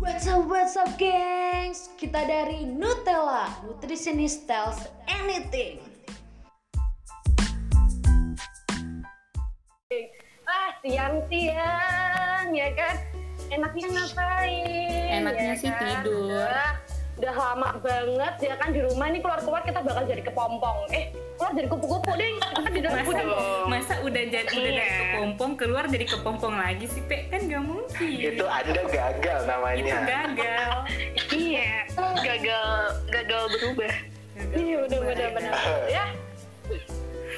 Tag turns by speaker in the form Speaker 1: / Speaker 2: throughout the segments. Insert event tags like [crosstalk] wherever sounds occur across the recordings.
Speaker 1: What's up, what's up, gengs? Kita dari Nutella, Nutritionist Tells Anything.
Speaker 2: Wah, siang-siang ya kan. Enaknya ngapain?
Speaker 3: Enaknya
Speaker 2: ya
Speaker 3: sih
Speaker 2: kan?
Speaker 3: tidur.
Speaker 2: Udah, udah lama banget ya kan di rumah nih keluar-keluar kita bakal jadi kepompong. Eh, keluar jadi kupu-kupu deh. Kita kan jadi kupu
Speaker 3: masa,
Speaker 4: Oh.
Speaker 2: dong.
Speaker 3: masa udah jadi udah dari
Speaker 2: Iya.
Speaker 3: kepompong keluar dari kepompong lagi sih Pe kan gak mungkin
Speaker 4: itu anda gagal
Speaker 3: Itu kan?
Speaker 4: namanya
Speaker 3: gagal
Speaker 5: Iya, gagal gagal berubah.
Speaker 2: Iya, udah bener bener Ya,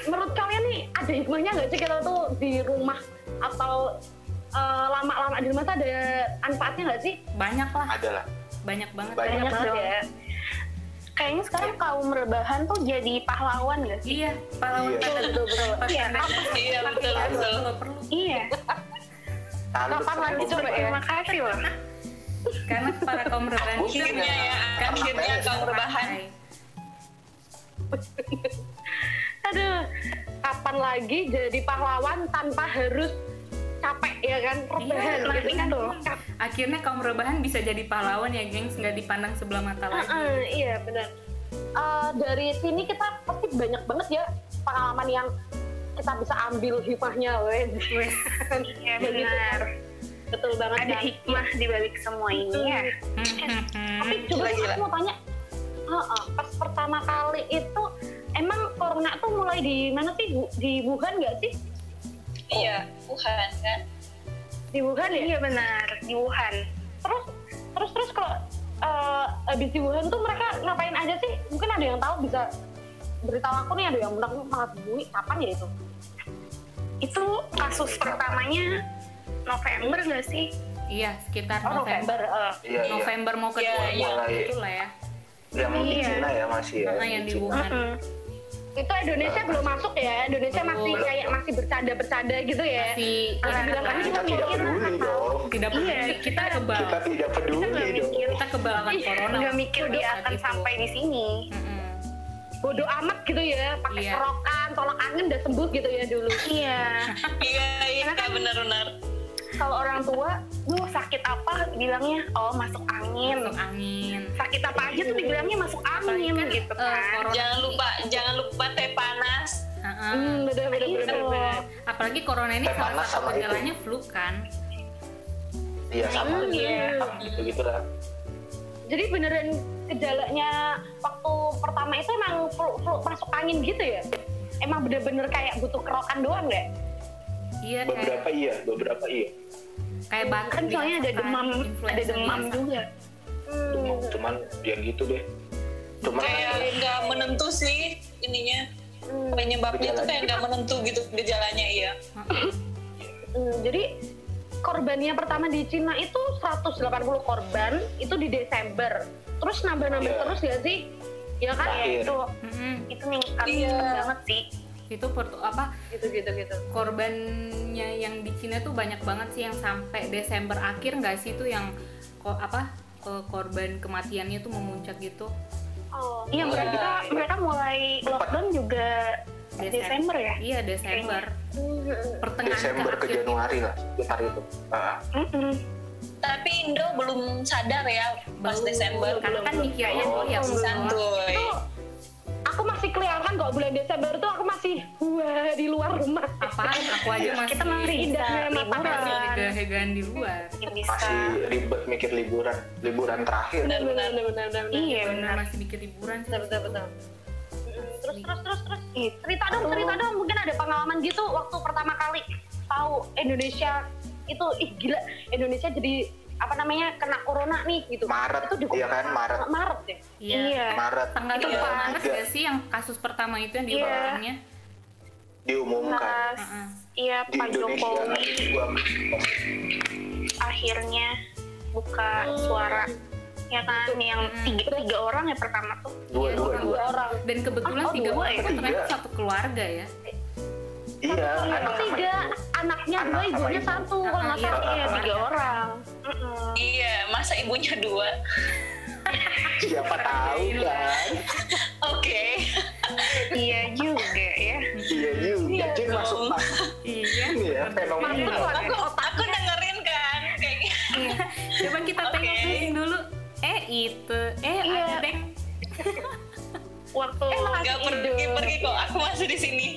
Speaker 2: menurut kalian nih ada hikmahnya nggak sih kita tuh di rumah atau eh, lama-lama di rumah tuh ada manfaatnya nggak sih?
Speaker 3: banyak lah
Speaker 4: adalah
Speaker 3: banyak banget
Speaker 4: Banyak.
Speaker 2: banget
Speaker 5: dong.
Speaker 2: ya.
Speaker 5: Kayaknya sekarang kaum rebahan tuh jadi pahlawan gak sih?
Speaker 3: iya pahlawan
Speaker 4: Iya.
Speaker 3: kita
Speaker 2: Betul, betul.
Speaker 5: Iya, apa sih?
Speaker 3: iya betul
Speaker 4: betul.
Speaker 3: kalau perlu
Speaker 5: Iya,
Speaker 4: tanda
Speaker 2: Kapan lagi
Speaker 4: sebuah-
Speaker 2: coba ya?
Speaker 5: terima kasih loh.
Speaker 3: karena para kaum rebahan itu
Speaker 4: Akhirnya ya,
Speaker 3: kan
Speaker 4: akhirnya kaum
Speaker 3: rebahan
Speaker 2: Aduh, kapan lagi jadi pahlawan tanpa harus capek ya kan? Rebahan
Speaker 3: Iya,
Speaker 2: gitu
Speaker 3: iya.
Speaker 2: kan tuh.
Speaker 3: akhirnya kaum rebahan bisa jadi pahlawan ya gengs nggak dipandang sebelah mata lagi
Speaker 2: Heeh, iya benar. Eh, dari sini kita pasti banyak banget ya pengalaman yang kita bisa ambil hikmahnya, wes. [laughs]
Speaker 5: Iya
Speaker 2: Begitu
Speaker 5: benar.
Speaker 2: Betul banget.
Speaker 5: Ada
Speaker 2: kan?
Speaker 5: hikmah di balik semua ini ya.
Speaker 3: Hmm, hmm,
Speaker 2: Tapi
Speaker 3: hmm.
Speaker 2: coba
Speaker 5: Gila, gila.
Speaker 2: aku mau tanya, Heeh, pas pertama kali itu emang corona tuh mulai di mana sih? Bu? Di Wuhan nggak sih?
Speaker 6: Iya, Wuhan kan.
Speaker 2: Di Wuhan ya.
Speaker 5: Iya benar di Wuhan.
Speaker 2: Terus terus terus kalau eh, habis di Wuhan tuh mereka ngapain aja sih? Mungkin ada yang tahu bisa beritahu aku nih ada yang menang malah bunyi kapan ya itu?
Speaker 5: Itu kasus pertamanya November gak sih?
Speaker 3: iya sekitar
Speaker 2: Oh November.
Speaker 3: November
Speaker 2: eh.
Speaker 4: iya iya
Speaker 3: November mau ke dua
Speaker 4: iya.
Speaker 3: lah ya
Speaker 4: yang di
Speaker 5: Iya.
Speaker 4: Cina ya masih ya
Speaker 3: karena yang di
Speaker 4: Cina.
Speaker 3: Wuhan
Speaker 5: Mm-mm.
Speaker 2: Itu Indonesia belum masuk ya. Indonesia masih
Speaker 3: Belum.
Speaker 2: kayak masih bercanda-bercanda gitu ya.
Speaker 3: si
Speaker 2: Masih bilang "Ah, ini
Speaker 4: kita
Speaker 2: cuma
Speaker 4: tidak
Speaker 2: mungkin
Speaker 4: peduli dong
Speaker 3: tidak peduli
Speaker 5: Iya,
Speaker 3: kita
Speaker 5: kita-
Speaker 3: kebal
Speaker 4: kita tidak
Speaker 3: Iya
Speaker 5: Kita
Speaker 4: peduli
Speaker 2: Iya.
Speaker 5: Kan nggak
Speaker 4: dong
Speaker 5: mikir,
Speaker 3: kita kebalangan corona
Speaker 5: nggak mikir
Speaker 3: waktu
Speaker 5: dia
Speaker 3: saat
Speaker 5: akan
Speaker 3: itu.
Speaker 5: sampai di sini.
Speaker 3: Mm-mm.
Speaker 2: bodo amat gitu ya, pakai
Speaker 3: Iya.
Speaker 2: serokan, tolak angin udah sembuh gitu ya dulu.
Speaker 5: Iya.
Speaker 6: Iya, iya benar-benar.
Speaker 5: [laughs] Kalau orang tua, duh sakit apa bilangnya? Oh masuk angin.
Speaker 3: masuk angin
Speaker 5: sakit apa aja tuh dibilangnya masuk
Speaker 3: Apalagi
Speaker 5: angin
Speaker 3: kan,
Speaker 5: gitu
Speaker 3: eh,
Speaker 5: kan.
Speaker 3: corona
Speaker 6: Jangan lupa, jangan lupa teh panas.
Speaker 3: Heeh.
Speaker 2: Hmm, beda
Speaker 3: Nah,
Speaker 2: beda
Speaker 5: Iya,
Speaker 2: beda.
Speaker 5: bener.
Speaker 3: apalagi corona ini
Speaker 4: Teh
Speaker 3: salah
Speaker 4: panas
Speaker 3: satu
Speaker 4: sama itu.
Speaker 3: gejalanya flu kan
Speaker 4: iya sama
Speaker 2: Hmm, iya.
Speaker 4: gitu gitulah
Speaker 2: Jadi beneran gejalanya waktu pertama itu emang flu, flu masuk angin gitu ya? Emang bener-bener kayak butuh kerokan doang ya? deh.
Speaker 3: iya kayak
Speaker 4: beberapa iya beberapa iya
Speaker 3: kayak batuk
Speaker 5: Kan soalnya ada
Speaker 3: biasa,
Speaker 5: demam, ada
Speaker 3: influenza
Speaker 5: demam
Speaker 3: biasa.
Speaker 5: juga.
Speaker 2: Hmm,
Speaker 4: Cuma- cuman ya gitu deh cuman
Speaker 6: Kayak nggak menentu sih ininya. Penyebabnya tuh kayak nggak menentu gitu gejalanya iya.
Speaker 2: Hmm, jadi korbannya pertama di Cina itu 180 korban itu di Desember. Terus nambah-nambah
Speaker 4: Iya.
Speaker 2: terus ya sih? Ya kan?
Speaker 4: Terakhir.
Speaker 2: Itu
Speaker 3: Mm-mm.
Speaker 5: Itu meningkat
Speaker 6: Iya.
Speaker 5: cepet banget sih.
Speaker 3: itu pertu- apa
Speaker 2: gitu-gitu gitu.
Speaker 3: korbannya yang di Cina tuh banyak banget sih yang sampai Desember akhir nggak sih tuh yang ko- apa eh, korban kematiannya tuh memuncak gitu
Speaker 2: Oh,
Speaker 4: Iya.
Speaker 5: Iya mereka mereka mulai lockdown juga
Speaker 3: Desember.
Speaker 5: Desember ya.
Speaker 3: iya Desember pertengahan
Speaker 4: Desember ke
Speaker 3: akhir gitu.
Speaker 4: Januari lah sekitar itu Ah,
Speaker 5: Mm-mm.
Speaker 6: Tapi Indo belum sadar ya pas
Speaker 3: Baru,
Speaker 6: Desember. iya,
Speaker 3: karena kan mikirnya
Speaker 4: belum,
Speaker 3: tuh ya
Speaker 6: Masih santuy.
Speaker 2: Itu aku masih kelihatan kok bulan Desember tuh aku masih wah di luar rumah.
Speaker 3: apaan aku aja masih Iya,
Speaker 5: Kita masih bisa
Speaker 2: indahnya
Speaker 5: liburan,
Speaker 3: masih hegan di luar
Speaker 5: masih bisa.
Speaker 4: masih ribet mikir liburan liburan terakhir
Speaker 6: Benar-benar.
Speaker 2: benar benar.
Speaker 5: Iya
Speaker 3: bener
Speaker 5: benar.
Speaker 3: masih bikin liburan sih
Speaker 2: Betul betul betul. Mm, Terus terus terus terus cerita dong
Speaker 5: Oh.
Speaker 2: cerita dong mungkin ada pengalaman gitu waktu pertama kali tahu Indonesia itu ih gila Indonesia jadi apa namanya kena corona nih gitu.
Speaker 4: Maret,
Speaker 2: itu di-
Speaker 4: iya kan, Maret.
Speaker 2: Maret ya.
Speaker 3: iya
Speaker 5: Iya.
Speaker 4: Maret
Speaker 3: tanggal
Speaker 4: Iya,
Speaker 3: tiga Maret
Speaker 4: tiga.
Speaker 3: gak sih yang kasus pertama itu yang
Speaker 5: Iya.
Speaker 3: diulangnya
Speaker 4: diumumkan
Speaker 5: Pas
Speaker 3: Heeh.
Speaker 5: iya
Speaker 4: di
Speaker 5: Pak
Speaker 4: Indonesia
Speaker 5: Jokowi
Speaker 4: gua-
Speaker 5: akhirnya buka
Speaker 2: Hmm.
Speaker 5: suara ya kan
Speaker 2: Betul.
Speaker 5: yang tiga, tiga orang ya pertama tuh
Speaker 4: dua dua
Speaker 3: Iya,
Speaker 4: dua
Speaker 2: Dua orang.
Speaker 3: dan kebetulan
Speaker 2: Oh,
Speaker 3: tiga
Speaker 2: dua
Speaker 3: orang
Speaker 5: ya?
Speaker 3: itu ternyata
Speaker 4: Tiga.
Speaker 3: satu keluarga ya
Speaker 4: iya anak sama
Speaker 2: Tiga anaknya dua
Speaker 4: Anak sama
Speaker 2: ibunya
Speaker 4: ibu.
Speaker 2: satu kalau nggak
Speaker 3: Iya,
Speaker 2: salah
Speaker 5: iya
Speaker 2: ya.
Speaker 5: tiga orang Mm-mm.
Speaker 6: Iya, masa ibunya dua?
Speaker 4: siapa tahu kan
Speaker 6: Oke.
Speaker 5: iya juga ya
Speaker 4: iya juga
Speaker 2: Iya
Speaker 4: Jin masuk
Speaker 6: dong.
Speaker 3: iya
Speaker 4: ini ya fenomena
Speaker 2: Masuk
Speaker 6: Aku,
Speaker 2: otaknya.
Speaker 6: aku dengerin kan kayak
Speaker 3: Iya. coba kita
Speaker 6: Oke.
Speaker 3: tengok dulu Ite eh
Speaker 2: Iya.
Speaker 3: ada deng
Speaker 2: waktu
Speaker 5: Eh, makasih.
Speaker 6: Gak pergi pergi kok, aku masih di sini.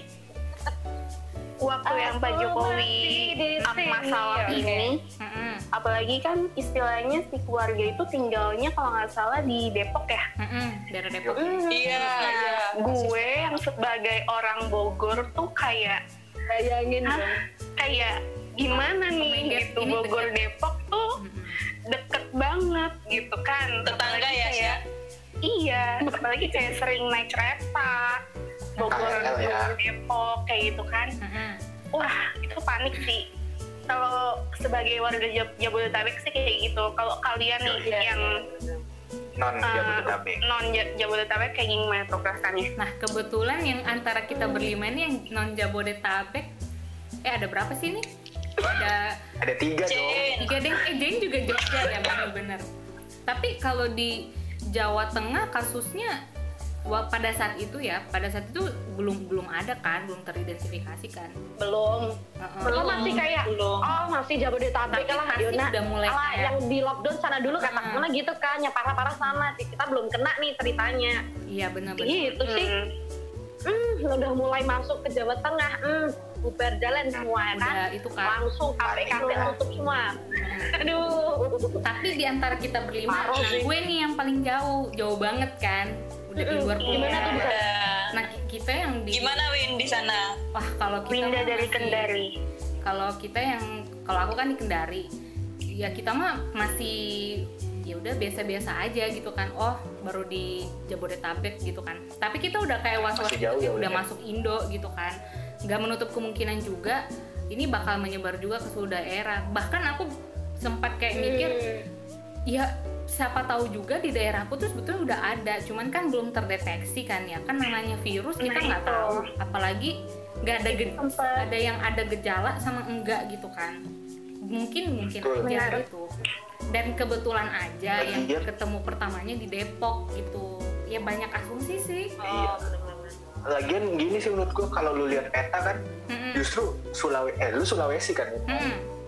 Speaker 5: waktu yang Pak
Speaker 2: Aku
Speaker 5: Jokowi
Speaker 2: masih di
Speaker 5: up
Speaker 2: sini.
Speaker 5: masalah
Speaker 2: Oke.
Speaker 5: ini
Speaker 3: Mm-mm.
Speaker 5: apalagi kan istilahnya si keluarga itu tinggalnya kalau nggak salah di Depok ya
Speaker 3: Mm-mm. daerah Depok
Speaker 6: Iya, iya.
Speaker 5: gue yang sebagai orang Bogor tuh kayak
Speaker 2: bayangin
Speaker 5: Hah?
Speaker 2: dong.
Speaker 5: kayak gimana
Speaker 3: my God,
Speaker 5: nih gitu
Speaker 3: ini
Speaker 5: Bogor
Speaker 3: bener.
Speaker 5: Depok tuh
Speaker 3: Mm-mm.
Speaker 5: deket banget gitu kan
Speaker 6: Tetangga
Speaker 5: Apalagi
Speaker 6: ya, Sya?
Speaker 5: kayak, iya apalagi kayak sering naik kereta Bogor
Speaker 4: KRL ya.
Speaker 5: Bogor, Depok kayak gitu kan
Speaker 3: Mm-mm.
Speaker 5: wah itu panik sih kalau sebagai warga Jab- Jabodetabek sih kayak gitu kalau kalian nih
Speaker 2: Iya.
Speaker 5: yang
Speaker 4: non
Speaker 5: eh,
Speaker 4: Jabodetabek.
Speaker 5: non Ja- Jabodetabek kayak gimana tuh perasaannya
Speaker 3: Nah, kebetulan yang antara kita berlima ini yang non Jabodetabek eh ada berapa sih ini? Ada
Speaker 4: Ada tiga
Speaker 5: Oh,
Speaker 4: dong.
Speaker 6: Jane.
Speaker 3: tiga deng, eh deng juga Jogja ya bener-bener. Tapi kalau di Jawa Tengah kasusnya wa- pada saat itu ya, pada saat itu belum belum ada kan, belum teridentifikasi kan.
Speaker 2: belum
Speaker 3: Heeh.
Speaker 2: belum masih kayak
Speaker 6: Belum.
Speaker 2: oh masih Jabodetabek
Speaker 3: Tapi
Speaker 2: lah
Speaker 3: pasti
Speaker 2: Yona
Speaker 3: udah mulai
Speaker 2: Alah,
Speaker 3: kayak-
Speaker 2: yang di lockdown sana dulu kata
Speaker 3: Hmm.
Speaker 2: mana gitu kan yang parah-parah sana kita belum kena nih ceritanya
Speaker 3: Iya bener-bener.
Speaker 2: gitu sih hmm, udah mulai masuk ke Jawa Tengah hmm, bubar jalan semua ya kan
Speaker 3: Udah itu kan.
Speaker 2: langsung KPK nutup semua aduh
Speaker 3: Tapi di antara kita berlima,
Speaker 2: Parah
Speaker 3: nah,
Speaker 2: sih.
Speaker 3: gue nih yang paling jauh, jauh banget kan. Udah di
Speaker 2: Mm-mm.
Speaker 3: luar pulau.
Speaker 2: Gimana tuh, bisa?
Speaker 6: Nah,
Speaker 3: Nah, ki- kita yang di
Speaker 6: Gimana Win di sana?
Speaker 3: Wah, kalau kita
Speaker 5: pindah
Speaker 3: mah
Speaker 5: dari
Speaker 3: masih-
Speaker 5: Kendari
Speaker 3: Kalau kita yang kalau aku kan di Kendari. Ya kita mah masih ya udah biasa-biasa aja gitu kan. Oh, baru di Jabodetabek gitu kan. Tapi kita udah kayak was-was
Speaker 4: Masih jauh
Speaker 3: gitu,
Speaker 4: ya
Speaker 3: udah
Speaker 4: udah ya.
Speaker 3: masuk Indo gitu kan. Nggak menutup kemungkinan juga ini bakal menyebar juga ke seluruh daerah. Bahkan aku sempat kayak mikir ya siapa tahu juga di daerahku tuh sebetulnya udah ada cuman kan belum terdeteksi kan ya kan namanya virus kita
Speaker 5: Nah,
Speaker 3: nggak
Speaker 5: itu.
Speaker 3: tahu apalagi nggak ada ge-
Speaker 5: Tempat.
Speaker 3: ada yang ada gejala sama enggak gitu kan mungkin mungkin
Speaker 4: Betul.
Speaker 3: aja gitu dan kebetulan aja yang
Speaker 4: Iya.
Speaker 3: ketemu pertamanya di Depok gitu ya banyak asumsi sih
Speaker 4: Iya. Lagian gini sih menurut gua kalau lu lihat peta kan
Speaker 5: Hmm.
Speaker 3: Mm-mm.
Speaker 4: justru Sulawesi eh lu Sulawesi kan.
Speaker 3: Mm-mm.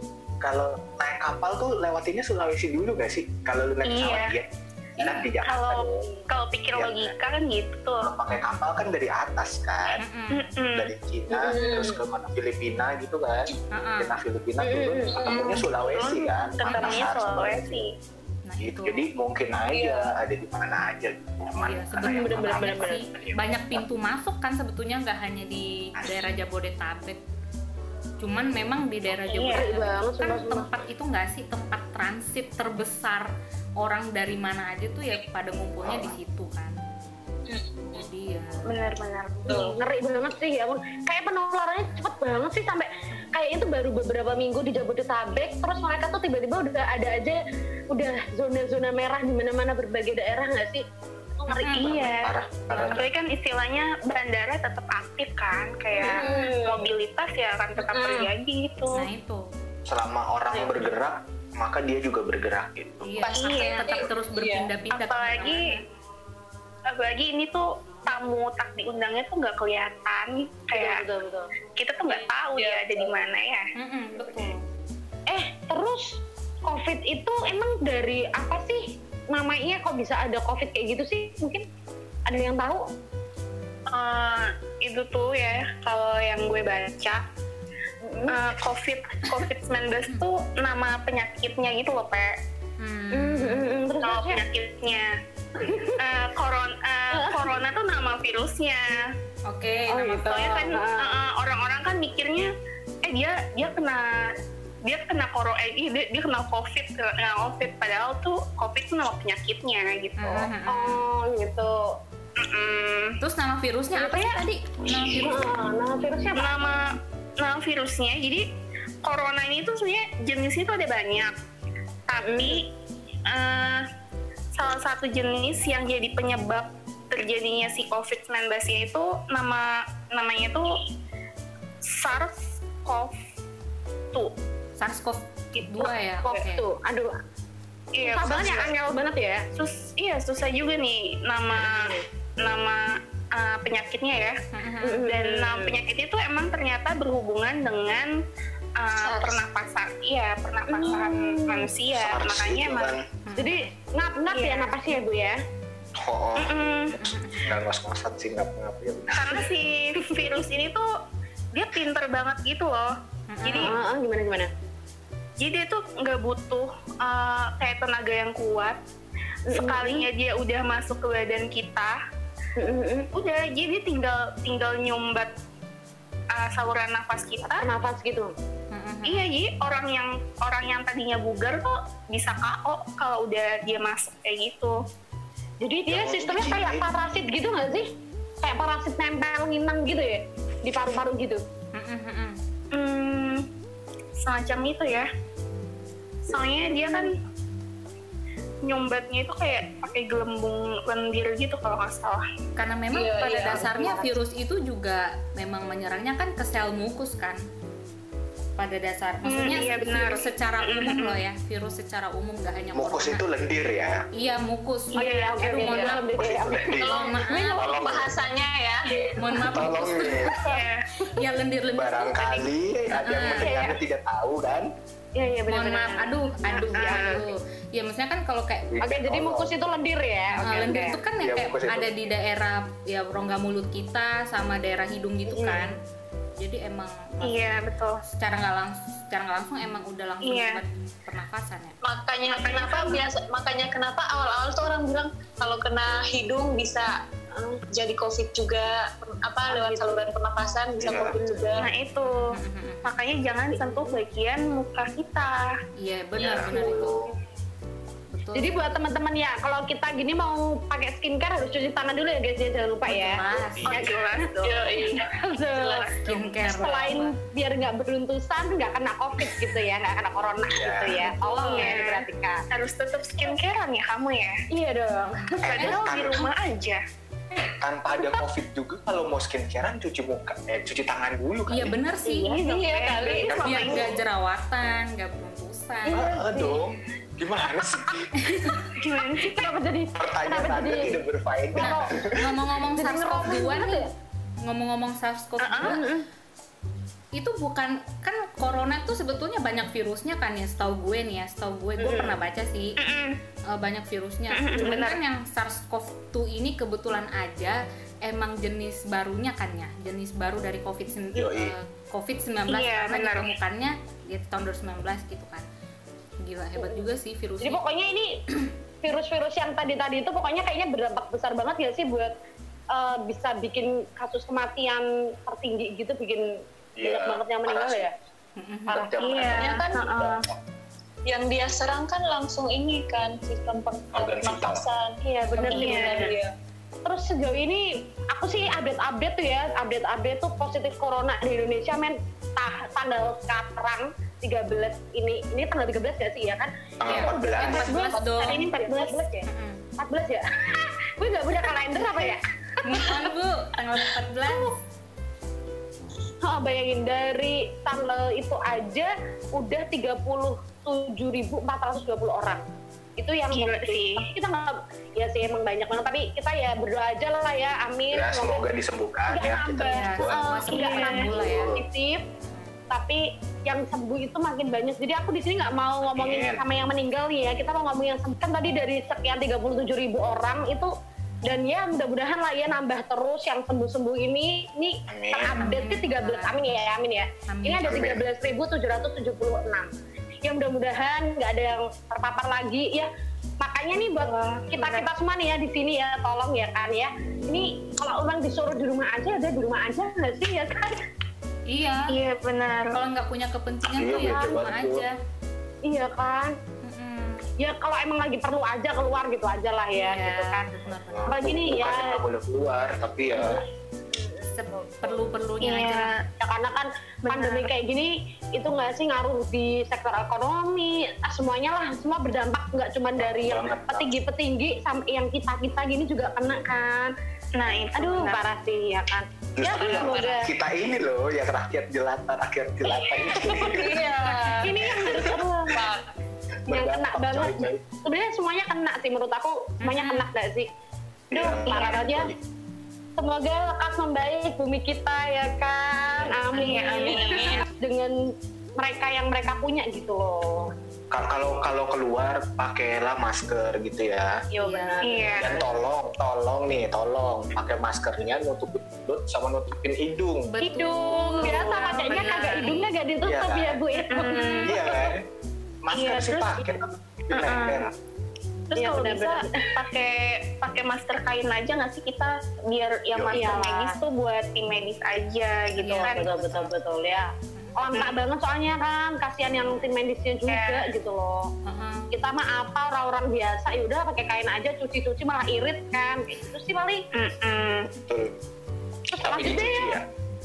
Speaker 4: Kalau naik kapal tuh lewatinnya Sulawesi dulu gak sih? Kalau lu naik pesawat
Speaker 5: Iya.
Speaker 4: ya. Enak di Jakarta
Speaker 5: Kalau-
Speaker 4: dong.
Speaker 5: kalau pikir
Speaker 4: Iya,
Speaker 5: logika kan gitu
Speaker 4: Kalau pakai kapal kan dari atas kan.
Speaker 3: Mm-mm.
Speaker 5: Mm-mm.
Speaker 4: Dari Cina
Speaker 2: Mm.
Speaker 4: terus ke mana Filipina gitu kan.
Speaker 3: Mm-mm.
Speaker 4: Cina Filipina
Speaker 2: Mm.
Speaker 4: turun ketemunya Sulawesi kan.
Speaker 5: Hmm. ketemunya
Speaker 4: Makassar,
Speaker 5: Sulawesi
Speaker 3: nah
Speaker 4: Gitu. Jadi mungkin aja ada di mana aja gitu. Cuman
Speaker 3: Iya, sebetulnya
Speaker 4: karena yang gitu.
Speaker 3: bener-bener
Speaker 4: pertama
Speaker 3: banyak
Speaker 4: iya.
Speaker 3: sih.
Speaker 4: tadi yang
Speaker 3: Banyak pintu masuk kan sebetulnya nggak hanya di daerah Jabodetabek. Cuman memang di daerah
Speaker 5: Iya,
Speaker 2: iya banget,
Speaker 3: Jabodetabek kan
Speaker 2: sumpah-sumpah.
Speaker 3: tempat itu nggak sih tempat transit terbesar orang dari mana aja tuh ya pada ngumpulnya di situ kan. Jadi ya
Speaker 5: benar-benar
Speaker 6: Tuh.
Speaker 2: ngeri banget sih ya ampun kayak penularannya cepet banget sih sampai kayak itu baru beberapa minggu di Jabodetabek terus mereka tuh tiba-tiba udah ada aja udah zona-zona merah di mana-mana berbagai daerah nggak sih Itu ngeri gitu.
Speaker 3: Mm-mm.
Speaker 5: iya
Speaker 4: Parah, parah.
Speaker 5: Tapi kan istilahnya bandara tetap aktif kan, kayak mobilitas ya akan tetap
Speaker 2: Hmm.
Speaker 5: terjadi gitu.
Speaker 3: nah itu.
Speaker 4: Selama orang bergerak, maka dia juga bergerak gitu.
Speaker 3: Iya,
Speaker 6: Pasti
Speaker 3: tetap-
Speaker 6: ya.
Speaker 3: tetap terus berpindah-pindah
Speaker 5: Apalagi
Speaker 2: iya.
Speaker 5: apalagi ini tuh tamu tak diundangnya tuh nggak kelihatan, kayak
Speaker 2: Iya, betul betul
Speaker 5: kita tuh nggak tahu
Speaker 6: Iya,
Speaker 5: ya ada di mana ya.
Speaker 3: kemana-mana. Mm-mm, betul.
Speaker 2: eh terus COVID itu emang dari apa sih namanya kok bisa ada COVID kayak gitu sih mungkin ada yang tahu
Speaker 5: Eh, itu tuh ya kalau yang gue baca
Speaker 2: Hmm.
Speaker 5: eh, COVID COVID 19 tuh nama penyakitnya gitu loh, Pak.
Speaker 3: Hmm.
Speaker 2: Mm, mm, mm, mm. terus
Speaker 5: nama
Speaker 2: maksudnya,
Speaker 5: penyakitnya. Eh, koron-
Speaker 2: [laughs]
Speaker 5: eh, corona tuh nama virusnya.
Speaker 3: Oke,
Speaker 2: Oh,
Speaker 3: nama-
Speaker 2: gitu.
Speaker 5: Soalnya kan
Speaker 2: Ah.
Speaker 5: eh, eh, orang-orang kan mikirnya eh dia dia kena dia kena corona eh, dia, dia kena covid kena covid padahal tuh covid tuh nama penyakitnya gitu.
Speaker 3: Mm-mm.
Speaker 2: oh gitu
Speaker 5: Mm-mm.
Speaker 3: Terus nama virusnya apa sih tadi? Nama virus
Speaker 2: Ah, nama virusnya apa?
Speaker 5: Nama nama virusnya jadi corona ini tuh sebenarnya jenisnya tuh ada banyak. Tapi eh,
Speaker 2: Hmm.
Speaker 5: salah satu jenis yang jadi penyebab terjadinya si COVID-19 -nya itu nama namanya tuh SARS-CoV-2.
Speaker 3: SARS-CoV-2 ya. Oke.
Speaker 2: COVID tuh aduh
Speaker 5: Gitu. Iya,
Speaker 2: susah banget ya angel banget ya
Speaker 5: sus iya susah juga nih
Speaker 2: Iya,
Speaker 5: nama nama eh, penyakitnya ya
Speaker 3: Mhm.
Speaker 5: eh, dan nama penyakitnya itu emang ternyata berhubungan dengan eh, pernapasan iya pernapasan manusia
Speaker 4: Hmm. SARS
Speaker 5: Iya, makanya
Speaker 4: gitu
Speaker 5: emang
Speaker 4: kan.
Speaker 2: Jadi ngap-ngap
Speaker 5: Iya.
Speaker 2: ya napasnya ya Bu ya.
Speaker 4: Oh,
Speaker 5: Mm-mm.
Speaker 4: nggak ngos-ngosan sih nggak ngapin.
Speaker 5: karena si virus ini tuh dia pinter banget gitu loh jadi
Speaker 2: Heeh, heeh, gimana gimana?
Speaker 5: jadi dia tuh nggak butuh eh, kayak tenaga yang kuat sekalinya dia udah masuk ke badan kita
Speaker 2: Heeh, heeh.
Speaker 5: udah jadi tinggal tinggal nyumbat uh, saluran nafas kita
Speaker 2: Nafas gitu.
Speaker 5: iya jadi orang yang orang yang tadinya bugar tuh bisa KO kalau udah dia masuk kayak gitu
Speaker 2: Jadi dia
Speaker 4: Kalau
Speaker 2: sistemnya
Speaker 4: di-
Speaker 2: kayak parasit gitu nggak sih? Kayak parasit nempel nginang gitu ya di paru-paru gitu.
Speaker 5: hmm, semacam itu ya soalnya dia kan nyumbatnya itu kayak pakai gelembung lendir gitu kalau nggak salah
Speaker 3: Karena memang
Speaker 6: Iya,
Speaker 3: pada
Speaker 6: iya,
Speaker 3: dasarnya virus itu juga memang menyerangnya kan ke sel mukus kan. Pada dasar,
Speaker 2: Hmm,
Speaker 3: maksudnya
Speaker 5: iya, benar.
Speaker 3: virus secara umum loh ya, virus secara umum nggak hanya
Speaker 4: Mukus
Speaker 3: corona.
Speaker 4: itu lendir ya.
Speaker 3: Iya mukus.
Speaker 2: Oh iya, iya, oke,
Speaker 3: Aduh,
Speaker 2: oke,
Speaker 3: mohon
Speaker 2: oke. Iya,
Speaker 3: maaf.
Speaker 2: Paham deh,
Speaker 4: Mukus itu
Speaker 2: oke.
Speaker 4: lendir.
Speaker 6: Tolong maaf
Speaker 4: Tolong.
Speaker 6: bahasanya ya.
Speaker 3: Mohon maaf.
Speaker 4: Tolong nih,
Speaker 5: Iya.
Speaker 3: Ya lendir-lendir.
Speaker 4: barangkali ada yang
Speaker 3: Ah,
Speaker 4: mendengarnya tidak tahu kan.
Speaker 2: Iya iya
Speaker 3: Mohon
Speaker 2: benar-benar.
Speaker 3: maaf. Aduh, aduh,
Speaker 5: Ah.
Speaker 3: aduh. Ya maksudnya kan kalau kayak
Speaker 2: Oke, jadi
Speaker 4: Tolong.
Speaker 2: mukus itu lendir ya.
Speaker 3: Nah,
Speaker 2: Oke,
Speaker 3: lendir
Speaker 2: oke.
Speaker 3: itu kan yang
Speaker 4: Iya,
Speaker 3: kayak
Speaker 4: mukus itu.
Speaker 3: ada di daerah ya rongga mulut kita sama daerah hidung gitu
Speaker 2: Iya.
Speaker 3: kan. Jadi emang
Speaker 5: iya betul
Speaker 3: secara nggak langsung secara nggak langsung emang udah langsung
Speaker 5: Iya.
Speaker 3: buat pernafasan ya.
Speaker 2: Oh.
Speaker 6: Makanya kenapa biasa makanya kenapa awal-awal tuh orang bilang kalau kena hidung bisa eh, jadi covid juga per- apa lewat saluran pernapasan bisa
Speaker 4: Iya.
Speaker 6: covid juga.
Speaker 5: nah itu makanya jangan sentuh bagian muka kita
Speaker 3: Iya benar benar itu. Betul.
Speaker 2: Jadi buat teman-teman ya, kalau kita gini mau pakai skincare harus cuci tangan dulu ya guys, ya, jangan lupa ya.
Speaker 3: Mas,
Speaker 5: ya jelas dong
Speaker 6: Yoi.
Speaker 2: Betul.
Speaker 3: skincare
Speaker 2: Selain biar nggak beruntusan, nggak kena covid gitu ya, nggak kena corona gitu ya. Tolong ya
Speaker 5: Iya.
Speaker 2: diperhatikan.
Speaker 5: harus tetap skincarean ya kamu ya
Speaker 2: Iya dong.
Speaker 5: padahal di
Speaker 4: tanpa-
Speaker 5: rumah aja
Speaker 4: tanpa ada covid juga kalau mau skincarean cuci muka eh cuci tangan dulu kan
Speaker 3: Iya benar sih.
Speaker 2: Iya, iya kali.
Speaker 4: Iya,
Speaker 3: Biar
Speaker 4: iya.
Speaker 3: nggak jerawatan, nggak beruntusan.
Speaker 2: Iya,
Speaker 4: dong gimana sih
Speaker 5: gimana sih
Speaker 2: Kenapa jadi
Speaker 4: pertanyaan
Speaker 2: Kenapa
Speaker 4: anda
Speaker 2: jadi-
Speaker 4: tidak berfaedah
Speaker 2: kalau
Speaker 3: Nah, Ngomong-ngomong
Speaker 2: jadi
Speaker 3: SARS-CoV-2
Speaker 2: ngerokok banget
Speaker 3: nih,
Speaker 2: ya?
Speaker 3: ngomong-ngomong SARS-CoV-2 itu bukan kan corona tuh sebetulnya banyak virusnya kan ya setahu gue nih ya setahu gue gue pernah baca sih eh, banyak virusnya cuman kan yang SARS-CoV-2 ini kebetulan aja emang jenis barunya kan ya jenis baru dari COVID
Speaker 4: Yoi.
Speaker 3: eh, COVID-19
Speaker 5: Iya,
Speaker 3: karena
Speaker 5: benar.
Speaker 3: ditemukannya di tahun 2019 gitu kan gila hebat juga sih
Speaker 2: Jadi
Speaker 3: virusnya
Speaker 2: pokoknya ini virus-virus yang tadi-tadi itu pokoknya kayaknya berdampak besar banget ya sih buat eh, bisa bikin kasus kematian tertinggi gitu, bikin banyak
Speaker 4: Iya,
Speaker 2: banget yang meninggal
Speaker 4: parah sih.
Speaker 2: ya. Parah.
Speaker 4: Iya.
Speaker 6: Ya kan
Speaker 2: Heeh.
Speaker 6: yang dia serang kan langsung ini kan sistem per-
Speaker 4: Organ vital.
Speaker 6: pernapasan.
Speaker 2: Iya bener
Speaker 6: Iya,
Speaker 2: nih.
Speaker 6: iya.
Speaker 2: Terus sejauh ini aku sih update-update tuh ya, update-update tuh positif corona di Indonesia men Ta- tanggal sekarang 13 ini ini tanggal 13 gak sih ya kan?
Speaker 4: tanggal Ya, 14
Speaker 3: 14 dong
Speaker 2: Hari ini 14, ya?
Speaker 3: Mm-mm.
Speaker 2: 14 ya? [laughs] Gue gak punya kalender apa ya?
Speaker 3: Move on, bu tanggal 14
Speaker 2: Oh, bayangin dari tanggal itu aja udah 37.420 orang. Itu yang
Speaker 5: Gila
Speaker 2: positif.
Speaker 5: sih.
Speaker 2: Tapi kita nggak ya sih emang banyak banget tapi kita ya berdoa aja lah ya. Amin.
Speaker 4: ya
Speaker 2: Semoga
Speaker 4: semoga disembuhkan
Speaker 2: nggak
Speaker 4: ya kita
Speaker 2: nambah
Speaker 4: semua.
Speaker 2: Iya, eh,
Speaker 3: Masuk
Speaker 2: nggak
Speaker 3: ke
Speaker 2: nambah
Speaker 3: bulan ya.
Speaker 2: positif tapi yang sembuh itu makin banyak jadi aku di sini nggak mau ngomongin
Speaker 4: Amin.
Speaker 2: sama yang meninggal nih ya kita mau ngomongin yang sembuh kan tadi dari sekian 37.000 ribu orang itu dan ya mudah-mudahan lah ya nambah terus yang sembuh-sembuh ini ini
Speaker 4: Amin.
Speaker 2: terupdate sih 13 amin ya amin ya
Speaker 3: Amin.
Speaker 2: ini ada
Speaker 4: Amin.
Speaker 2: 13.776 ya mudah-mudahan nggak ada yang terpapar lagi ya makanya nih buat kita kita semua nih ya di sini ya tolong ya kan ya ini kalau orang disuruh di rumah aja ada di rumah aja nggak sih ya kan
Speaker 3: iya
Speaker 5: iya benar
Speaker 3: kalau nggak punya kepentingan
Speaker 4: Iya,
Speaker 3: tuh ya
Speaker 4: bener
Speaker 3: rumah
Speaker 4: banget, Bu.
Speaker 3: aja
Speaker 2: iya kan
Speaker 3: Mm-mm.
Speaker 2: ya kalau emang lagi perlu aja keluar gitu aja lah ya
Speaker 3: Iya,
Speaker 2: gitu kan
Speaker 3: bener-bener.
Speaker 4: Nah,
Speaker 2: Apalagi nih,
Speaker 4: bukannya
Speaker 2: ya. Iya,
Speaker 4: nggak boleh keluar tapi ya
Speaker 3: Se- perlu-perlunya aja lah.
Speaker 5: iya
Speaker 2: ya karena kan pandemi kayak gini itu nggak sih ngaruh di sektor ekonomi ah, semuanya lah semua berdampak nggak cuma dari yang
Speaker 4: Banget, Kak.
Speaker 2: petinggi-petinggi sampai yang kita-kita gini juga kena kan
Speaker 5: nah itu
Speaker 2: aduh
Speaker 5: benar.
Speaker 2: parah sih ya kan ya
Speaker 4: justru yang
Speaker 2: semoga
Speaker 4: kita ini loh yang rakyat jelata rakyat jelata ini
Speaker 6: Iya.
Speaker 2: ini yang harus aduh,
Speaker 6: Pak.
Speaker 2: yang kena
Speaker 4: berdampak,
Speaker 2: banget
Speaker 4: coy.
Speaker 2: sebenarnya semuanya kena sih menurut aku semuanya kena gak sih Duh,
Speaker 4: Iya.
Speaker 2: parah banget ya. Semoga lekas membaik bumi kita ya kan. Amin.
Speaker 6: Amin, amin, amin.
Speaker 2: Dengan mereka yang mereka punya gitu loh.
Speaker 4: Ka- Kalau kalau keluar pakailah masker gitu ya.
Speaker 2: Iya
Speaker 3: Iya.
Speaker 2: benar.
Speaker 5: Iya.
Speaker 4: Dan tolong, tolong nih, tolong pakai maskernya nutupin mulut sama nutupin hidung.
Speaker 3: Betul.
Speaker 2: Hidung biasa
Speaker 3: Benar.
Speaker 2: kacanya kagak hidungnya gak ditutup
Speaker 4: Iya.
Speaker 2: ya Bu ya.
Speaker 4: Iya kan? Masker
Speaker 2: Iya,
Speaker 4: sih
Speaker 2: terus-
Speaker 4: pakai tapi leher.
Speaker 2: Iya,
Speaker 5: Terus kalau bisa
Speaker 2: benar-benar.
Speaker 5: pakai pakai masker kain aja nggak sih kita biar yang
Speaker 4: Iya.
Speaker 5: masker
Speaker 2: Iyalah.
Speaker 5: medis tuh buat tim medis aja gitu
Speaker 2: Iya,
Speaker 5: kan.
Speaker 2: betul betul betul ya. Langka banget soalnya kan kasihan yang tim medisnya juga
Speaker 5: Iya.
Speaker 2: gitu loh.
Speaker 3: Heeh.
Speaker 2: Kita mah apa orang-orang biasa ya udah pakai kain aja cuci-cuci malah irit kan. Kayak gitu sih paling.
Speaker 5: Mm-mm.
Speaker 4: Betul.
Speaker 2: Terus
Speaker 4: Tapi
Speaker 2: maksudnya
Speaker 4: dicuci ya.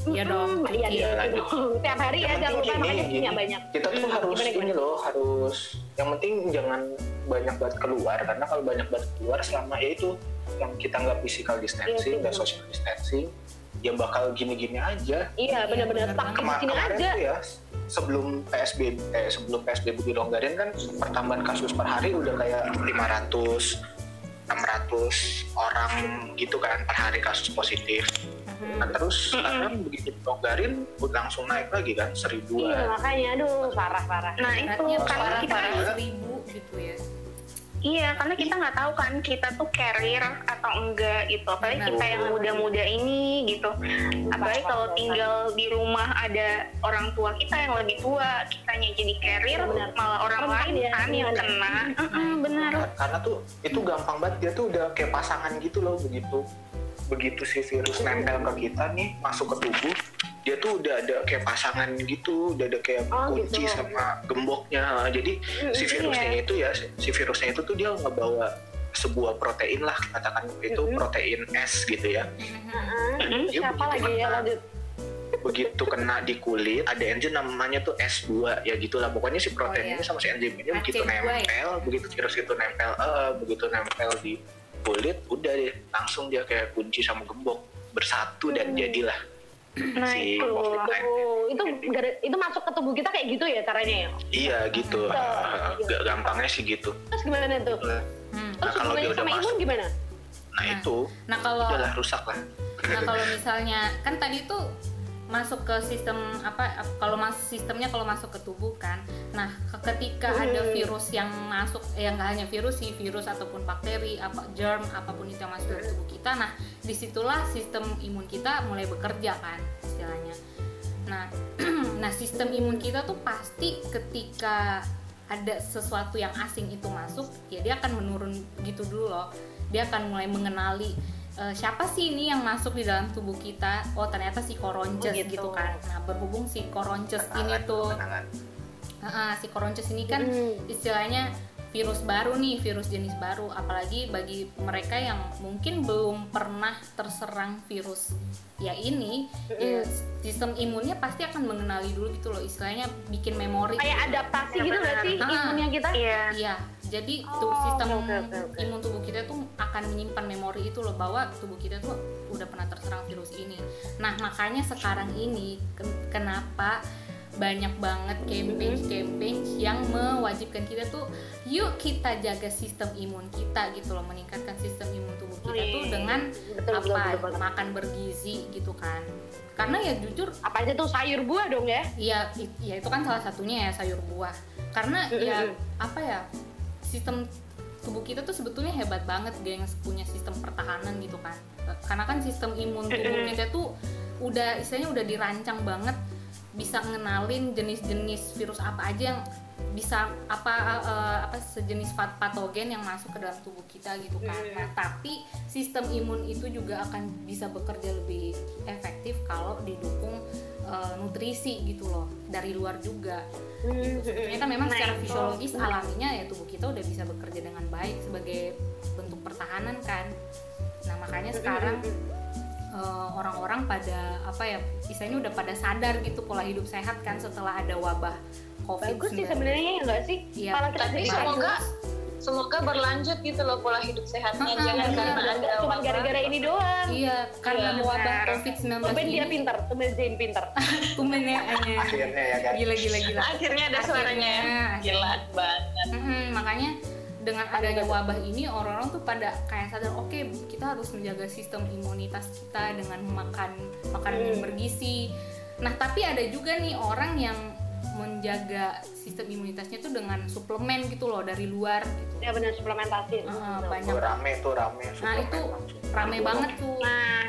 Speaker 3: Iya dong,
Speaker 2: Mm, Iya
Speaker 4: iya,
Speaker 2: iya,
Speaker 4: lanjut. Iya,
Speaker 2: dong. [laughs] Tiap hari ya
Speaker 4: Yang
Speaker 2: jangan lupa
Speaker 4: penting
Speaker 2: makanya
Speaker 4: gini,
Speaker 2: punya
Speaker 4: gini.
Speaker 2: banyak.
Speaker 4: Kita tuh
Speaker 2: Mm,
Speaker 4: harus
Speaker 2: gimana,
Speaker 4: ini
Speaker 2: gimana?
Speaker 4: loh, harus yang penting jangan banyak banget keluar karena kalau banyak banget keluar selama ya itu yang kita nggak physical
Speaker 2: sih,
Speaker 4: distancing, nggak
Speaker 2: bener.
Speaker 4: social distancing, ya bakal gini-gini aja.
Speaker 2: Iya benar-benar
Speaker 3: benar
Speaker 2: stuck di
Speaker 4: Kema-
Speaker 2: sini
Speaker 4: kemarin
Speaker 2: aja.
Speaker 4: tuh ya sebelum PSBB eh, sebelum PSBB dilonggarin kan pertambahan kasus per hari udah kayak 500 600 orang gitu kan per hari kasus positif. Nah, terus sekarang begitu dilonggarin langsung naik lagi kan
Speaker 2: Iya
Speaker 4: seribuan.
Speaker 2: makanya aduh parah-parah.
Speaker 5: Nah itu
Speaker 3: Beratnya Iya,
Speaker 5: karena
Speaker 3: parah
Speaker 5: kita
Speaker 3: parah seribu gitu ya.
Speaker 5: iya karena kita nggak tahu kan kita tuh carrier atau enggak gitu. Apalagi
Speaker 3: Benar.
Speaker 5: kita yang muda-muda ini gitu. Apalagi kalau tinggal di rumah ada orang tua kita yang lebih tua, kitanya jadi carrier,
Speaker 2: Benar.
Speaker 5: malah orang
Speaker 2: Rentan
Speaker 5: lain
Speaker 2: ya,
Speaker 5: kan yang
Speaker 2: iya.
Speaker 5: kena. Mm-mm, benar.
Speaker 4: Kar- karena tuh itu gampang banget dia tuh udah kayak pasangan gitu loh begitu begitu si virus nempel ke kita nih masuk ke tubuh dia tuh udah ada kayak pasangan gitu udah ada kayak
Speaker 2: Oh,
Speaker 4: kunci
Speaker 2: gitu. Hmm, iya.
Speaker 4: sama gemboknya jadi si virusnya itu ya si- si virusnya itu tuh dia ngebawa sebuah protein lah katakan itu
Speaker 2: Mhm.
Speaker 4: protein S gitu ya
Speaker 2: Mm-mm.
Speaker 4: Dia
Speaker 2: Hmm, Siapa
Speaker 4: begitu
Speaker 2: lagi ya
Speaker 4: kena.
Speaker 2: lanjut?
Speaker 4: begitu kena di kulit ada enzim namanya tuh S2 ya gitulah pokoknya si
Speaker 3: Oh, iya.
Speaker 4: protein ini sama si enzim ini begitu
Speaker 3: AC2 ya?
Speaker 4: nempel begitu virus itu nempel eh, begitu nempel di kulit udah deh langsung dia kayak kunci sama gembok bersatu dan
Speaker 3: Hmm.
Speaker 4: jadilah
Speaker 5: Nah
Speaker 4: si
Speaker 5: itu.
Speaker 4: COVID-19
Speaker 2: Tuh, itu gara- itu masuk ke tubuh kita kayak gitu ya caranya ya.
Speaker 4: iya
Speaker 3: Nah,
Speaker 4: gitu
Speaker 2: Betul.
Speaker 3: iya.
Speaker 4: Ah, gak gampangnya sih gitu Nah,
Speaker 2: Terus gimana tuh?
Speaker 3: Hmm.
Speaker 2: Terus
Speaker 4: kalau dia
Speaker 2: hubungannya
Speaker 4: udah
Speaker 2: sama imun
Speaker 4: masuk.
Speaker 2: gimana?
Speaker 4: nah
Speaker 3: Nah.
Speaker 4: itu
Speaker 3: Nah kalau
Speaker 4: udahlah rusak lah
Speaker 3: nah kalau misalnya kan tadi itu masuk ke sistem apa ap- kalau mas sistemnya kalau masuk ke tubuh kan nah ke- ketika ada virus yang masuk eh, yang nggak hanya virus sih virus ataupun bakteri apa germ apapun itu yang masuk ke tubuh kita nah disitulah sistem imun kita mulai bekerja kan istilahnya nah [clears throat] nah sistem imun kita tuh pasti ketika ada sesuatu yang asing itu masuk ya dia akan menurun gitu dulu loh dia akan mulai mengenali e, siapa sih ini yang masuk di dalam tubuh kita oh ternyata si
Speaker 2: Oh,
Speaker 3: koronces
Speaker 2: gitu.
Speaker 3: gitu kan nah berhubung si koronces ini
Speaker 4: Tangan,
Speaker 3: tuh
Speaker 4: tangan.
Speaker 3: Heeh, si koronces ini kan
Speaker 2: Hmm.
Speaker 3: istilahnya virus baru nih, virus jenis baru. Apalagi bagi mereka yang mungkin belum pernah terserang virus ya ini, ya sistem imunnya pasti akan mengenali dulu gitu loh. Istilahnya bikin memori.
Speaker 2: Kayak adaptasi
Speaker 5: Iya,
Speaker 2: gitu nggak
Speaker 5: benar.
Speaker 2: sih
Speaker 3: Ah.
Speaker 2: imunnya kita?
Speaker 5: Iya.
Speaker 3: Iya, jadi tuh
Speaker 2: Oh,
Speaker 3: sistem
Speaker 2: oke, oke, oke.
Speaker 3: imun tubuh kita tuh akan menyimpan memori itu loh bahwa tubuh kita tuh udah pernah terserang virus ini. Nah, makanya sekarang ini ken- kenapa banyak banget campaign-campaign yang mewajibkan kita tuh yuk kita jaga sistem imun kita gitu loh, meningkatkan sistem imun tubuh kita tuh
Speaker 5: Wih,
Speaker 3: dengan
Speaker 2: Betul,
Speaker 3: apa?
Speaker 2: betul, betul, betul.
Speaker 3: makan bergizi gitu kan. Karena ya jujur
Speaker 2: Apa aja tuh sayur buah dong ya?
Speaker 3: Iya, i- ya itu kan salah satunya ya sayur buah. Karena
Speaker 2: Mm-mm.
Speaker 3: ya apa ya sistem tubuh kita tuh sebetulnya hebat banget gengs punya sistem pertahanan gitu kan. Karena kan sistem imun tubuh
Speaker 5: Mm-mm.
Speaker 3: kita tuh udah istilahnya udah dirancang banget bisa ngenalin jenis-jenis virus apa aja yang bisa apa eh, apa sejenis pat- patogen yang masuk ke dalam tubuh kita gitu kan. Nah, tapi sistem imun itu juga akan bisa bekerja lebih efektif kalau didukung eh, nutrisi gitu loh dari luar juga. Ini kan memang
Speaker 5: Nah,
Speaker 3: secara
Speaker 5: itu.
Speaker 3: fisiologis alaminya ya tubuh kita udah bisa bekerja dengan baik sebagai bentuk pertahanan kan. Nah makanya sekarang eh, orang-orang pada apa ya istilahnya udah pada sadar gitu pola hidup sehat kan setelah ada wabah COVID.
Speaker 2: Bagus sih sebenarnya ya nggak sih?
Speaker 3: Iya.
Speaker 2: Kalau kita
Speaker 6: Tapi
Speaker 2: jadi
Speaker 6: semoga semoga berlanjut gitu loh pola hidup sehatnya
Speaker 3: Mm-mm,
Speaker 6: jangan
Speaker 3: benar.
Speaker 6: karena ada
Speaker 2: Iya, cuma
Speaker 6: wabah.
Speaker 2: gara-gara ini doang.
Speaker 3: Iya, karena
Speaker 6: Iya,
Speaker 3: wabah
Speaker 5: benar.
Speaker 3: COVID-19
Speaker 2: Tumben dia
Speaker 3: ini,
Speaker 2: pinter, tumben Jane pinter.
Speaker 3: [laughs] tumben ya, hanya
Speaker 4: akhirnya ya kan
Speaker 3: gila gila gila.
Speaker 6: akhirnya ada suaranya ya
Speaker 3: Akhirnya,
Speaker 6: gila banget
Speaker 3: Mm-mm, Mm-hmm, makanya dengan adanya wabah ini orang-orang tuh pada kayak sadar oke kita harus menjaga sistem imunitas kita dengan makan makanan yang bergizi. Nah tapi ada juga nih orang yang menjaga sistem imunitasnya tuh dengan suplemen gitu loh dari luar gitu.
Speaker 2: ya benar suplementasi
Speaker 3: Ah,
Speaker 2: Betul.
Speaker 3: banyak.
Speaker 4: Tuh, rame tuh rame.
Speaker 3: Nah
Speaker 4: suplemen
Speaker 3: itu
Speaker 4: langsung.
Speaker 3: rame
Speaker 4: Aduh,
Speaker 3: banget tuh.
Speaker 5: Nah,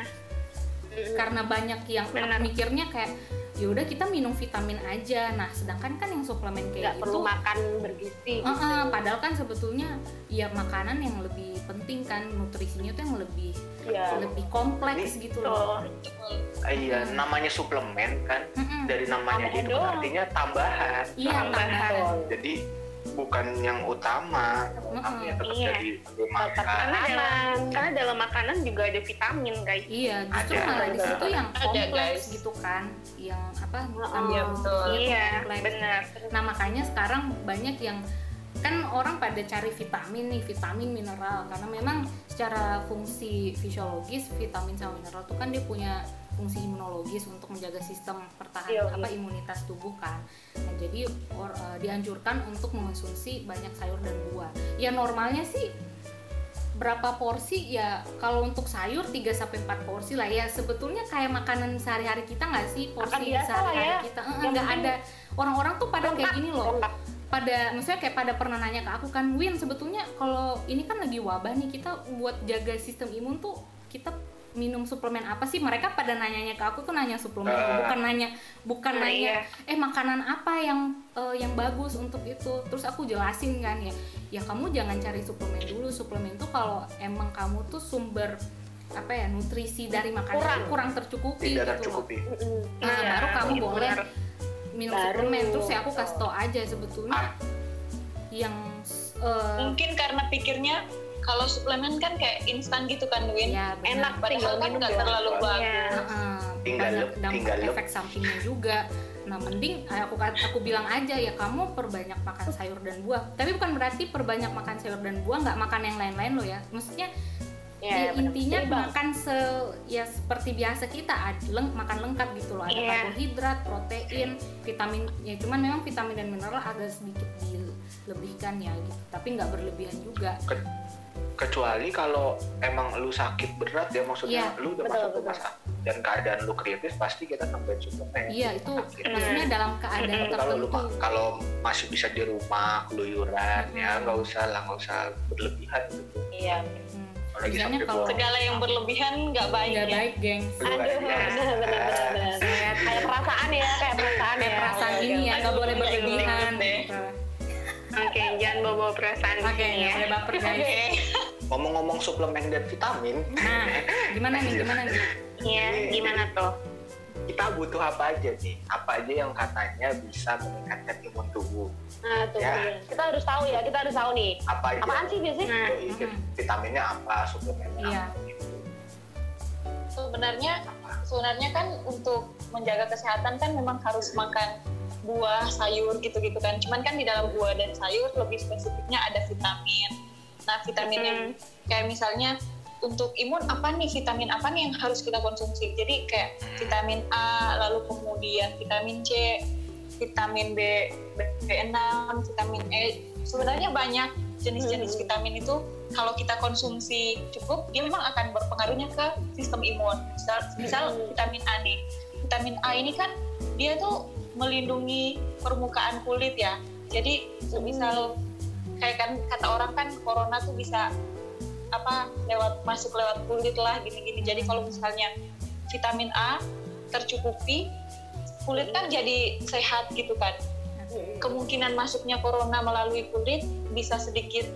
Speaker 3: karena banyak yang
Speaker 5: Benar.
Speaker 3: mikirnya kayak ya udah kita minum vitamin aja nah sedangkan kan yang suplemen
Speaker 2: nggak
Speaker 3: kayak
Speaker 2: perlu
Speaker 3: gitu
Speaker 2: makan bergizi
Speaker 3: eh, eh, padahal kan sebetulnya ya makanan yang lebih penting kan nutrisinya tuh yang lebih
Speaker 2: ya
Speaker 6: Oh.
Speaker 3: lebih kompleks gitu loh
Speaker 5: tuh.
Speaker 4: Ah, Iya,
Speaker 3: Hmm.
Speaker 4: namanya suplemen kan
Speaker 3: Mm-mm.
Speaker 4: dari namanya
Speaker 2: Tambahan
Speaker 4: gitu kan
Speaker 2: doang.
Speaker 4: artinya tambahan. Nah,
Speaker 3: iya
Speaker 2: tambahan
Speaker 3: tambahan
Speaker 4: Jadi bukan yang utama, yang utama
Speaker 3: Mm-mm.
Speaker 4: ya tetap kan.
Speaker 5: Iya.
Speaker 4: dari makan.
Speaker 5: karena dalam,
Speaker 2: Makanan.
Speaker 5: karena dalam makanan juga ada vitamin guys.
Speaker 3: iya justru
Speaker 4: Ada,
Speaker 3: malah di
Speaker 4: ada.
Speaker 3: situ yang
Speaker 6: Ada,
Speaker 3: kompleks
Speaker 6: guys.
Speaker 3: gitu kan yang apa
Speaker 6: iya, betul.
Speaker 3: nutrisinya tuh
Speaker 5: Iya,
Speaker 3: kompleks.
Speaker 5: benar.
Speaker 3: Nah makanya sekarang banyak yang kan orang pada cari vitamin nih, vitamin mineral karena memang secara fungsi fisiologis vitamin sama mineral itu kan dia punya fungsi imunologis untuk menjaga sistem pertahanan
Speaker 2: Iya,
Speaker 3: apa imunitas tubuh kan. Nah, jadi or- eh, dianjurkan untuk mengonsumsi banyak sayur dan buah. Ya normalnya sih berapa porsi ya kalau untuk sayur 3 sampai 4 porsi lah ya sebetulnya kayak makanan sehari-hari kita nggak sih
Speaker 2: Makan
Speaker 3: porsi
Speaker 2: biasa lah
Speaker 3: sehari-hari
Speaker 2: ya.
Speaker 3: kita Eh, eh,
Speaker 2: Yang
Speaker 3: nggak
Speaker 2: penting
Speaker 3: ada orang-orang tuh pada kayak
Speaker 2: Lengkap,
Speaker 3: gini loh
Speaker 2: lengkap.
Speaker 3: pada maksudnya kayak pada pernah nanya ke aku kan Win sebetulnya kalau ini kan lagi wabah nih kita buat jaga sistem imun tuh kita minum suplemen apa sih mereka pada nanyanya ke aku tuh nanya suplemen
Speaker 4: Ah.
Speaker 3: bukan nanya bukan
Speaker 5: Nah,
Speaker 3: nanya
Speaker 5: iya.
Speaker 3: eh makanan apa yang eh, yang bagus untuk itu terus aku jelasin kan ya ya kamu jangan cari suplemen dulu suplemen tuh kalau emang kamu tuh sumber apa ya nutrisi dari makanan kurang,
Speaker 2: Kurang.
Speaker 3: kurang tercukupi
Speaker 4: Tidak
Speaker 3: gitu loh.
Speaker 4: tercukupi.
Speaker 2: Mm-mm.
Speaker 3: Nah,
Speaker 5: Iya,
Speaker 3: baru kamu
Speaker 5: iya,
Speaker 3: boleh
Speaker 5: benar.
Speaker 3: minum
Speaker 2: Baru.
Speaker 3: suplemen terus ya aku kasih tau aja sebetulnya yang eh,
Speaker 6: mungkin karena pikirnya kalau suplemen kan kayak instan gitu kan Win
Speaker 3: ya benar.
Speaker 6: enak
Speaker 2: Iya.
Speaker 6: padahal
Speaker 2: tinggal
Speaker 6: kan
Speaker 2: minum
Speaker 6: nggak
Speaker 2: doang.
Speaker 6: terlalu bagus
Speaker 5: Iya.
Speaker 3: Heeh,
Speaker 4: Tinggal
Speaker 3: banyak
Speaker 4: lep,
Speaker 3: dampak
Speaker 4: tinggal lep.
Speaker 3: efek sampingnya juga nah mending eh, aku kat- aku bilang aja ya kamu perbanyak makan sayur dan buah tapi bukan berarti perbanyak makan sayur dan buah nggak makan yang lain-lain loh ya maksudnya
Speaker 2: Ya,
Speaker 3: ya,
Speaker 2: benar.
Speaker 3: intinya
Speaker 2: Seimbang.
Speaker 3: makan se ya seperti biasa kita ad- leng- makan lengkap gitu loh ada
Speaker 5: Iya.
Speaker 3: karbohidrat protein vitamin ya cuman memang vitamin dan mineral agak sedikit dilebihkan ya gitu tapi nggak berlebihan juga
Speaker 4: Ke- kecuali kalau emang lu sakit berat ya maksudnya lu udah
Speaker 2: betul,
Speaker 4: masuk
Speaker 2: betul.
Speaker 4: rumah sakit dan keadaan lu kritis pasti kita tambahin suplemen.
Speaker 3: Iya itu
Speaker 4: Sakit.
Speaker 3: maksudnya dalam keadaan
Speaker 4: kalau
Speaker 3: tertentu. Hmm.
Speaker 4: lu ma- kalau masih bisa di rumah keluyuran ya
Speaker 3: Hmm.
Speaker 4: nggak usah lah nggak usah berlebihan gitu
Speaker 2: iya
Speaker 3: Hmm.
Speaker 4: Kalau lagi
Speaker 3: Misalnya
Speaker 4: sampai
Speaker 3: kalau
Speaker 4: buang.
Speaker 6: segala yang berlebihan nggak baik
Speaker 3: nggak
Speaker 6: ya
Speaker 3: baik, gengs.
Speaker 4: Lu
Speaker 2: aduh [laughs]
Speaker 4: ada.
Speaker 2: benar benar benar benar. kayak perasaan ya kayak perasaan ya
Speaker 3: Perasaan
Speaker 6: Iya,
Speaker 3: ini
Speaker 6: iya.
Speaker 3: ya nggak boleh
Speaker 6: Aduh,
Speaker 3: berlebihan.
Speaker 6: iya,
Speaker 3: gitu.
Speaker 5: Oke, jangan bawa-bawa perasaan di
Speaker 3: Oke,
Speaker 5: sini
Speaker 3: nggak
Speaker 5: ya.
Speaker 3: boleh baper
Speaker 6: Oke.
Speaker 3: guys.
Speaker 4: ngomong-ngomong suplemen dan vitamin
Speaker 3: Nah, gimana nih,
Speaker 4: ya.
Speaker 3: gimana nih?
Speaker 5: Iya, gimana tuh?
Speaker 4: kita butuh apa aja nih apa aja yang katanya bisa meningkatkan imun tubuh
Speaker 2: nah tuh
Speaker 4: Ya.
Speaker 2: benar. kita harus tahu ya kita harus tahu nih
Speaker 4: apa aja
Speaker 2: apaan sih biasanya
Speaker 5: Nah,
Speaker 4: Yoi,
Speaker 3: Hmm.
Speaker 4: vitaminnya apa suplemennya
Speaker 3: Iya.
Speaker 4: apa gitu.
Speaker 6: sebenarnya sebenarnya kan untuk menjaga kesehatan kan memang harus makan buah sayur gitu-gitu kan cuman kan di dalam buah dan sayur lebih spesifiknya ada vitamin nah vitaminnya kayak misalnya untuk imun apa nih vitamin apa nih yang harus kita konsumsi jadi kayak vitamin A lalu kemudian vitamin C vitamin B B6 vitamin E sebenarnya banyak jenis-jenis
Speaker 2: Hmm.
Speaker 6: vitamin itu kalau kita konsumsi cukup dia memang akan berpengaruhnya ke sistem imun misal, misal
Speaker 2: Hmm.
Speaker 6: vitamin A nih vitamin A ini kan dia tuh melindungi permukaan kulit ya jadi misal kayak kan kata orang kan corona tuh bisa apa lewat masuk lewat kulit lah gini-gini jadi kalau misalnya vitamin A tercukupi kulit kan jadi sehat gitu kan kemungkinan masuknya corona melalui kulit bisa sedikit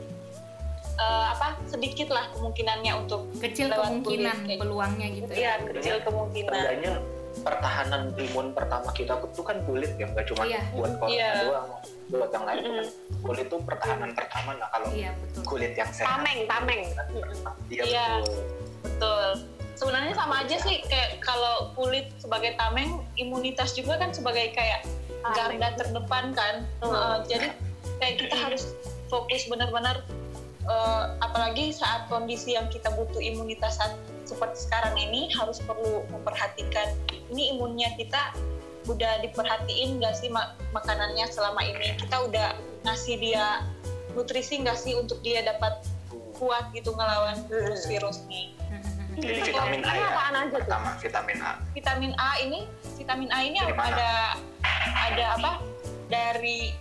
Speaker 6: eh, apa sedikit lah kemungkinannya untuk
Speaker 3: Kecil
Speaker 6: Lewat
Speaker 3: kemungkinan
Speaker 6: kulit, kayak
Speaker 3: peluangnya gitu
Speaker 2: Iya,
Speaker 3: ya.
Speaker 6: ya kecil kemungkinan
Speaker 4: Seenggaknya pertahanan imun pertama kita itu kan kulit ya nggak cuma
Speaker 3: Iya.
Speaker 4: buat corona
Speaker 6: Iya.
Speaker 4: doang buat yang lain tuh kan kulit itu pertahanan pertama nah kalau
Speaker 3: Iya betul. [laughs]
Speaker 4: kulit yang sehat
Speaker 2: tameng tameng
Speaker 4: kan pertama. Iya,
Speaker 6: Iya.
Speaker 4: betul.
Speaker 6: betul sebenarnya sama aja sih kayak kalau kulit sebagai tameng imunitas juga kan sebagai kayak
Speaker 2: Tameng.
Speaker 6: garda terdepan kan Eh, jadi kayak kita harus fokus benar-benar eh, apalagi saat kondisi yang kita butuh imunitas saat- seperti sekarang ini harus perlu memperhatikan ini imunnya kita udah diperhatiin nggak sih ma- makanannya selama ini kita udah ngasih dia nutrisi nggak sih untuk dia dapat kuat gitu ngelawan virus-virus nih
Speaker 4: jadi vitamin A
Speaker 2: Ini
Speaker 4: ya
Speaker 2: apaan aja tuh
Speaker 4: pertama vitamin A
Speaker 6: vitamin A ini vitamin A ini
Speaker 4: Dari mana?
Speaker 6: ada ada apa dari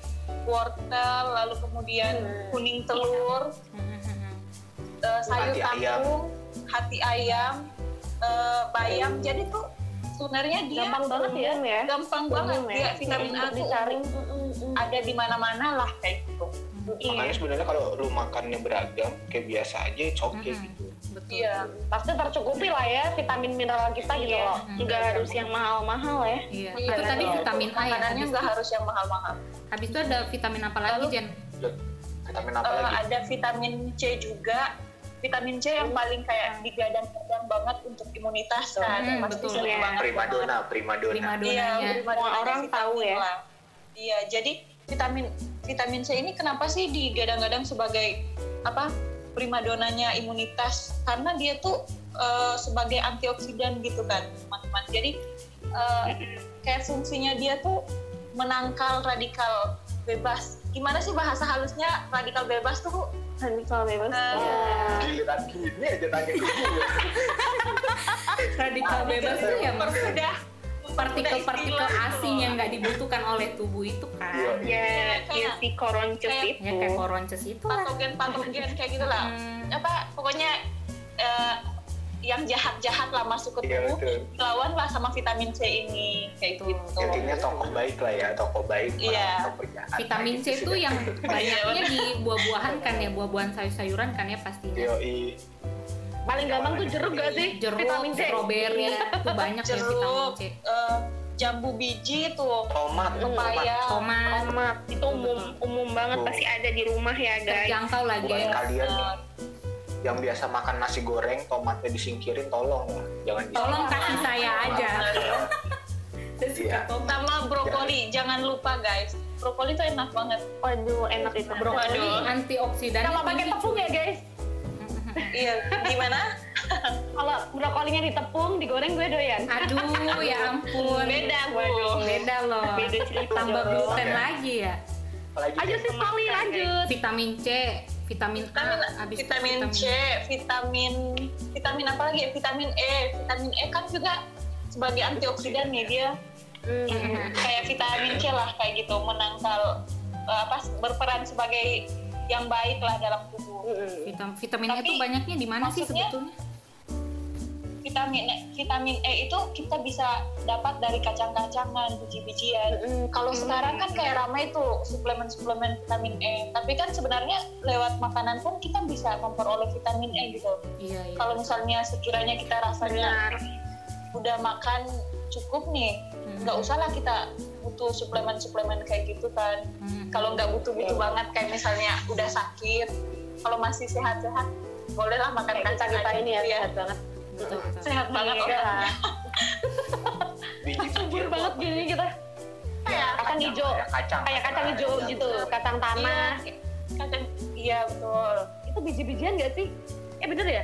Speaker 6: wortel lalu kemudian kuning telur eh, sayur
Speaker 4: Hati ayam.
Speaker 6: kangkung hati ayam eh, bayam jadi tuh sebenarnya dia
Speaker 2: gampang banget ya
Speaker 3: Iya,
Speaker 2: Om ya
Speaker 6: gampang banget
Speaker 2: Umum ya.
Speaker 6: dia vitamin A
Speaker 2: Untuk
Speaker 6: tuh
Speaker 2: dicari.
Speaker 6: ada di mana-mana lah kayak gitu
Speaker 4: makanya sebenarnya kalau lu makannya beragam kayak biasa aja it's okay
Speaker 3: Mhm.
Speaker 4: gitu
Speaker 3: betul
Speaker 6: iya
Speaker 2: pasti tercukupi lah ya vitamin mineral kita gitu
Speaker 6: Iya.
Speaker 2: loh nggak harus yang mahal-mahal ya
Speaker 3: Iya.
Speaker 6: Iya,
Speaker 3: itu tadi
Speaker 6: betul.
Speaker 3: vitamin A ya
Speaker 6: makanannya
Speaker 3: habis
Speaker 6: nggak
Speaker 3: itu.
Speaker 6: harus yang mahal-mahal
Speaker 3: habis itu ada vitamin apa lagi Jen
Speaker 4: Udah, vitamin apa
Speaker 6: Eh,
Speaker 4: lagi
Speaker 6: ada vitamin C juga vitamin C yang paling kayak
Speaker 2: Hmm.
Speaker 6: digadang-gadang banget untuk imunitas kan
Speaker 3: Hmm,
Speaker 6: pasti
Speaker 3: betul.
Speaker 2: Iya.
Speaker 6: sering banget
Speaker 4: primadona primadona
Speaker 6: Iya,
Speaker 3: primadonanya
Speaker 6: primadona
Speaker 2: Semua orang
Speaker 6: vitamin
Speaker 2: tahu ya.
Speaker 6: lah. Iya, jadi vitamin vitamin C ini kenapa sih digadang-gadang sebagai apa primadonanya imunitas? Karena dia tuh eh, sebagai antioksidan gitu kan, teman-teman. Jadi eh,
Speaker 2: Hmm.
Speaker 6: kayak fungsinya dia tuh menangkal radikal bebas. Gimana sih bahasa halusnya radikal bebas tuh?
Speaker 2: radikal bebas
Speaker 6: Eh,
Speaker 4: giliran gini aja tanya ke gue
Speaker 2: Iya.
Speaker 3: radikal bebas tuh ya maksudnya
Speaker 6: mempermudah
Speaker 3: partikel-partikel asing yang nggak dibutuhkan oleh tubuh itu kan
Speaker 6: Iya,
Speaker 2: ya ya
Speaker 6: kayak-
Speaker 2: si koronces
Speaker 6: kayak-
Speaker 2: itu
Speaker 3: ya kayak koronces itu lah
Speaker 6: patogen-patogen kayak gitu lah.
Speaker 3: Hmm.
Speaker 6: apa pokoknya eh, yang jahat-jahat lah masuk ke
Speaker 4: Iya,
Speaker 6: tubuh
Speaker 4: betul.
Speaker 6: lawanlah sama vitamin C ini kayak
Speaker 3: Betul.
Speaker 6: gitu
Speaker 4: intinya tokoh baik lah ya tokoh baik
Speaker 6: Iya.
Speaker 4: melawan tokoh jahat.
Speaker 3: vitamin
Speaker 4: Nah,
Speaker 3: C
Speaker 4: gitu
Speaker 3: itu
Speaker 4: sih.
Speaker 3: yang banyaknya di buah-buahan kan ya buah-buahan sayur-sayuran kan ya pastinya Eh,
Speaker 4: Yoi.
Speaker 2: paling gampang tuh jeruk gak sih
Speaker 3: jeruk
Speaker 2: vitamin C
Speaker 3: stroberi itu banyak ya vitamin
Speaker 6: jeruk
Speaker 3: C
Speaker 6: eh, jambu biji tuh
Speaker 4: tomat tomat
Speaker 6: pepaya
Speaker 3: tomat
Speaker 2: tomat itu umum umum banget
Speaker 4: Betul.
Speaker 2: pasti ada di rumah ya guys
Speaker 3: terjangkau lagi
Speaker 4: buat
Speaker 3: ya
Speaker 4: kalian
Speaker 6: eh,
Speaker 4: yang biasa makan nasi goreng tomatnya disingkirin tolong lah jangan di-
Speaker 3: tolong kasih saya aja
Speaker 2: [laughs]
Speaker 3: Saya suka
Speaker 4: Iya.
Speaker 3: tomat
Speaker 6: sama brokoli jangan lupa guys brokoli tuh enak banget
Speaker 2: waduh enak itu
Speaker 3: brokoli
Speaker 6: Aduh.
Speaker 3: antioksidan
Speaker 2: sama pakai
Speaker 3: tinggi.
Speaker 2: tepung ya guys
Speaker 6: iya gimana
Speaker 2: kalau brokolinya ditepung digoreng gue doyan
Speaker 6: Ah,
Speaker 3: aduh ya ampun
Speaker 6: beda bu
Speaker 2: Waduh.
Speaker 3: beda loh
Speaker 2: beda cerita
Speaker 3: tambah
Speaker 2: dong.
Speaker 3: gluten
Speaker 4: Oke.
Speaker 3: lagi ya
Speaker 4: apalagi
Speaker 2: ayo sih Sally lanjut
Speaker 3: vitamin C vitamin A
Speaker 6: vitamin
Speaker 3: habis itu E.
Speaker 6: Nah, vitamin C vitamin vitamin apa lagi ya vitamin E vitamin E kan juga sebagai antioksidan nih dia kayak vitamin C lah kayak gitu menangkal eh, apa berperan sebagai yang baik lah dalam tubuh
Speaker 3: Vitam- vitamin E
Speaker 6: Tapi
Speaker 3: itu banyaknya di mana sih
Speaker 6: maksudnya-
Speaker 3: sebetulnya
Speaker 6: vitamin E, vitamin E itu kita bisa dapat dari kacang-kacangan biji-bijian kalau sekarang kan kayak ramai tuh suplemen-suplemen vitamin E tapi kan sebenarnya lewat makanan pun kita bisa memperoleh vitamin E gitu
Speaker 3: iya iya
Speaker 6: kalau misalnya sekiranya kita rasanya udah makan cukup nih
Speaker 3: Hmm.
Speaker 6: nggak usahlah kita butuh suplemen-suplemen kayak gitu kan
Speaker 3: Hmm.
Speaker 6: kalau nggak butuh-butuh banget kayak misalnya udah sakit kalau masih sehat-sehat bolehlah makan kacang
Speaker 2: kita
Speaker 6: aja
Speaker 2: ini ya
Speaker 6: gitu ya
Speaker 2: sehat banget
Speaker 3: betul betul
Speaker 6: sehat banget
Speaker 2: Iya.
Speaker 6: orangnya
Speaker 4: biji
Speaker 2: subur
Speaker 4: pinggir
Speaker 2: banget gini kita
Speaker 6: ya
Speaker 2: kacang hijau
Speaker 4: kayak kacang
Speaker 2: kayak kacang hijau
Speaker 4: Iya,
Speaker 2: gitu kacang tanah
Speaker 6: iya kacang iya betul
Speaker 2: itu biji-bijian gak sih eh bener ya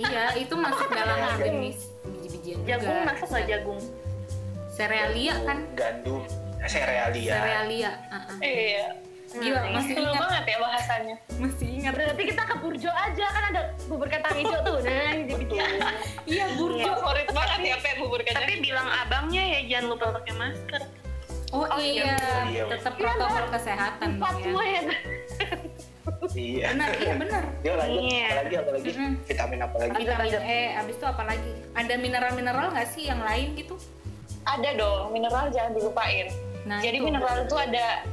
Speaker 3: iya itu masuk dalam
Speaker 4: jagung?
Speaker 3: organisme biji-bijian juga
Speaker 2: jagung masuk nggak jagung
Speaker 3: serealia kan
Speaker 4: gandum serealia
Speaker 3: serealia ah-ah.
Speaker 6: iya
Speaker 3: gila masih
Speaker 6: Seru
Speaker 3: ingat
Speaker 6: banget ya bahasanya
Speaker 3: masih ingat
Speaker 2: berarti kita ke Burjo aja kan ada bubur kacang hijau tuh nah biji-bijian
Speaker 3: iya burjo
Speaker 6: [laughs] favorit banget ya Pep bubur kacang
Speaker 5: Tapi bilang abangnya ya jangan lupa pakai masker.
Speaker 3: oh, iya,
Speaker 4: Iya,
Speaker 3: tetap protokol kesehatan
Speaker 2: empat
Speaker 3: dong
Speaker 2: semua
Speaker 3: ya
Speaker 2: ya
Speaker 4: iya
Speaker 3: benar iya benar
Speaker 4: ya lanjut apalagi apalagi
Speaker 3: Mm-mm.
Speaker 4: vitamin apa lagi
Speaker 3: vitamin E abis itu apa lagi ada mineral-mineral nggak sih yang lain gitu
Speaker 6: ada dong mineral jangan dilupain
Speaker 3: Nah,
Speaker 6: jadi
Speaker 3: itu.
Speaker 6: mineral itu ada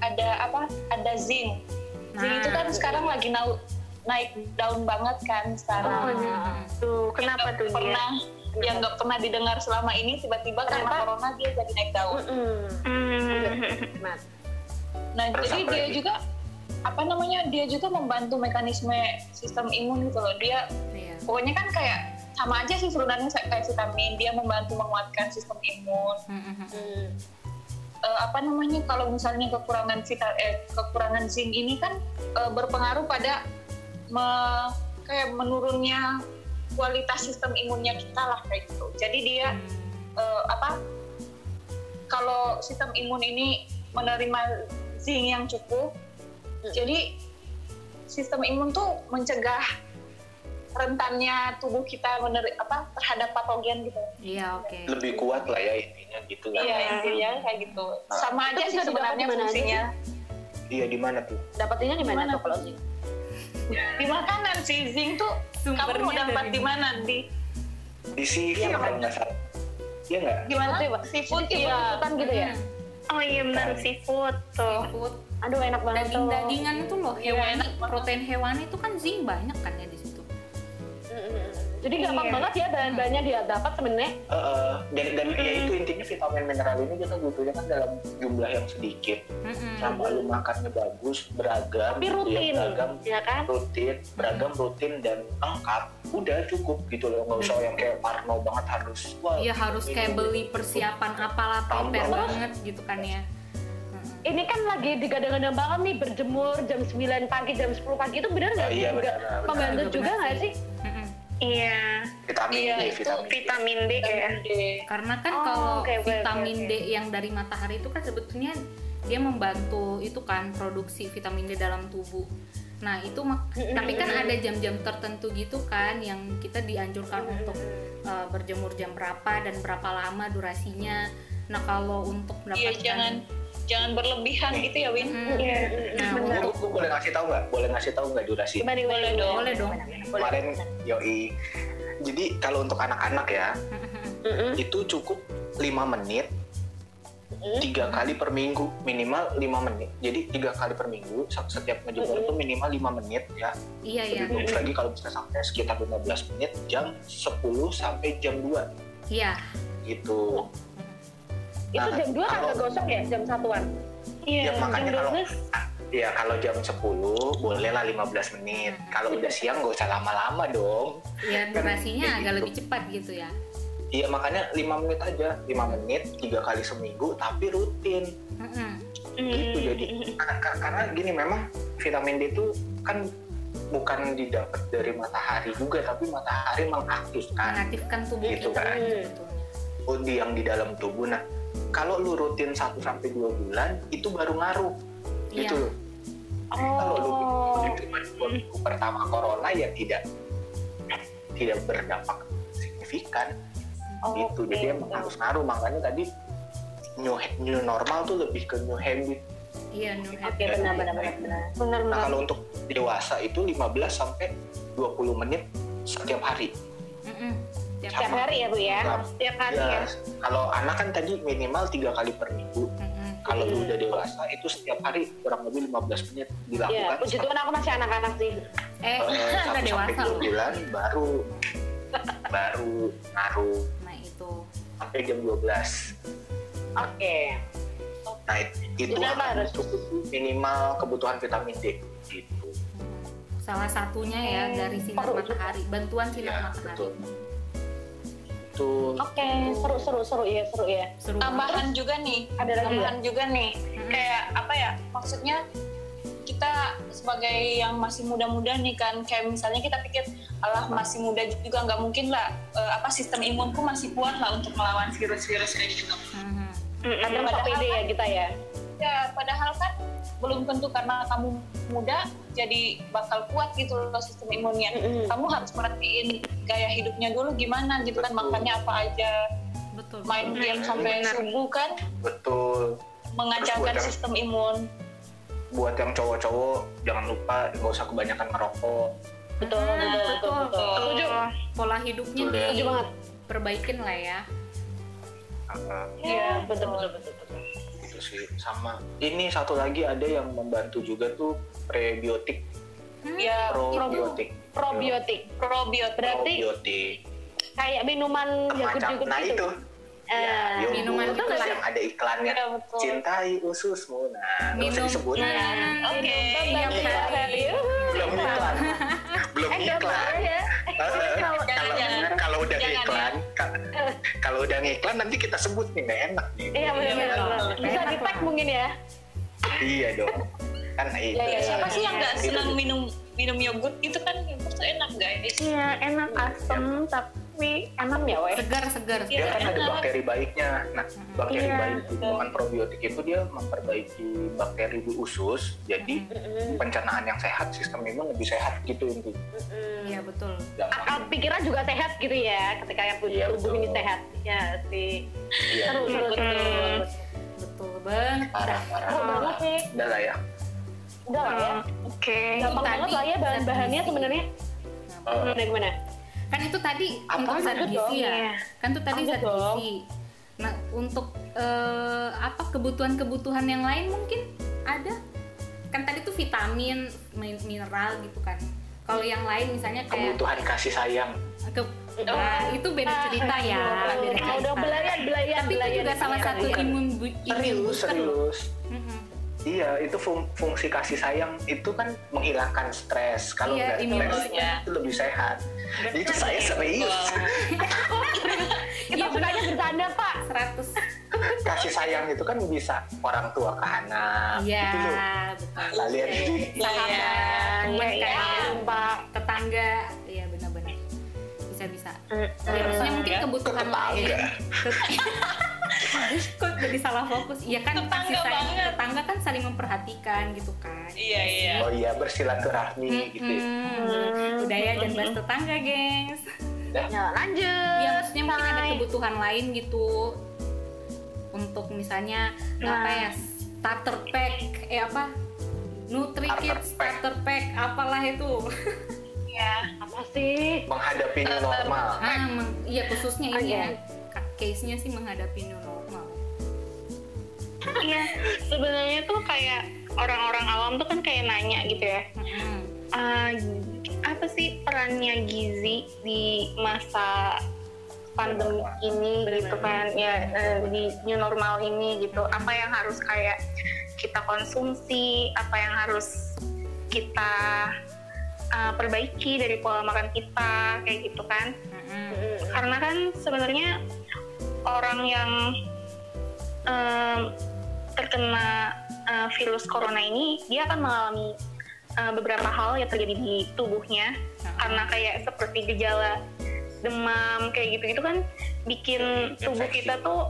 Speaker 6: ada apa ada zinc zinc
Speaker 3: Nah.
Speaker 6: itu kan sekarang lagi nau- naik daun banget kan sekarang
Speaker 2: tuh kenapa Oh, tuh dia
Speaker 6: pernah yang nggak pernah didengar selama ini tiba-tiba karena
Speaker 2: Kenapa?
Speaker 6: corona dia jadi naik daun
Speaker 2: Hmm. Nah,
Speaker 6: nah
Speaker 4: Terus
Speaker 6: jadi
Speaker 4: apa
Speaker 6: dia
Speaker 4: lagi?
Speaker 6: juga apa namanya dia juga membantu mekanisme sistem imun gitu loh dia
Speaker 3: Iya.
Speaker 6: pokoknya kan kayak sama aja sih sebenarnya kayak vitamin dia membantu menguatkan sistem imun
Speaker 3: Mm-mm.
Speaker 6: eh, apa namanya kalau misalnya kekurangan vital eh, kekurangan zinc ini kan eh, berpengaruh pada me- kayak menurunnya kualitas sistem imunnya kita lah kayak gitu. Jadi dia
Speaker 2: Hmm.
Speaker 6: eh, apa kalau sistem imun ini menerima zinc yang
Speaker 2: Hmm.
Speaker 6: cukup, jadi sistem imun tuh mencegah rentannya tubuh kita mener- apa terhadap patogen gitu.
Speaker 3: Iya oke.
Speaker 4: lebih kuat lah ya intinya gitu kan
Speaker 6: Iya intinya kayak gitu. Sama
Speaker 2: Itu
Speaker 6: aja sih
Speaker 2: bisa didapat
Speaker 6: sebenarnya
Speaker 2: di mana aja
Speaker 6: fungsinya.
Speaker 4: iya di mana tuh
Speaker 2: Dapetinnya di mana
Speaker 6: Gimana
Speaker 2: tuh kalau sih?
Speaker 6: Di makanan sih zinc tuh kamu
Speaker 3: Sumbernya
Speaker 6: mau dapat
Speaker 3: dari
Speaker 6: di mana di
Speaker 4: di CV
Speaker 2: Iya,
Speaker 4: kalau nggak salah iya nggak
Speaker 6: gimana?
Speaker 2: Maksudnya, Pak?
Speaker 6: Seafood
Speaker 2: Iya.
Speaker 6: iya.
Speaker 2: gitu ya.
Speaker 5: Oh iya benar seafood tuh.
Speaker 3: Seafood,
Speaker 2: Aduh enak banget tuh.
Speaker 3: daging-dagingan itu loh
Speaker 6: Iya,
Speaker 3: hewani,
Speaker 6: enak banget.
Speaker 3: protein hewani itu kan zinc banyak kan ya di situ.
Speaker 2: Mm-mm. Jadi gampang
Speaker 5: Iya.
Speaker 2: banget ya bahan-bahannya dia dapat sebenarnya.
Speaker 4: Eh, eh, dan dan ya itu intinya vitamin mineral ini kita butuhnya kan dalam jumlah yang sedikit
Speaker 3: Mm-mm.
Speaker 4: sama lu makannya bagus beragam
Speaker 2: Tapi
Speaker 4: gitu ya,
Speaker 2: rutin,
Speaker 4: beragam
Speaker 2: ya kan?
Speaker 4: rutin beragam rutin dan lengkap udah cukup gitu loh nggak usah yang kayak parno banget harus wah
Speaker 3: Iya harus
Speaker 4: ini-
Speaker 3: kayak beli persiapan apalah
Speaker 4: Tambah
Speaker 3: prepare
Speaker 4: lah.
Speaker 3: banget gitu kan ya. Mm-mm.
Speaker 2: Ini kan lagi digadang-gadang banget nih berjemur jam 9 pagi, jam 10 pagi itu Ah, benar nggak
Speaker 4: Oh,
Speaker 2: sih?
Speaker 4: iya,
Speaker 2: juga
Speaker 4: benar, benar.
Speaker 2: membantu
Speaker 3: Benar
Speaker 2: juga nggak
Speaker 3: sih.
Speaker 2: sih?
Speaker 3: Mm-mm.
Speaker 5: Iya,
Speaker 4: vitamin
Speaker 6: Iya,
Speaker 4: D
Speaker 6: itu
Speaker 4: vitamin D.
Speaker 5: vitamin D ya.
Speaker 3: Karena kan
Speaker 2: Oh,
Speaker 3: kalau
Speaker 2: oke, oke,
Speaker 3: vitamin
Speaker 2: oke,
Speaker 3: D yang dari matahari itu kan sebetulnya dia membantu itu kan produksi vitamin D dalam tubuh. Nah itu mak- tapi kan ada jam-jam tertentu gitu kan yang kita dianjurkan untuk eh, berjemur jam berapa dan berapa lama durasinya. Nah kalau untuk
Speaker 6: Iya
Speaker 3: mendapatkan
Speaker 6: jangan jangan berlebihan gitu ya Win.
Speaker 3: Mm,
Speaker 5: Iya.
Speaker 3: nah,
Speaker 4: Gua-
Speaker 3: untuk-
Speaker 4: gua boleh ngasih tahu nggak boleh ngasih tahu nggak durasi
Speaker 2: Gimana gimana?
Speaker 6: Boleh
Speaker 2: gimana?
Speaker 6: dong.
Speaker 3: boleh dong. [laughs]
Speaker 4: kemarin yoi jadi kalau untuk anak-anak ya
Speaker 3: Hmm.
Speaker 2: Mm-mm.
Speaker 4: itu cukup 5 menit tiga kali per minggu minimal 5 menit jadi tiga kali per minggu se- setiap ngejemur itu minimal 5 menit ya
Speaker 3: Iya iya.
Speaker 4: lebih bagus lagi kalau bisa sampai sekitar 15 menit jam 10 sampai jam 2
Speaker 3: Iya.
Speaker 4: gitu
Speaker 2: Itu
Speaker 4: Nah,
Speaker 2: jam 2 kan
Speaker 4: kalau-
Speaker 2: gosong ya jam satuan.
Speaker 5: Iya.
Speaker 4: ya makanya
Speaker 2: jam
Speaker 4: kalau
Speaker 2: 12.
Speaker 4: ya kalau jam 10 bolehlah 15 menit kalau udah siang nggak usah lama-lama dong
Speaker 3: Ya durasinya
Speaker 4: Kayak
Speaker 3: agak
Speaker 4: gitu.
Speaker 3: lebih cepat gitu ya.
Speaker 4: iya makanya 5 menit aja 5 menit tiga kali seminggu tapi rutin
Speaker 3: Mm-mm.
Speaker 2: Hmm.
Speaker 4: gitu
Speaker 5: Mm.
Speaker 4: jadi kar- kar- karena gini memang vitamin D itu kan bukan didapat dari matahari juga tapi matahari
Speaker 2: Nah,
Speaker 4: mengaktifkan
Speaker 3: Mengaktifkan tubuh
Speaker 4: Gitu
Speaker 3: kita
Speaker 4: kan.
Speaker 3: sebetulnya.
Speaker 4: body yang di dalam tubuh nah kalau lu rutin 1 sampai 2 bulan itu baru ngaruh gitu
Speaker 3: Iya.
Speaker 4: loh kalau lu bikin cuma dua minggu pertama corona ya tidak tidak berdampak signifikan gitu
Speaker 6: Oh,
Speaker 4: jadi emang harus ngaruh makanya tadi new, new normal tuh lebih ke new habit
Speaker 3: Iya no
Speaker 2: Oke, benar benar benar benar.
Speaker 5: Benar
Speaker 4: Nah,
Speaker 5: benar.
Speaker 4: kalau untuk dewasa itu 15 sampai 20 menit setiap hari.
Speaker 3: Mm-mm. Tiap
Speaker 2: Setiap
Speaker 4: Sama.
Speaker 2: hari ya, Bu ya.
Speaker 4: Nah,
Speaker 5: Setiap hari ya.
Speaker 4: ya, kalau anak kan tadi minimal tiga kali per minggu.
Speaker 3: Mm-mm.
Speaker 4: Kalau
Speaker 2: Hmm.
Speaker 4: lu udah dewasa itu setiap hari kurang lebih 15 menit
Speaker 2: Iya,
Speaker 4: dilakukan.
Speaker 2: [laughs] puji Tuhan aku masih anak-anak sih.
Speaker 4: [laughs]
Speaker 3: Eh,
Speaker 4: eh,
Speaker 3: udah
Speaker 4: satu sampai
Speaker 3: dewasa
Speaker 4: dua
Speaker 3: loh.
Speaker 4: bulan
Speaker 2: [laughs]
Speaker 4: baru baru ngaruh
Speaker 3: Nah itu.
Speaker 4: sampai jam 12.
Speaker 2: Oke.
Speaker 4: Nah, it- itu
Speaker 2: Udah
Speaker 4: akan
Speaker 2: harus.
Speaker 4: cukup minimal kebutuhan vitamin D gitu.
Speaker 3: Salah satunya ya
Speaker 4: Oh,
Speaker 3: dari sinar
Speaker 2: perlu.
Speaker 3: matahari, bantuan sinar
Speaker 4: Ya,
Speaker 3: matahari.
Speaker 4: betul. Betul.
Speaker 2: Oke, seru seru seru ya, seru ya.
Speaker 3: Seru banget.
Speaker 6: Tambahan juga nih.
Speaker 2: Ada lagi nggak?
Speaker 6: tambahan juga nih kayak apa ya maksudnya kita sebagai yang masih muda-muda nih kan kayak misalnya kita pikir alah masih muda juga nggak mungkin lah eh, apa sistem imunku masih kuat lah untuk melawan virus-virus kayak gitu
Speaker 3: Mhm.
Speaker 2: Ada
Speaker 6: Padahal
Speaker 2: sok ide ya
Speaker 6: kan-
Speaker 2: kita ya.
Speaker 6: ya padahal kan belum tentu karena kamu muda jadi bakal kuat gitu loh sistem imunnya
Speaker 2: Mm-mm.
Speaker 6: kamu harus perhatiin gaya hidupnya dulu gimana gitu kan
Speaker 4: Betul.
Speaker 6: makannya apa aja
Speaker 3: Betul.
Speaker 6: main game
Speaker 4: Mm,
Speaker 6: sampai
Speaker 5: benar.
Speaker 6: subuh kan
Speaker 4: Betul.
Speaker 6: mengacaukan
Speaker 4: Terus buat-
Speaker 6: sistem imun
Speaker 4: buat yang cowok-cowok jangan lupa nggak usah kebanyakan merokok
Speaker 2: Betul,
Speaker 3: Ah,
Speaker 2: betul, betul,
Speaker 3: betul.
Speaker 2: betul. Setuju.
Speaker 3: Pola hidupnya
Speaker 4: Betul ya.
Speaker 2: Setuju banget.
Speaker 3: Perbaikin lah ya.
Speaker 4: Uh,
Speaker 6: Iya,
Speaker 2: betul, betul, betul, betul.
Speaker 4: gitu sih sama ini satu lagi ada yang membantu juga tuh prebiotik
Speaker 3: Hmm,
Speaker 6: ya
Speaker 4: probiotik
Speaker 2: Probiotik.
Speaker 6: probiotik
Speaker 2: Berarti
Speaker 4: probiotik
Speaker 2: kayak minuman
Speaker 4: macam
Speaker 2: yogurt-yogurt
Speaker 4: nah
Speaker 2: gitu.
Speaker 4: itu ya,
Speaker 2: Eh,
Speaker 4: yogurt
Speaker 3: minuman
Speaker 4: terus
Speaker 3: gitu lah.
Speaker 4: yang ada iklannya
Speaker 2: Ya,
Speaker 6: Iya, betul.
Speaker 4: cintai ususmu nah nggak usah
Speaker 3: Minum.
Speaker 4: disebut
Speaker 3: Nah,
Speaker 6: Oke.
Speaker 3: tiap hari.
Speaker 4: belum iklan belum iklan
Speaker 2: ya.
Speaker 4: Eh,
Speaker 6: Jangan,
Speaker 2: Iya,
Speaker 4: kalau
Speaker 6: jangan.
Speaker 4: kalau udah
Speaker 6: Jangan,
Speaker 4: iklan ka- kalau udah ngiklan nanti kita sebut nih nggak enak nih kan?
Speaker 2: Iya, benar,
Speaker 3: Iya,
Speaker 2: benar.
Speaker 3: dong.
Speaker 2: benar. Bisa
Speaker 3: Enak
Speaker 2: di tag
Speaker 3: lah.
Speaker 2: mungkin ya.
Speaker 4: iya dong kan itu
Speaker 2: Ya, ya,
Speaker 6: Iya, siapa sih yang nggak
Speaker 4: Itu
Speaker 6: gitu senang minum minum yogurt itu kan yogurt tuh enak guys
Speaker 5: Iya, enak asem tapi sih emang ya weh
Speaker 3: segar segar
Speaker 4: dia kan ada
Speaker 6: enak.
Speaker 4: bakteri baiknya. Nah, bakteri
Speaker 5: Iya.
Speaker 4: baik di makan probiotik itu dia memperbaiki bakteri di usus. Jadi pencernaan yang sehat, sistem imun lebih sehat gitu intinya.
Speaker 3: iya betul
Speaker 2: akal
Speaker 4: Gampang.
Speaker 2: pikiran juga sehat gitu ya ketika yang punya
Speaker 4: Iya,
Speaker 2: tubuh
Speaker 4: betul.
Speaker 2: ini sehat ya sih
Speaker 4: Iya. Ah.
Speaker 2: seru seru
Speaker 5: Mm-mm.
Speaker 2: seru.
Speaker 3: betul banget
Speaker 4: Parah, parah.
Speaker 2: seru banget sih
Speaker 4: Udah lah ya.
Speaker 2: udah lah ya
Speaker 5: Hmm, oke
Speaker 2: gampang
Speaker 3: Oh, Tadi
Speaker 2: banget lah ya bahan-bahannya
Speaker 3: zat
Speaker 2: sebenarnya
Speaker 4: Eh,
Speaker 2: gimana gimana
Speaker 3: kan itu tadi
Speaker 4: Apa?
Speaker 3: untuk
Speaker 2: Lanjut
Speaker 3: zat
Speaker 2: Ah, dong,
Speaker 3: gizi ya
Speaker 2: iya.
Speaker 3: kan itu tadi
Speaker 2: Lanjut
Speaker 3: zat
Speaker 2: dong.
Speaker 3: gizi nah untuk eh, apa kebutuhan-kebutuhan yang lain mungkin ada kan tadi tuh vitamin min- mineral gitu kan kalau yang lain misalnya kayak
Speaker 4: kebutuhan kasih sayang.
Speaker 3: ke- nah, itu beda cerita ya beda
Speaker 2: Ah, udah
Speaker 3: cerita.
Speaker 2: belayan belayan
Speaker 3: tapi itu
Speaker 2: belayan Iya,
Speaker 3: juga salah
Speaker 2: belayan.
Speaker 3: satu imun bu- imun
Speaker 4: Serius,
Speaker 3: booster loh.
Speaker 4: serius.
Speaker 3: Mm-mm.
Speaker 4: Iya, itu fung- fungsi kasih sayang itu kan menghilangkan stres. Kalau
Speaker 3: Iya,
Speaker 4: nggak stres,
Speaker 3: imunnya.
Speaker 4: itu lebih sehat. Itu saya serius.
Speaker 2: kita
Speaker 3: Iya,
Speaker 2: sukanya bercanda pak
Speaker 3: 100
Speaker 4: kasih sayang itu kan bisa orang tua ke anak.
Speaker 3: iya
Speaker 4: Gitu loh.
Speaker 3: betul
Speaker 4: Lah, lihat di
Speaker 6: iya,
Speaker 3: sahabat teman
Speaker 5: Iya, iya.
Speaker 3: kayak
Speaker 2: pak
Speaker 3: tetangga iya benar-benar bisa bisa ya,
Speaker 2: eh,
Speaker 3: maksudnya mungkin kebutuhan lain
Speaker 4: tetangga.
Speaker 3: Ke- kok jadi salah fokus iya kan
Speaker 6: Tetangga
Speaker 3: kasih sayang
Speaker 6: banget.
Speaker 3: tetangga kan saling memperhatikan gitu kan
Speaker 6: Iya, iya.
Speaker 4: [laughs] Oh iya bersilaturahmi
Speaker 3: Hmm,
Speaker 4: gitu. ya.
Speaker 3: Mm-mm. budaya dan bahas tetangga gengs
Speaker 2: ya lanjut
Speaker 3: Iya maksudnya mungkin ada
Speaker 2: Hai.
Speaker 3: kebutuhan lain gitu untuk misalnya apa ya starter pack eh apa NutriKid
Speaker 4: Starter pack.
Speaker 3: starter pack apalah itu
Speaker 5: Iya.
Speaker 2: apa sih
Speaker 4: Menghadapi new normal.
Speaker 3: ah meng- iya khususnya ini
Speaker 2: Oke.
Speaker 3: ya Ka- case-nya sih menghadapi new normal
Speaker 5: Iya, sebenarnya tuh kayak orang-orang awam tuh kan kayak nanya gitu ya
Speaker 3: Mm-mm.
Speaker 5: "Ah, apa sih perannya gizi di masa pandemi ini gitu kan ya eh, di new normal ini gitu apa yang harus kayak kita konsumsi apa yang harus kita eh, perbaiki dari pola makan kita kayak gitu kan
Speaker 3: Mm-mm.
Speaker 5: karena kan sebenarnya orang yang em, terkena eh, virus corona ini dia akan mengalami eh, beberapa hal yang terjadi di tubuhnya karena kayak seperti gejala demam kayak gitu-gitu kan bikin tubuh
Speaker 4: Iya, Infeksi.
Speaker 5: kita tuh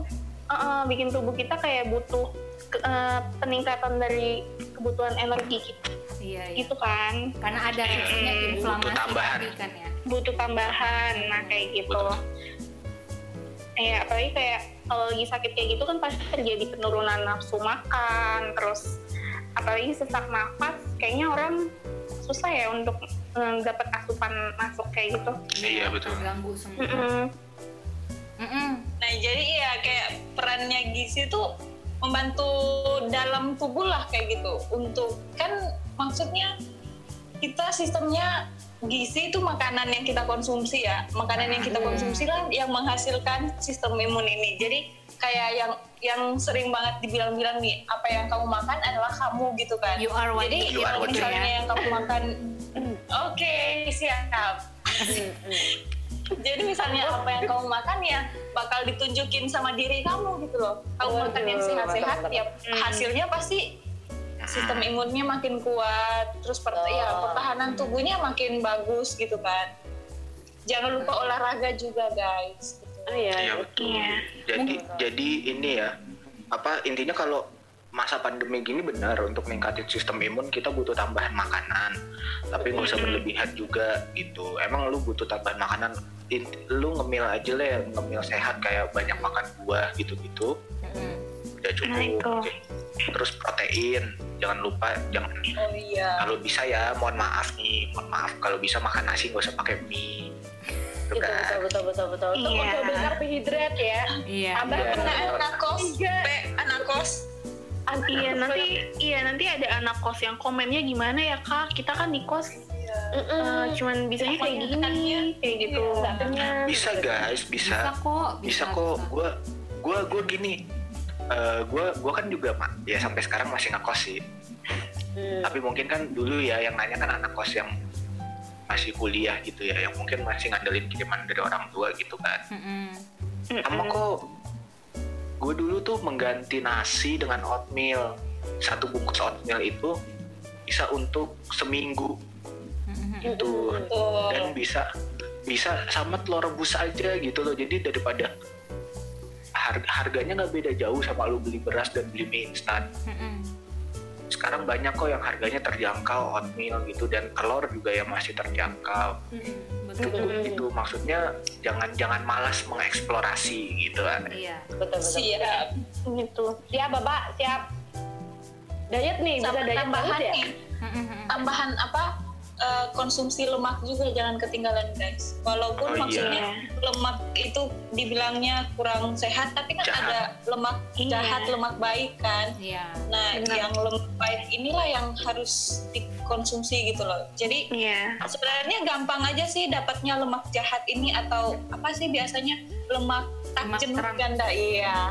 Speaker 5: eh, eh, bikin tubuh kita kayak butuh ke- eh, peningkatan dari kebutuhan energi kita
Speaker 3: iya iya
Speaker 5: gitu kan
Speaker 3: karena ada reaksinya
Speaker 5: Mm-mm.
Speaker 3: inflamasi
Speaker 4: Mm-hmm. Tambahan.
Speaker 3: tadi kan ya
Speaker 5: butuh tambahan nah kayak gitu
Speaker 4: Betul.
Speaker 5: ya apalagi kayak kalau lagi sakit kayak gitu kan pasti terjadi penurunan nafsu makan terus apalagi sesak nafas kayaknya orang susah ya untuk eh, dapat asupan masuk kayak gitu
Speaker 4: Iya, betul.
Speaker 3: ganggu semua
Speaker 2: Mm-hmm.
Speaker 3: Mm-hmm.
Speaker 5: Mm-mm.
Speaker 3: Mm-mm.
Speaker 6: Nah, jadi ya kayak perannya gizi itu membantu dalam tubuh lah kayak gitu. Untuk kan maksudnya kita sistemnya gizi itu makanan yang kita konsumsi ya. Makanan yang
Speaker 3: Hmm.
Speaker 6: kita konsumsi lah yang menghasilkan sistem imun ini. Jadi kayak yang yang sering banget dibilang-bilang nih, apa yang kamu makan adalah kamu gitu kan.
Speaker 3: You are what
Speaker 6: Jadi
Speaker 3: you
Speaker 6: kalau
Speaker 3: eat,
Speaker 6: misalnya
Speaker 3: ya.
Speaker 6: yang kamu makan [clears throat] oke, siap.
Speaker 2: Hmm,
Speaker 6: Jadi misalnya apa yang kamu makan ya bakal ditunjukin sama diri kamu gitu loh. Kamu makan yang sehat-sehat ya
Speaker 4: Hmm.
Speaker 6: hasilnya pasti sistem
Speaker 4: Nah.
Speaker 6: imunnya makin kuat, terus per- ya
Speaker 4: Hmm.
Speaker 6: pertahanan tubuhnya makin bagus gitu kan. Jangan lupa olahraga juga guys. gitu.
Speaker 2: oh iya
Speaker 4: Iya betul. Jadi jadi ini ya apa intinya kalau masa pandemi gini benar untuk ningkatin sistem imun kita butuh tambahan makanan tapi nggak usah berlebihan juga gitu emang lu butuh tambahan makanan Int- lu ngemil aja lah ngemil sehat kayak banyak makan buah gitu-gitu
Speaker 3: Mm-mm.
Speaker 4: udah
Speaker 5: Nah,
Speaker 4: cukup
Speaker 5: itu.
Speaker 4: Oke. terus protein jangan lupa jangan
Speaker 6: Oh iya.
Speaker 4: kalau bisa ya mohon maaf nih mohon maaf kalau bisa makan nasi nggak usah pakai mie Gitu
Speaker 2: itu betul
Speaker 4: kan.
Speaker 2: betul betul betul itu
Speaker 5: Iya.
Speaker 2: udah karbohidrat ya
Speaker 3: iya
Speaker 2: Tambah
Speaker 4: Iya.
Speaker 6: Nah, anak kos,
Speaker 2: Iya.
Speaker 6: Pe, anak kos.
Speaker 2: anti
Speaker 5: Iya nanti iya nanti ada anak kos yang komennya gimana ya kak kita kan di kos eh, cuman bisanya kayak
Speaker 6: Makanannya.
Speaker 5: gini kayak gitu
Speaker 6: Iya.
Speaker 4: bisa guys bisa
Speaker 3: bisa kok
Speaker 4: bisa kok gue gue gue gini gue gue kan juga Mak, ya sampai sekarang masih ngekos sih
Speaker 2: Hmm.
Speaker 4: tapi mungkin kan dulu ya yang nanya kan anak kos yang masih kuliah gitu ya yang mungkin masih ngandelin kiriman dari orang tua gitu kan
Speaker 3: Mm-mm.
Speaker 4: sama kok gue dulu tuh mengganti nasi dengan oatmeal satu bungkus oatmeal itu bisa untuk seminggu
Speaker 3: Mm-mm.
Speaker 4: gitu
Speaker 2: Hmm.
Speaker 6: Betul.
Speaker 4: dan bisa bisa sama telur rebus aja gitu loh jadi daripada harga harganya nggak beda jauh sama lu beli beras dan beli mie instan
Speaker 3: Mm-mm.
Speaker 4: sekarang banyak kok yang harganya terjangkau oatmeal gitu dan telur juga yang masih terjangkau
Speaker 3: Mm-mm.
Speaker 4: Itu
Speaker 2: Hmm.
Speaker 3: betul
Speaker 4: gitu maksudnya jangan jangan malas mengeksplorasi gitu
Speaker 2: Mm-hmm.
Speaker 4: kan
Speaker 3: iya
Speaker 2: betul betul
Speaker 6: siap
Speaker 2: gitu siap bapak siap diet nih bisa
Speaker 6: sama
Speaker 2: diet banget
Speaker 6: tambahan
Speaker 2: ya
Speaker 6: nih
Speaker 3: Mm-mm.
Speaker 6: tambahan apa eh, konsumsi lemak juga jangan ketinggalan guys walaupun
Speaker 4: Oh, iya.
Speaker 6: maksudnya lemak itu dibilangnya kurang sehat tapi kan
Speaker 4: Jahat.
Speaker 6: ada lemak
Speaker 2: Iya.
Speaker 6: jahat lemak baik kan
Speaker 3: iya
Speaker 6: nah
Speaker 2: Benar.
Speaker 6: yang lemak baik inilah yang harus dikonsumsi gitu loh jadi
Speaker 5: Iya.
Speaker 6: sebenarnya gampang aja sih dapatnya lemak jahat ini atau apa sih biasanya lemak
Speaker 3: Lemak
Speaker 6: takjem
Speaker 3: terang.
Speaker 6: ganda iya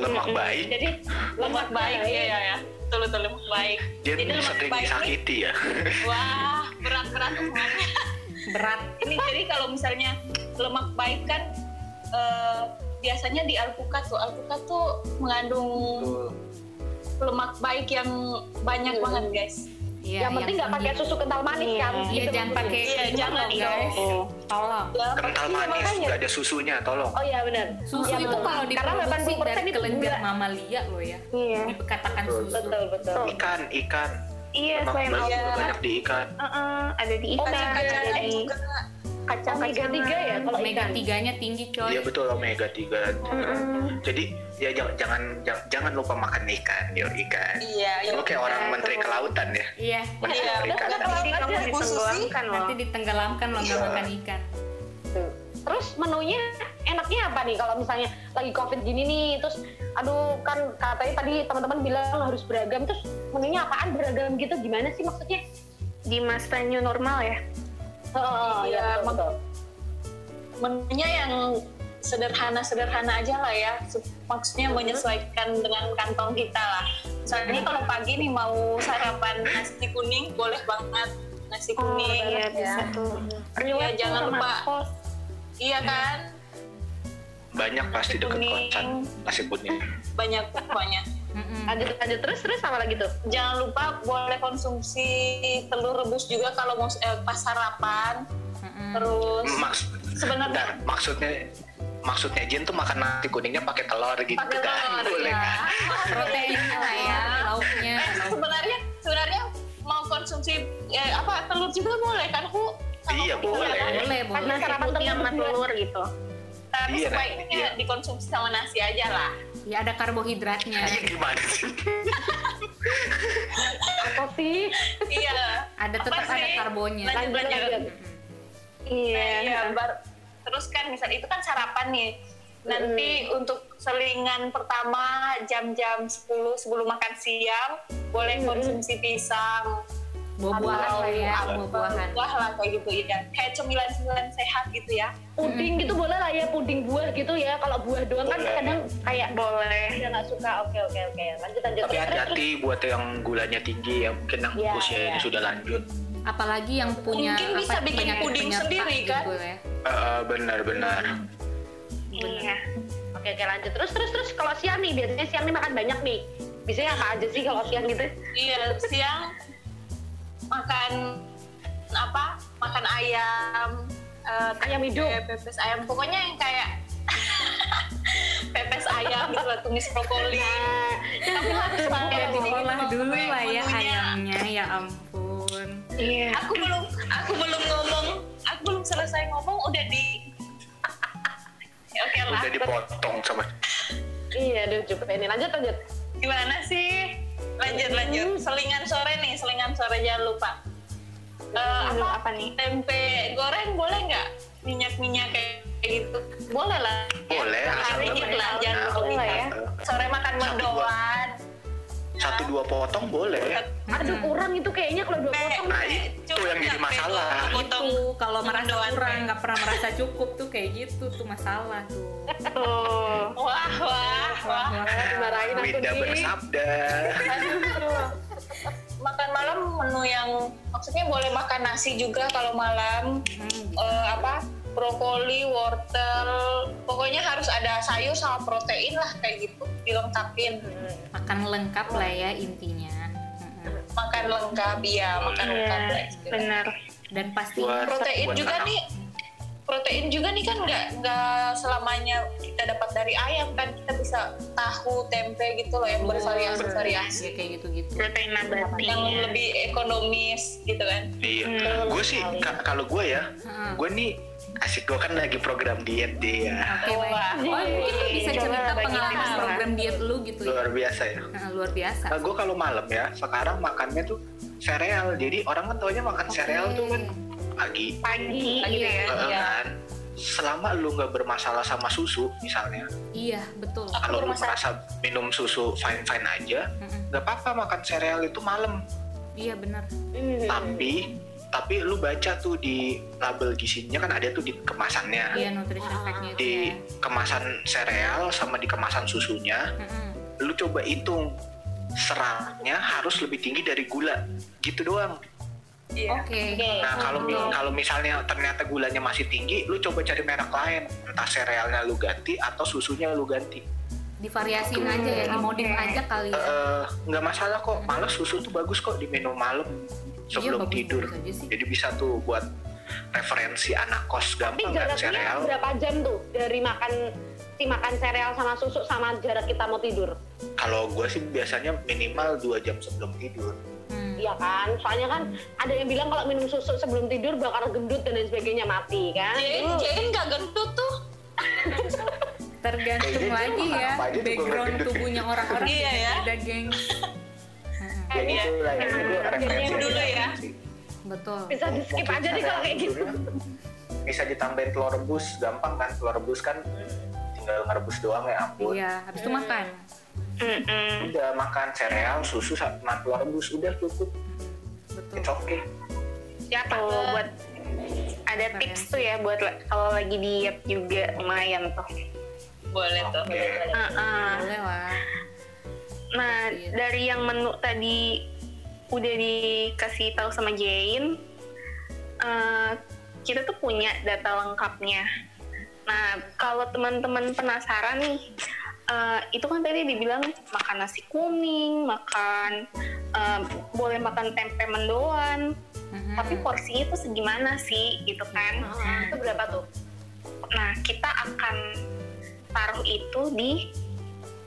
Speaker 4: lemak
Speaker 2: Mm-mm.
Speaker 4: baik
Speaker 6: jadi lemak baik iya iya ya betul betul lemak baik
Speaker 4: jadi
Speaker 6: jadi lemak
Speaker 4: sering
Speaker 6: baik ini
Speaker 4: disakiti ya
Speaker 6: wah berat berat omongannya.
Speaker 3: berat
Speaker 6: ini jadi kalau misalnya lemak baik kan eh, biasanya di alpukat tuh alpukat tuh mengandung lemak baik yang banyak
Speaker 2: Hmm.
Speaker 6: banget guys
Speaker 3: Iya,
Speaker 2: yang penting nggak pakai
Speaker 3: tinggi.
Speaker 2: susu kental manis kan
Speaker 3: iya
Speaker 2: Gitu
Speaker 3: jangan
Speaker 2: maksudnya.
Speaker 3: pakai
Speaker 6: Iya,
Speaker 3: itu,
Speaker 6: jangan,
Speaker 3: guys tolong
Speaker 6: Ya,
Speaker 4: kental
Speaker 2: Iya,
Speaker 4: manis
Speaker 2: makanya.
Speaker 4: nggak ada susunya tolong
Speaker 2: oh iya benar
Speaker 3: susu
Speaker 2: Iya,
Speaker 3: itu
Speaker 2: benar.
Speaker 3: kalau
Speaker 2: karena
Speaker 3: diproduksi
Speaker 2: 80%
Speaker 3: dari
Speaker 2: itu
Speaker 3: kelenjar
Speaker 2: gula.
Speaker 3: mamalia loh ya
Speaker 5: Iya.
Speaker 3: dikatakan
Speaker 4: Betul.
Speaker 3: susu
Speaker 2: betul betul
Speaker 6: Oh,
Speaker 4: ikan ikan
Speaker 5: Iya,
Speaker 4: lemak
Speaker 5: selain
Speaker 4: baik juga
Speaker 5: alpukat,
Speaker 4: banyak di ikan
Speaker 5: eh, ada di ikan,
Speaker 6: omega
Speaker 5: ada
Speaker 6: ada
Speaker 5: di
Speaker 6: juga
Speaker 2: omega tiga ya
Speaker 5: kacang-kacangan.
Speaker 2: kalau
Speaker 3: omega
Speaker 2: ikan
Speaker 3: tiganya tinggi coy
Speaker 4: Iya betul omega 3
Speaker 5: Mm-mm.
Speaker 4: Jadi ya jangan jangan jangan, jangan lupa makan ikan, yo ikan.
Speaker 6: iya ya.
Speaker 4: Lu kayak orang
Speaker 5: Iya,
Speaker 4: menteri
Speaker 5: betul.
Speaker 4: kelautan ya,
Speaker 3: iya
Speaker 4: menteri
Speaker 6: Iya, udah
Speaker 4: perikanan.
Speaker 6: bukan
Speaker 5: Nanti kamu
Speaker 4: gitu.
Speaker 6: Aja, Bu Susi.
Speaker 5: ditenggelamkan loh.
Speaker 3: nanti ditenggelamkan loh nggak
Speaker 4: Iya.
Speaker 3: makan ikan
Speaker 2: Tuh. Terus menunya enaknya apa nih kalau misalnya lagi covid gini nih terus aduh kan katanya tadi teman-teman bilang harus beragam terus menunya apaan beragam gitu gimana sih maksudnya?
Speaker 5: Di masa new normal ya.
Speaker 2: Oh,
Speaker 6: Iya,
Speaker 2: iya, betul, betul.
Speaker 6: menunya yang sederhana-sederhana aja lah ya Se- maksudnya
Speaker 5: Hmm.
Speaker 6: menyesuaikan dengan kantong kita lah misalnya kalau pagi nih mau sarapan nasi kuning boleh banget nasi
Speaker 5: Oh,
Speaker 6: kuning
Speaker 5: iya
Speaker 6: ya.
Speaker 5: bisa tuh.
Speaker 6: Iya, jangan
Speaker 5: sama
Speaker 6: lupa
Speaker 5: kos.
Speaker 6: iya kan
Speaker 4: Banyak pasti deket
Speaker 6: Kuning.
Speaker 4: kosan nasi kuning.
Speaker 6: banyak pokoknya
Speaker 3: Mm-mm.
Speaker 2: Lanjut lanjut terus terus apa lagi tuh?
Speaker 6: jangan lupa boleh konsumsi telur rebus juga kalau mau eh, pas sarapan
Speaker 3: Mm-mm.
Speaker 6: terus
Speaker 4: Maks
Speaker 6: sebenarnya
Speaker 4: bentar, maksudnya maksudnya Jin tuh makan nasi kuningnya pakai telur gitu
Speaker 6: pakai
Speaker 4: kan.
Speaker 6: telur
Speaker 4: [laughs] Boleh
Speaker 6: ya.
Speaker 4: kan?
Speaker 3: proteinnya lah
Speaker 6: Iya.
Speaker 3: ya lauknya lauk.
Speaker 6: sebenarnya sebenarnya mau konsumsi eh, apa telur juga boleh kan Hu? Sama
Speaker 4: Iya,
Speaker 6: kita
Speaker 4: boleh.
Speaker 6: kan?
Speaker 3: boleh
Speaker 5: Kan
Speaker 3: boleh
Speaker 5: nasi putih sama telur gitu.
Speaker 4: Iya,
Speaker 6: tapi sebaiknya
Speaker 4: iya.
Speaker 6: dikonsumsi sama nasi aja lah
Speaker 3: ya ada karbohidratnya
Speaker 4: Iya gimana sih?
Speaker 2: Apa sih?
Speaker 6: iya
Speaker 3: ada
Speaker 6: Apa
Speaker 3: tetap ada
Speaker 6: sih?
Speaker 3: karbonnya
Speaker 6: Lanjut, lanjut.
Speaker 3: Mm-mm.
Speaker 5: Iya.
Speaker 6: Nah, iya, bar- terus kan misal itu kan sarapan nih nanti untuk selingan pertama jam-jam 10 sebelum makan siang boleh konsumsi pisang
Speaker 3: buah-buahan
Speaker 6: atau
Speaker 3: lah ya
Speaker 4: Iya.
Speaker 6: apa,
Speaker 3: buah-buahan
Speaker 6: buah lah kayak gitu ya kayak cemilan-cemilan sehat gitu ya
Speaker 2: Puding gitu boleh lah ya puding buah gitu ya. Kalau buah doang kan
Speaker 4: Boleh.
Speaker 2: kadang kayak
Speaker 5: Boleh.
Speaker 2: udah nggak suka. Oke oke oke. Lanjut lanjut
Speaker 4: Tapi
Speaker 2: terus terus.
Speaker 4: hati-hati buat yang gulanya tinggi ya, mungkin yang
Speaker 2: Iya,
Speaker 4: usianya
Speaker 2: iya.
Speaker 4: sudah lanjut.
Speaker 3: apalagi yang punya
Speaker 6: Mungkin bisa
Speaker 3: apa,
Speaker 6: bikin
Speaker 3: penyakit-
Speaker 6: puding
Speaker 3: penyerta
Speaker 6: sendiri,
Speaker 3: gitu
Speaker 6: kan?
Speaker 3: ya.
Speaker 4: Benar-benar.
Speaker 5: Iya.
Speaker 2: Oke oke lanjut terus terus terus. Kalau siang nih biasanya siang nih makan banyak nih. Biasanya apa aja sih kalau siang gitu?
Speaker 6: Iya, siang makan apa? Makan ayam, eh,
Speaker 2: Ayam hidup.
Speaker 6: kayak pepes ayam. Pokoknya yang kayak pepes ayam gitu lah, tumis brokoli.
Speaker 2: Iya.
Speaker 6: Kamu harus pakai
Speaker 3: Ya,
Speaker 6: ini
Speaker 3: diolah
Speaker 6: gitu,
Speaker 3: dulu
Speaker 6: Mbak,
Speaker 3: lah ya
Speaker 6: menunya.
Speaker 3: ayamnya ya ampun
Speaker 5: Iya.
Speaker 3: Ya.
Speaker 6: Aku belum aku belum ngomong, aku belum selesai ngomong udah di [laughs] Ya, Oke lah.
Speaker 4: Udah dipotong sama
Speaker 2: Iya, aduh juga ini lanjut lanjut.
Speaker 6: Gimana sih? Lanjut lanjut. Selingan sore nih, selingan sore jangan lupa. Eh,
Speaker 5: Aduh, apa nih?
Speaker 6: tempe goreng boleh nggak minyak minyak kayak gitu boleh lah
Speaker 4: Boleh, asal
Speaker 6: hari
Speaker 4: lemak.
Speaker 6: lah jangan
Speaker 4: Nah,
Speaker 6: berlebihan.
Speaker 5: boleh
Speaker 6: ya. sore makan
Speaker 4: Satu, dua.
Speaker 6: mendoan
Speaker 4: satu dua potong boleh.
Speaker 2: Aduh
Speaker 6: Hmm.
Speaker 2: kurang itu kayaknya kalau dua
Speaker 6: Tempe-
Speaker 2: potong.
Speaker 4: Ya. Nah, itu
Speaker 6: cukup
Speaker 4: yang jadi
Speaker 6: tempe
Speaker 4: masalah.
Speaker 6: dua potong
Speaker 3: itu kalau merasa
Speaker 6: mendoan,
Speaker 3: kurang
Speaker 6: Teh.
Speaker 3: nggak pernah merasa cukup tuh kayak gitu tuh masalah tuh
Speaker 5: Tuh.
Speaker 6: wah wah wah
Speaker 2: Dimarahin aku
Speaker 4: Winda
Speaker 2: nih.
Speaker 6: [laughs]
Speaker 4: bersabda.
Speaker 6: makan malam menu yang maksudnya boleh makan nasi juga kalau malam
Speaker 3: Hmm,
Speaker 6: Eh, apa brokoli wortel pokoknya harus ada sayur sama protein lah kayak gitu dilengkapin
Speaker 3: makan lengkap lah ya intinya Mm-mm.
Speaker 6: makan lengkap ya makan
Speaker 5: Iya.
Speaker 6: lengkap guys
Speaker 5: Benar.
Speaker 3: dan pasti
Speaker 4: Buat-
Speaker 6: protein
Speaker 4: buat
Speaker 6: juga
Speaker 4: anak.
Speaker 6: nih protein juga nih kan nggak nggak selamanya kita dapat dari ayam kan kita bisa tahu tempe gitu loh yang bervariasi
Speaker 3: ya
Speaker 6: variasi
Speaker 3: kayak gitu-gitu
Speaker 5: protein nabati
Speaker 6: yang lebih ekonomis gitu kan
Speaker 4: Iya, gue sih
Speaker 6: Hmm.
Speaker 4: ka- kalau gue ya,
Speaker 3: Heeh.
Speaker 4: gue nih asik gue kan lagi program diet dia
Speaker 3: Oke, baik. Oh, mungkin lu bisa
Speaker 5: Coba
Speaker 3: cerita
Speaker 5: bagi
Speaker 3: pengalaman
Speaker 5: tips,
Speaker 3: program diet lu gitu ya.
Speaker 4: luar biasa ya.
Speaker 3: Nah, luar biasa.
Speaker 4: Nah, gue kalau malam ya, sekarang makannya tuh sereal. Jadi orang kan taunya makan
Speaker 6: Hmm.
Speaker 3: Oke.
Speaker 4: sereal tuh kan
Speaker 5: Iya.
Speaker 4: pagi,
Speaker 5: pagi
Speaker 3: Pagi
Speaker 5: gitu
Speaker 3: ya.
Speaker 5: ya.
Speaker 4: eh,
Speaker 3: Iya.
Speaker 4: kan. Selama lu nggak bermasalah sama susu misalnya,
Speaker 3: Iya, betul.
Speaker 4: kalau lu
Speaker 6: bermasalah.
Speaker 4: merasa minum susu fine fine aja,
Speaker 3: Mm-mm.
Speaker 4: nggak apa-apa makan sereal itu malam.
Speaker 3: Iya, benar.
Speaker 4: Tapi tapi lu baca tuh di label gizinya kan ada tuh di kemasannya.
Speaker 3: Iya, nutrition fact-nya itu
Speaker 4: di
Speaker 3: ya.
Speaker 4: kemasan sereal sama di kemasan susunya
Speaker 3: Mm-mm.
Speaker 4: lu coba hitung seratnya harus lebih tinggi dari gula gitu doang
Speaker 6: iya
Speaker 3: Oke.
Speaker 4: nah kalau mi- kalau misalnya ternyata gulanya masih tinggi lu coba cari merek lain entah serealnya lu ganti atau susunya lu ganti
Speaker 3: Divariasiin aja ya, dimodif aja kali
Speaker 4: Eh,
Speaker 3: ya.
Speaker 4: eh, nggak masalah kok malah susu tuh bagus kok diminum malam sebelum
Speaker 3: bagus-bagus
Speaker 4: tidur
Speaker 3: Iya, aja sih.
Speaker 4: jadi bisa tuh buat referensi anak kos
Speaker 2: Tapi
Speaker 4: gampang kan
Speaker 2: jaraknya
Speaker 4: sereal
Speaker 2: berapa jam tuh dari makan si makan sereal sama susu sama jarak kita mau tidur?
Speaker 4: kalau gue sih biasanya minimal dua jam sebelum tidur
Speaker 3: Hmm.
Speaker 2: Iya kan? Soalnya kan ada yang bilang kalau minum susu sebelum tidur bakal gendut dan lain sebagainya mati kan?
Speaker 3: Iya,
Speaker 6: Jain
Speaker 2: Dulu.
Speaker 6: Jain nggak gendut tuh
Speaker 3: Tergantung
Speaker 4: Kayaknya dia
Speaker 3: lagi
Speaker 4: makan
Speaker 3: ya
Speaker 4: gitu. apa aja juga
Speaker 3: background
Speaker 4: nggak gendut.
Speaker 3: tubuhnya orang-orang
Speaker 6: Iya ya.
Speaker 3: beda, geng. Mm-mm.
Speaker 4: Ya
Speaker 6: Iya.
Speaker 4: itu lah, itu
Speaker 2: Nah,
Speaker 4: referensi
Speaker 6: dulu
Speaker 4: aja
Speaker 6: ya.
Speaker 4: sih.
Speaker 3: Betul.
Speaker 2: Bisa di skip aja nih kalau kayak gitu.
Speaker 4: ya. Bisa ditambahin telur rebus, gampang kan telur rebus kan tinggal ngerebus doang ya ampun.
Speaker 3: Iya, habis itu makan.
Speaker 5: Mm-mm.
Speaker 4: Udah makan sereal, susu sama telur rebus udah cukup.
Speaker 3: Betul.
Speaker 4: It's okay.
Speaker 5: Ya tuh buat ada tips tuh ya buat la- kalau lagi diet juga lumayan tuh.
Speaker 6: boleh
Speaker 5: Gitu.
Speaker 6: tuh
Speaker 4: Oke.
Speaker 5: Heeh.
Speaker 3: Boleh lah.
Speaker 5: Nah
Speaker 3: Iya.
Speaker 5: dari yang menu tadi udah dikasih tahu sama Jane, eh, kita tuh punya data lengkapnya. Nah kalau teman-teman penasaran nih, eh, itu kan tadi dibilang makan nasi kuning, makan eh, boleh makan tempe mendoan,
Speaker 3: Mhm.
Speaker 5: tapi porsinya itu segimana sih gitu kan?
Speaker 3: Hmm.
Speaker 2: Itu berapa tuh?
Speaker 5: Nah, kita akan taruh itu di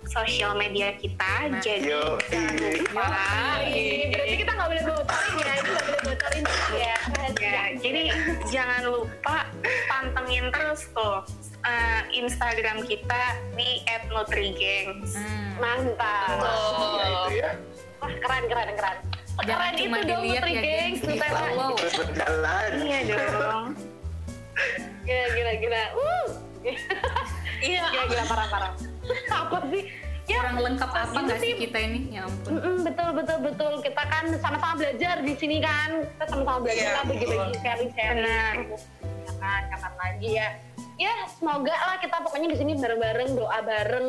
Speaker 5: sosial media kita.
Speaker 3: Nah.
Speaker 5: Jadi
Speaker 4: Yo,
Speaker 5: jangan lupa.
Speaker 2: Ah, iya.
Speaker 3: Ah, iya.
Speaker 2: Berarti kita nggak boleh bocorin ya, itu nggak boleh bocorin ya.
Speaker 5: Ya, jadi jangan lupa pantengin terus tuh eh, Instagram kita di @nutrigengs.
Speaker 3: Hmm.
Speaker 2: Nah, Mantap.
Speaker 4: Ya itu ya.
Speaker 2: Wah, keren keren keren. Keren
Speaker 3: Jangan
Speaker 2: itu
Speaker 3: cuma
Speaker 2: dong
Speaker 3: dilihat
Speaker 2: Putri
Speaker 3: ya, geng.
Speaker 2: Gengs, Nutella.
Speaker 3: Wow.
Speaker 4: Itu berjalan.
Speaker 3: Hmm.
Speaker 5: Iya
Speaker 3: [laughs]
Speaker 5: dong.
Speaker 2: Gila gila gila. Uh. [laughs]
Speaker 6: iya
Speaker 2: Gila gila parah parah. Apa sih? Ya,
Speaker 3: Kurang lengkap apa
Speaker 2: itu
Speaker 3: nggak sih
Speaker 2: sih-
Speaker 3: kita ini? Ya ampun.
Speaker 2: Mm-mm, betul betul betul kita kan sama-sama belajar di sini kan kita sama-sama belajar
Speaker 6: Iya,
Speaker 2: lah bagi-bagi sharing sharing
Speaker 5: Benar.
Speaker 2: ya kan kapan lagi ya ya semoga lah kita pokoknya di sini bareng-bareng doa bareng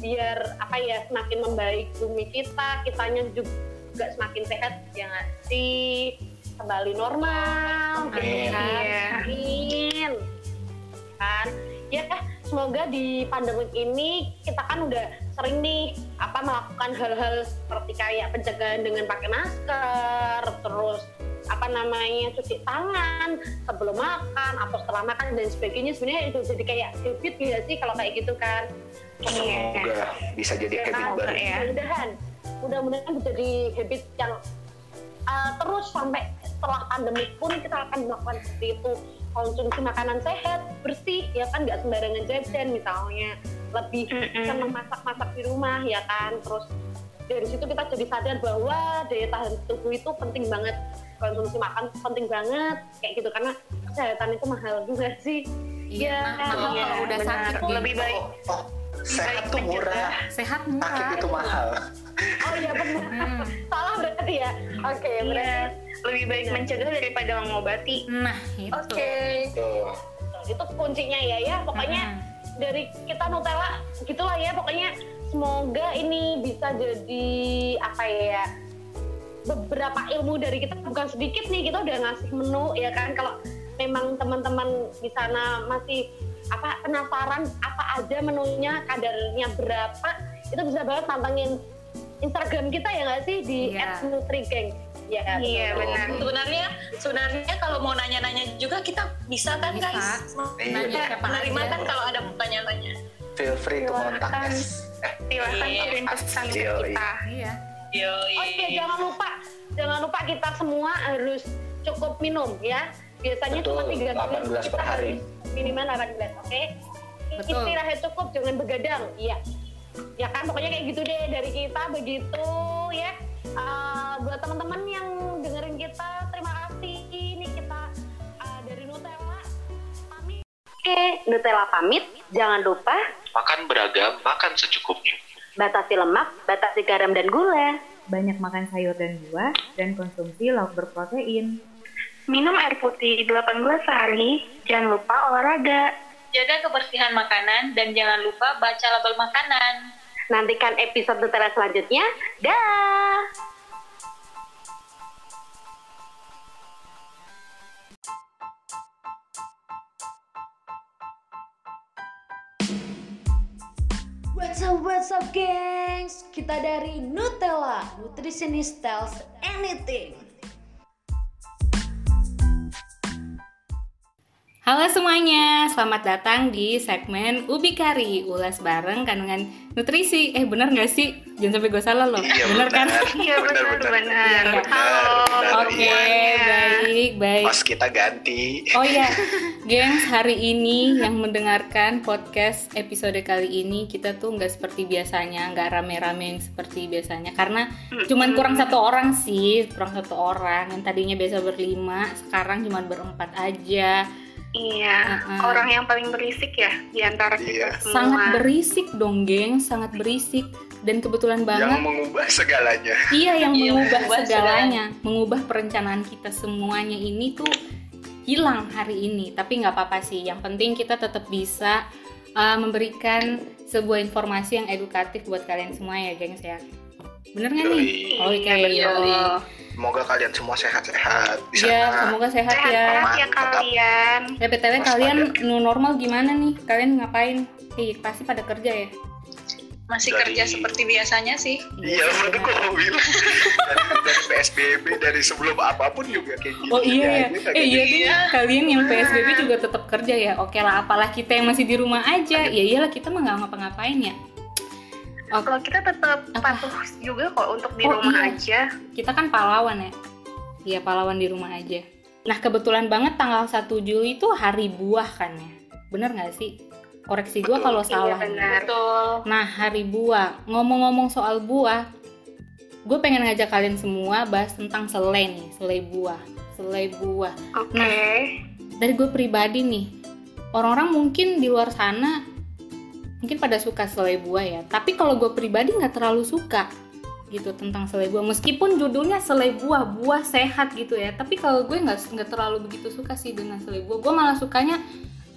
Speaker 2: biar apa ya semakin membaik bumi kita kitanya juga semakin sehat ya nggak sih kembali normal gitu
Speaker 4: Amin.
Speaker 2: kan
Speaker 5: Iya.
Speaker 2: amin kan ya semoga di pandemi ini kita kan udah sering nih apa melakukan hal-hal seperti kayak pencegahan dengan pakai masker terus apa namanya cuci tangan sebelum makan atau setelah makan dan sebagainya sebenarnya itu jadi kayak habit ya sih kalau kayak gitu kan
Speaker 4: Iya. Semoga bisa jadi habit
Speaker 2: Nah,
Speaker 4: baru.
Speaker 5: ya.
Speaker 2: mudah-mudahan mudah-mudahan menjadi habit yang uh, terus sampai setelah pandemi pun kita akan melakukan seperti itu konsumsi makanan sehat bersih ya kan nggak sembarangan jajan misalnya lebih
Speaker 5: Mm-mm.
Speaker 2: senang masak-masak di rumah ya kan terus dari situ kita jadi sadar bahwa daya tahan tubuh itu penting banget konsumsi makan penting banget kayak gitu karena kesehatan itu mahal juga sih
Speaker 3: Iya.
Speaker 2: Ya,
Speaker 3: mahal
Speaker 5: iya,
Speaker 3: kalau udah
Speaker 5: benar.
Speaker 3: sakit, geng.
Speaker 5: Lebih baik.
Speaker 4: Oh, oh, sehat tuh murah,
Speaker 3: Sehat
Speaker 4: sakit
Speaker 3: murah.
Speaker 4: itu
Speaker 5: Nah.
Speaker 4: mahal.
Speaker 2: oh iya benar
Speaker 3: Hmm.
Speaker 2: salah berarti ya oke berarti
Speaker 5: Iya. Lebih baik mencegah daripada mengobati.
Speaker 3: Nah itu.
Speaker 4: Tuh.
Speaker 2: itu kuncinya ya ya pokoknya dari kita Nutella gitulah ya pokoknya semoga ini bisa jadi apa ya beberapa ilmu dari kita bukan sedikit nih kita udah ngasih menu ya kan kalau memang teman-teman di sana masih apa penasaran apa aja menunya kadarnya berapa itu bisa banget pantengin Instagram kita ya nggak sih di
Speaker 3: Iya.
Speaker 2: @nutrigengs Iya,
Speaker 5: Iya, benar.
Speaker 6: Sebenarnya sebenarnya kalau mau nanya-nanya juga kita bisa kan
Speaker 3: Bisa.
Speaker 6: guys?
Speaker 3: Hmm. Nanya
Speaker 6: Kita
Speaker 3: siapa
Speaker 6: menerima
Speaker 3: aja.
Speaker 6: kan kalau ada pertanyaan-tanya.
Speaker 4: Feel free to kontak
Speaker 5: Silakan.
Speaker 4: us. Eh,
Speaker 5: Silahkan
Speaker 6: Iya.
Speaker 5: kirim pesan ke
Speaker 4: Yoi.
Speaker 5: kita.
Speaker 3: Iya.
Speaker 2: Oke,
Speaker 6: Yoi.
Speaker 2: Oh iya,
Speaker 4: Iya.
Speaker 2: jangan lupa, jangan lupa kita semua harus cukup minum ya. Biasanya
Speaker 4: Betul,
Speaker 2: cuma 3
Speaker 4: 8 gelas per hari.
Speaker 2: Minimal 8 gelas, oke?
Speaker 3: Betul.
Speaker 2: Istirahat cukup, jangan begadang. Iya. Ya kan, pokoknya kayak gitu deh dari kita begitu ya. Eh, buat teman-teman yang dengerin kita, terima kasih. Ini kita eh, dari Nutella pamit. Oke, Nutella pamit. Jangan lupa
Speaker 4: Makan beragam, makan secukupnya.
Speaker 2: batasi lemak, batasi garam dan gula.
Speaker 7: banyak makan sayur dan buah, dan konsumsi lauk berprotein.
Speaker 5: Minum air putih 8 gelas sehari. Jangan lupa olahraga.
Speaker 6: Jaga kebersihan makanan dan jangan lupa baca label makanan.
Speaker 2: Nantikan episode Nutella selanjutnya. Dah.
Speaker 1: What's up, what's up, gengs? Kita dari Nutella, Nutritionist Tells Anything.
Speaker 3: Halo semuanya, selamat datang di segmen Ubi Kari Ulas bareng kandungan nutrisi Eh bener gak sih? Jangan sampai gue salah loh
Speaker 4: Iya,
Speaker 3: Bener kan?
Speaker 5: Iya, benar-benar.
Speaker 4: benar.
Speaker 5: Halo.
Speaker 4: benar,
Speaker 3: Oke,
Speaker 4: iya.
Speaker 3: baik, baik
Speaker 4: Pas kita ganti.
Speaker 3: Oh iya, gengs hari ini yang mendengarkan podcast episode kali ini kita tuh nggak seperti biasanya, nggak rame-rame yang seperti biasanya karena cuman kurang satu orang sih, kurang satu orang yang tadinya biasa berlima, sekarang cuman berempat aja.
Speaker 5: Iya.
Speaker 3: Heeh.
Speaker 5: Orang yang paling berisik ya di antara
Speaker 4: Iya.
Speaker 5: kita semua.
Speaker 3: Nah. Sangat berisik dong, gengs, sangat berisik dan kebetulan
Speaker 4: Yang
Speaker 3: banget
Speaker 4: mengubah segalanya.
Speaker 3: iya yang
Speaker 6: Iya,
Speaker 3: mengubah
Speaker 6: mengubah
Speaker 3: segalanya, mengubah perencanaan kita semuanya ini tuh hilang hari ini. Tapi nggak apa-apa sih, yang penting kita tetap bisa uh, memberikan sebuah informasi yang edukatif buat kalian semua ya, gengs ya. Bener nggak nih?
Speaker 4: Yoi.
Speaker 3: Oke,
Speaker 5: Iya, betul.
Speaker 3: yoi.
Speaker 4: Semoga kalian semua sehat-sehat di sana.
Speaker 3: Ya, semoga sehat ya.
Speaker 5: Sehat-sehat ya
Speaker 4: Mantap.
Speaker 5: kalian.
Speaker 3: Ya, btw
Speaker 4: Waspada.
Speaker 3: kalian new normal gimana nih? Kalian ngapain? Ih, pasti pada kerja ya.
Speaker 6: Masih
Speaker 4: Dari-
Speaker 6: kerja seperti biasanya sih.
Speaker 4: Iya, bener kok mau bilang. dari, dari PSBB, dari sebelum apapun juga kayak gitu.
Speaker 3: Oh iya ya,
Speaker 4: Ini
Speaker 3: eh
Speaker 4: kayak
Speaker 3: iya
Speaker 4: gitu.
Speaker 3: deh. Kalian yang PSBB juga tetap kerja ya. Oke lah, apalah kita yang masih di rumah aja. Ya iyalah kita mah nggak ngapa-ngapain ya. Oke,
Speaker 5: Kalau kita tetap patuh juga kok untuk di
Speaker 3: Oh,
Speaker 5: rumah
Speaker 3: iya.
Speaker 5: aja.
Speaker 3: kita kan pahlawan ya. Iya pahlawan di rumah aja. Nah kebetulan banget tanggal 1 Juli itu hari buah kan ya. Bener nggak sih? Koreksi gua
Speaker 4: Betul.
Speaker 3: kalau
Speaker 5: Iya,
Speaker 3: salah. nih.
Speaker 5: benar.
Speaker 6: Betul.
Speaker 3: Nah, hari buah. Ngomong-ngomong soal buah, gue pengen ngajak kalian semua bahas tentang selai nih, selai buah. Selai buah.
Speaker 5: Oke.
Speaker 3: Dari gue pribadi nih, orang-orang mungkin di luar sana mungkin pada suka selai buah ya. Tapi kalau gue pribadi nggak terlalu suka gitu tentang selai buah. Meskipun judulnya selai buah, buah sehat gitu ya. Tapi kalau gue nggak nggak terlalu begitu suka sih dengan selai buah. Gue malah sukanya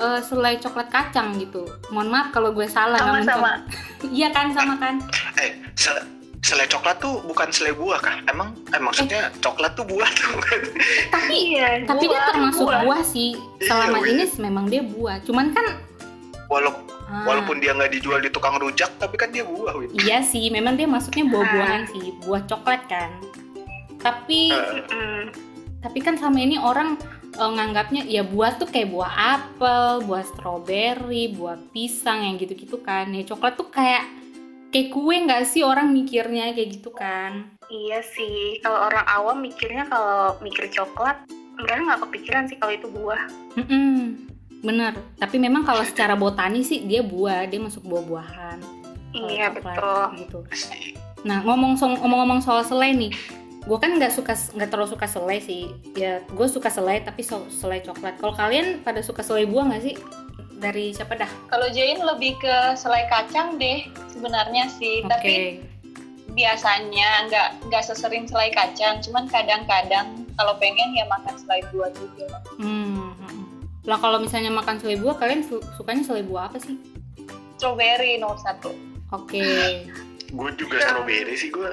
Speaker 3: eh, selai coklat kacang gitu. Mohon maaf kalau gue salah. nggak
Speaker 6: Sama-sama.
Speaker 3: mencon- Iya kan sama kan.
Speaker 4: Eh, sele, selai coklat tuh bukan selai buah kah? Emang, eh, maksudnya coklat tuh buah tuh kan? bukan?
Speaker 3: Tapi
Speaker 5: Iya.
Speaker 3: tapi dia termasuk Kan buah, sih. Selama
Speaker 4: Iya,
Speaker 3: ini memang dia buah. Cuman kan
Speaker 4: Walau-
Speaker 3: ah,
Speaker 4: walaupun dia nggak dijual di tukang rujak, tapi kan dia buah, Win.
Speaker 3: iya sih, memang dia masuknya buah-buahan sih, buah coklat kan. Tapi
Speaker 4: Eh,
Speaker 5: Mm.
Speaker 3: tapi kan selama ini orang eh, nganggapnya ya buah tuh kayak buah apel, buah stroberi, buah pisang yang gitu-gitu kan. Ya coklat tuh kayak kayak kue nggak sih orang mikirnya kayak gitu kan.
Speaker 5: Iya sih, kalau orang awam mikirnya kalau mikir coklat, mereka nggak kepikiran sih kalau itu buah.
Speaker 3: Mm-mm, bener. Tapi memang kalau secara botani sih dia buah, dia masuk buah-buahan. kalau
Speaker 5: Iya
Speaker 3: coklat, gitu
Speaker 5: betul.
Speaker 3: nah ngomong so- ngomong-ngomong soal selai nih gue kan nggak suka nggak terlalu suka selai sih ya gue suka selai tapi so- selai coklat kalau kalian pada suka selai buah nggak sih dari siapa dah
Speaker 6: Kalau Jain lebih ke selai kacang deh sebenarnya sih, tapi biasanya nggak nggak sesering selai kacang, cuman kadang-kadang kalau pengen ya makan selai buah juga.
Speaker 3: Hmm, hmm. lah kalau misalnya makan selai buah kalian su- sukanya selai buah apa sih
Speaker 6: Strawberry nomor satu.
Speaker 3: oke
Speaker 4: gue juga strawberry sih gue.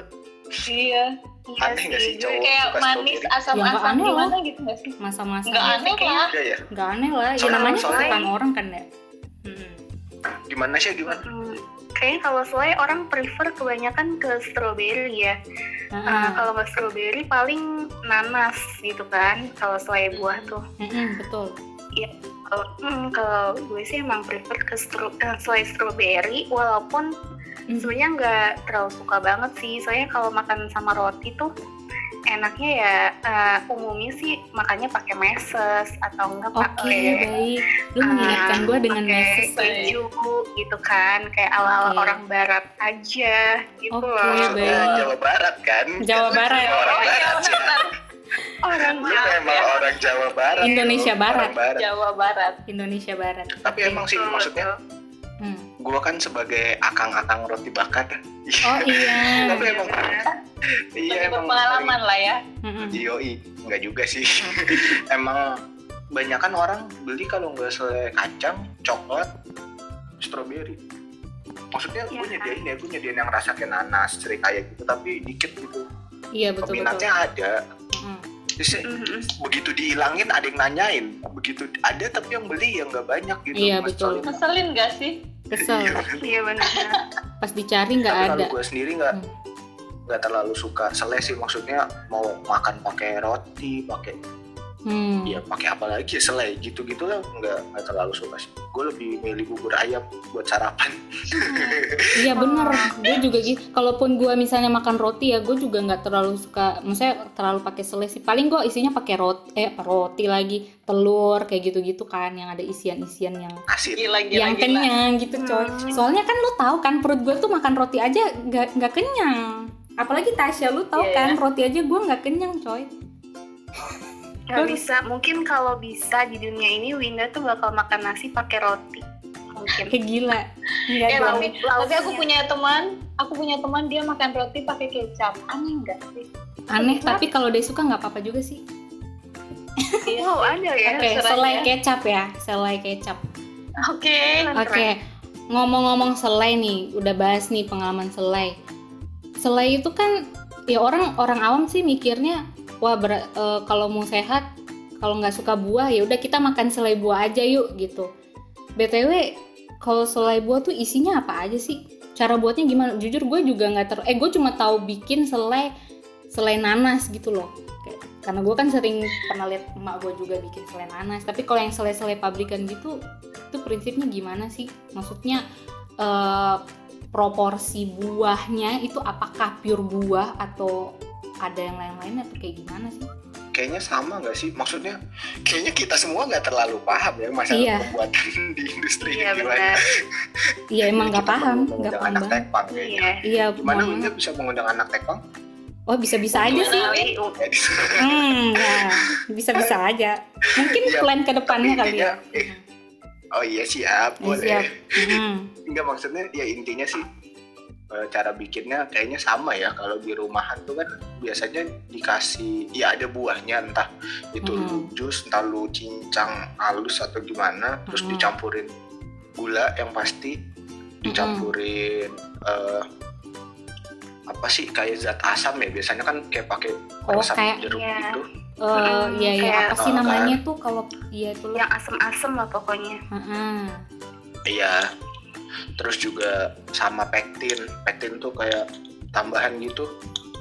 Speaker 6: Iya.
Speaker 5: Iya
Speaker 4: Aneh nggak sih cowok oh,
Speaker 6: Kayak
Speaker 4: suka
Speaker 6: manis
Speaker 4: strawberry?
Speaker 3: Ya, nggak
Speaker 6: asam-asam
Speaker 3: aneh lah.
Speaker 6: gimana gitu nggak sih?
Speaker 3: masa-masa
Speaker 6: Nggak aneh lah.
Speaker 4: Iya ya.
Speaker 3: nggak aneh lah ya
Speaker 4: Soalnya-
Speaker 3: namanya
Speaker 4: soalnya-
Speaker 3: kesukaan orang kan ya Hmm.
Speaker 4: Gimana sih gimana?
Speaker 5: Mm. kayaknya kalau selai orang prefer kebanyakan ke strawberry ya.
Speaker 3: Hmm. Ah,
Speaker 5: Eh, kalau nggak strawberry paling nanas gitu kan. Kalau selai
Speaker 3: Hmm.
Speaker 5: buah tuh.
Speaker 3: Mm-mm, betul.
Speaker 5: Kalau hmm, kalau gue sih emang prefer ke stro- eh, selai strawberry walaupun
Speaker 3: Hmm.
Speaker 5: sebenarnya nggak terlalu suka banget sih. Soalnya kalau makan sama roti tuh enaknya ya eh, umumnya sih makannya pakai meses atau enggak
Speaker 3: Oke,
Speaker 5: pakai
Speaker 3: baik. Lu mengingatkan gue dengan
Speaker 5: pakai
Speaker 3: meses.
Speaker 5: keju gitu kan kayak ala ala
Speaker 3: Oke.
Speaker 5: orang barat aja gitu
Speaker 3: Oke,
Speaker 5: loh
Speaker 3: baik.
Speaker 4: Jawa Barat kan?
Speaker 3: Jawa Barat.
Speaker 4: Orang
Speaker 6: Oh iya
Speaker 4: Barat.
Speaker 6: benar.
Speaker 5: orang
Speaker 4: Dia
Speaker 5: barat
Speaker 4: emang orang Jawa Barat.
Speaker 3: Indonesia
Speaker 4: Orang
Speaker 3: Barat.
Speaker 6: Jawa Barat.
Speaker 3: Indonesia Barat.
Speaker 4: Tapi emang sih maksudnya
Speaker 3: Hmm.
Speaker 4: gue kan sebagai akang-akang roti bakar.
Speaker 3: Oh iya.
Speaker 4: Tapi emang iya
Speaker 6: Lebih
Speaker 4: emang
Speaker 6: berpengalaman lah ya.
Speaker 3: Mm-mm.
Speaker 4: Yoi, nggak juga sih. [laughs] Emang banyakan orang beli kalau nggak selai kacang, coklat, stroberi. Maksudnya gue
Speaker 5: Iya.
Speaker 4: nyediain
Speaker 3: kan?
Speaker 4: ya, gue nyediain yang rasa kayak nanas, serikaya gitu, tapi dikit gitu.
Speaker 3: Iya betul betul.
Speaker 4: Peminatnya ada.
Speaker 3: Mm.
Speaker 4: Terus ya, begitu dihilangin ada yang nanyain, begitu ada tapi yang beli ya nggak banyak gitu.
Speaker 3: Iya,
Speaker 4: Mas
Speaker 3: betul.
Speaker 4: Colin.
Speaker 6: Ngeselin gak sih?
Speaker 3: Kesel.
Speaker 4: Iya.
Speaker 5: iya benar
Speaker 3: Pas dicari nggak
Speaker 4: Tapi
Speaker 3: ada.
Speaker 4: kalau gue sendiri nggak
Speaker 3: Hmm.
Speaker 4: nggak terlalu suka selai sih maksudnya mau makan pakai roti, pakai
Speaker 3: Hmm.
Speaker 6: Iya.
Speaker 4: ya pakai apa lagi ya selai gitu gitu lah nggak nggak terlalu suka sih gue lebih milih bubur ayam buat sarapan
Speaker 3: Iya bener, gue juga gitu. Kalaupun gue misalnya makan roti ya, gue juga nggak terlalu suka, maksudnya terlalu pakai selai sih. Paling gue isinya pakai roti, eh roti lagi, telur kayak gitu-gitu kan, yang ada isian-isian yang
Speaker 4: asin
Speaker 6: Gila gila
Speaker 3: yang
Speaker 6: gila.
Speaker 3: kenyang gitu coy.
Speaker 6: Hmm.
Speaker 3: Soalnya kan lo tahu kan perut gue tuh makan roti aja nggak nggak kenyang. Apalagi Tasya lu tahu
Speaker 6: Iya,
Speaker 3: kan roti aja gue nggak kenyang coy.
Speaker 5: nggak bisa mungkin kalau bisa di dunia ini Winda tuh bakal makan nasi pakai roti mungkin
Speaker 3: Kayak gila. Nggak
Speaker 6: Eh,
Speaker 3: dong.
Speaker 6: tapi, tapi aku punya teman, aku punya teman dia makan roti pakai kecap. Aneh enggak sih?
Speaker 3: Aneh tapi kalau dia suka nggak apa-apa juga sih.
Speaker 6: Iya.
Speaker 5: wow ada ya
Speaker 3: Oke,
Speaker 6: terserah
Speaker 3: selai
Speaker 6: ya.
Speaker 3: kecap ya, selai kecap.
Speaker 6: Oke.
Speaker 3: Oke, ngomong-ngomong selai nih, udah bahas nih pengalaman selai. Selai itu kan ya orang orang awam sih mikirnya, wah ber- eh, kalau mau sehat, kalau nggak suka buah ya udah kita makan selai buah aja yuk gitu. btw, kalau selai buah tuh isinya apa aja sih? Cara buatnya gimana? Jujur gue juga nggak ter, eh gue cuma tahu bikin selai selai nanas gitu loh. Kayak- Karena gue kan sering pernah lihat emak gue juga bikin selai nanas. Tapi kalau yang selai-selai pabrikan gitu, itu prinsipnya gimana sih? Maksudnya eh, proporsi buahnya itu apakah pure buah atau ada yang lain-lain atau kayak gimana sih?
Speaker 4: kayaknya sama nggak sih maksudnya kayaknya kita semua nggak terlalu paham ya masalah
Speaker 3: Iya.
Speaker 4: pembuatan [laughs] di industri
Speaker 5: iya
Speaker 4: ini gimana
Speaker 5: benar
Speaker 3: Iya emang
Speaker 4: Kita
Speaker 3: nggak paham,
Speaker 4: perlu
Speaker 3: nggak
Speaker 4: mengundang
Speaker 3: paham
Speaker 4: anak
Speaker 3: banget.
Speaker 4: tekpang kayaknya
Speaker 5: iya
Speaker 3: Iya,
Speaker 4: gimana
Speaker 3: mohon
Speaker 4: Winda
Speaker 3: maaf.
Speaker 4: bisa mengundang anak tekpang
Speaker 3: Oh bisa-bisa aja sih.
Speaker 5: Tapi, um,
Speaker 4: Jadi,
Speaker 3: Hmm, ya. bisa-bisa aja. Mungkin
Speaker 4: Iya,
Speaker 3: plan ke depannya
Speaker 4: tapi
Speaker 3: kali ya.
Speaker 4: intinya, eh, oh iya siap
Speaker 3: Hmm,
Speaker 4: boleh
Speaker 3: siap. Hmm.
Speaker 4: Enggak maksudnya ya intinya sih eh, cara bikinnya kayaknya sama ya kalau di rumahan tuh kan biasanya dikasih ya ada buahnya entah itu
Speaker 3: Mhm.
Speaker 4: lu jus entah lu cincang halus atau gimana terus
Speaker 3: Mhm.
Speaker 4: dicampurin gula yang pasti
Speaker 3: Mm-hmm.
Speaker 4: dicampurin eh, apa sih kayak zat asam ya biasanya kan kayak pakai
Speaker 3: Oh,
Speaker 4: asam
Speaker 3: kayak-
Speaker 4: jeruk
Speaker 5: iya.
Speaker 4: gitu
Speaker 3: Eh, iya iya
Speaker 5: kayak-
Speaker 3: apa sih
Speaker 4: Oh,
Speaker 3: namanya tuh kalau iya itu
Speaker 5: yang asem-asem lah pokoknya
Speaker 3: Heeh.
Speaker 4: iya terus juga sama pektin pektin tuh kayak tambahan gitu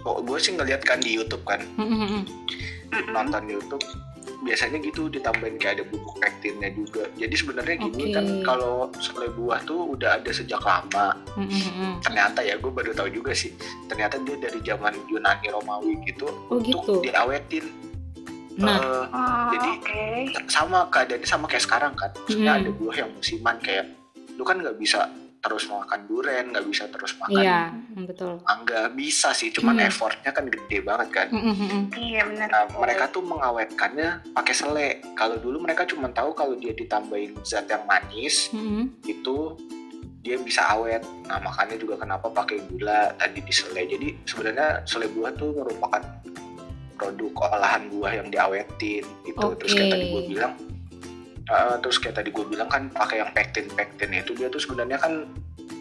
Speaker 4: kok gue sih ngeliat kan di YouTube kan
Speaker 3: Heeh.
Speaker 5: Mm-mm.
Speaker 4: nonton YouTube biasanya gitu ditambahin kayak ada bubuk pektinnya juga jadi sebenarnya gini
Speaker 3: Oke.
Speaker 4: kan kalau selai buah tuh udah ada sejak lama
Speaker 3: Heeh.
Speaker 4: ternyata ya gue baru tahu juga sih ternyata dia dari zaman Yunani Romawi gitu
Speaker 3: Oh
Speaker 4: tuh
Speaker 3: gitu.
Speaker 4: diawetin
Speaker 3: Nah,
Speaker 4: Eh,
Speaker 5: Oh,
Speaker 4: Jadi,
Speaker 5: oke
Speaker 4: sama keadaannya sama kayak sekarang kan maksudnya
Speaker 3: Hmm.
Speaker 4: ada buah yang musiman kayak lu kan nggak bisa terus makan duren nggak bisa terus makan
Speaker 3: iya, betul.
Speaker 4: mangga bisa sih cuman
Speaker 3: Hmm.
Speaker 4: effortnya kan gede banget kan
Speaker 3: Heeh, heeh.
Speaker 5: iya benar
Speaker 4: Nah, mereka tuh mengawetkannya pakai selai. Kalau dulu mereka cuma tahu kalau dia ditambahin zat yang manis
Speaker 3: Heeh.
Speaker 4: itu dia bisa awet. Nah, makanya juga kenapa pakai gula tadi di selai. Jadi sebenarnya selai buah tuh merupakan produk olahan buah yang diawetin itu terus kayak tadi gue
Speaker 3: Oke.
Speaker 4: bilang eh, terus kayak tadi gue bilang kan pakai yang pektin pektin itu dia tuh sebenarnya kan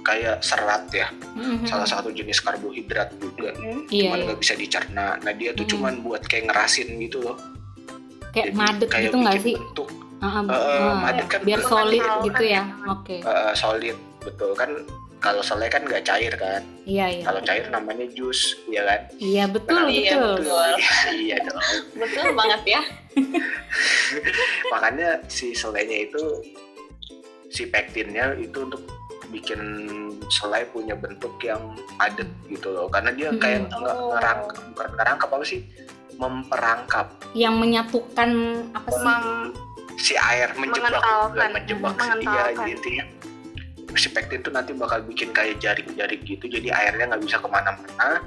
Speaker 4: kayak serat ya
Speaker 3: Heeh, heeh.
Speaker 4: salah satu jenis karbohidrat juga
Speaker 3: Hmm. Mm-hmm.
Speaker 6: Hmm,
Speaker 3: Iya,
Speaker 4: cuman
Speaker 3: iya.
Speaker 4: nggak bisa dicerna. Nah dia tuh
Speaker 3: Hmm.
Speaker 4: cuman buat kayak ngerasin gitu loh.
Speaker 3: Kayak
Speaker 4: Jadi
Speaker 3: madet
Speaker 4: kayak
Speaker 3: gitu nggak
Speaker 4: bikin
Speaker 3: sih?
Speaker 4: Bentuk
Speaker 3: Heeh.
Speaker 4: Eh,
Speaker 3: heeh.
Speaker 4: madet kan
Speaker 3: Biar
Speaker 4: bentuk
Speaker 3: solid
Speaker 4: kayak
Speaker 3: gitu ya. Oke.
Speaker 4: eh, solid betul kan kalau selai kan nggak cair kan
Speaker 3: Iya iya.
Speaker 4: kalau cair namanya jus ya kan
Speaker 3: Iya betul
Speaker 6: Iya,
Speaker 3: betul.
Speaker 6: betul.
Speaker 4: [laughs] iya dong
Speaker 6: Betul banget ya.
Speaker 4: makanya si selainya itu si pektinnya itu untuk bikin selai punya bentuk yang padat gitu loh karena dia
Speaker 3: Mm-mm.
Speaker 4: kayak nggak
Speaker 6: Oh.
Speaker 4: ngerangkap bukan ngerangkap apa sih memperangkap
Speaker 3: Yang menyatukan apa sih?
Speaker 5: Mem-
Speaker 4: si air menjebak
Speaker 5: Mengentalkan.
Speaker 4: menjebak si dia
Speaker 5: Mengentalkan.
Speaker 4: jadi intinya si pektin itu nanti bakal bikin kayak jaring-jaring gitu jadi airnya nggak bisa kemana-mana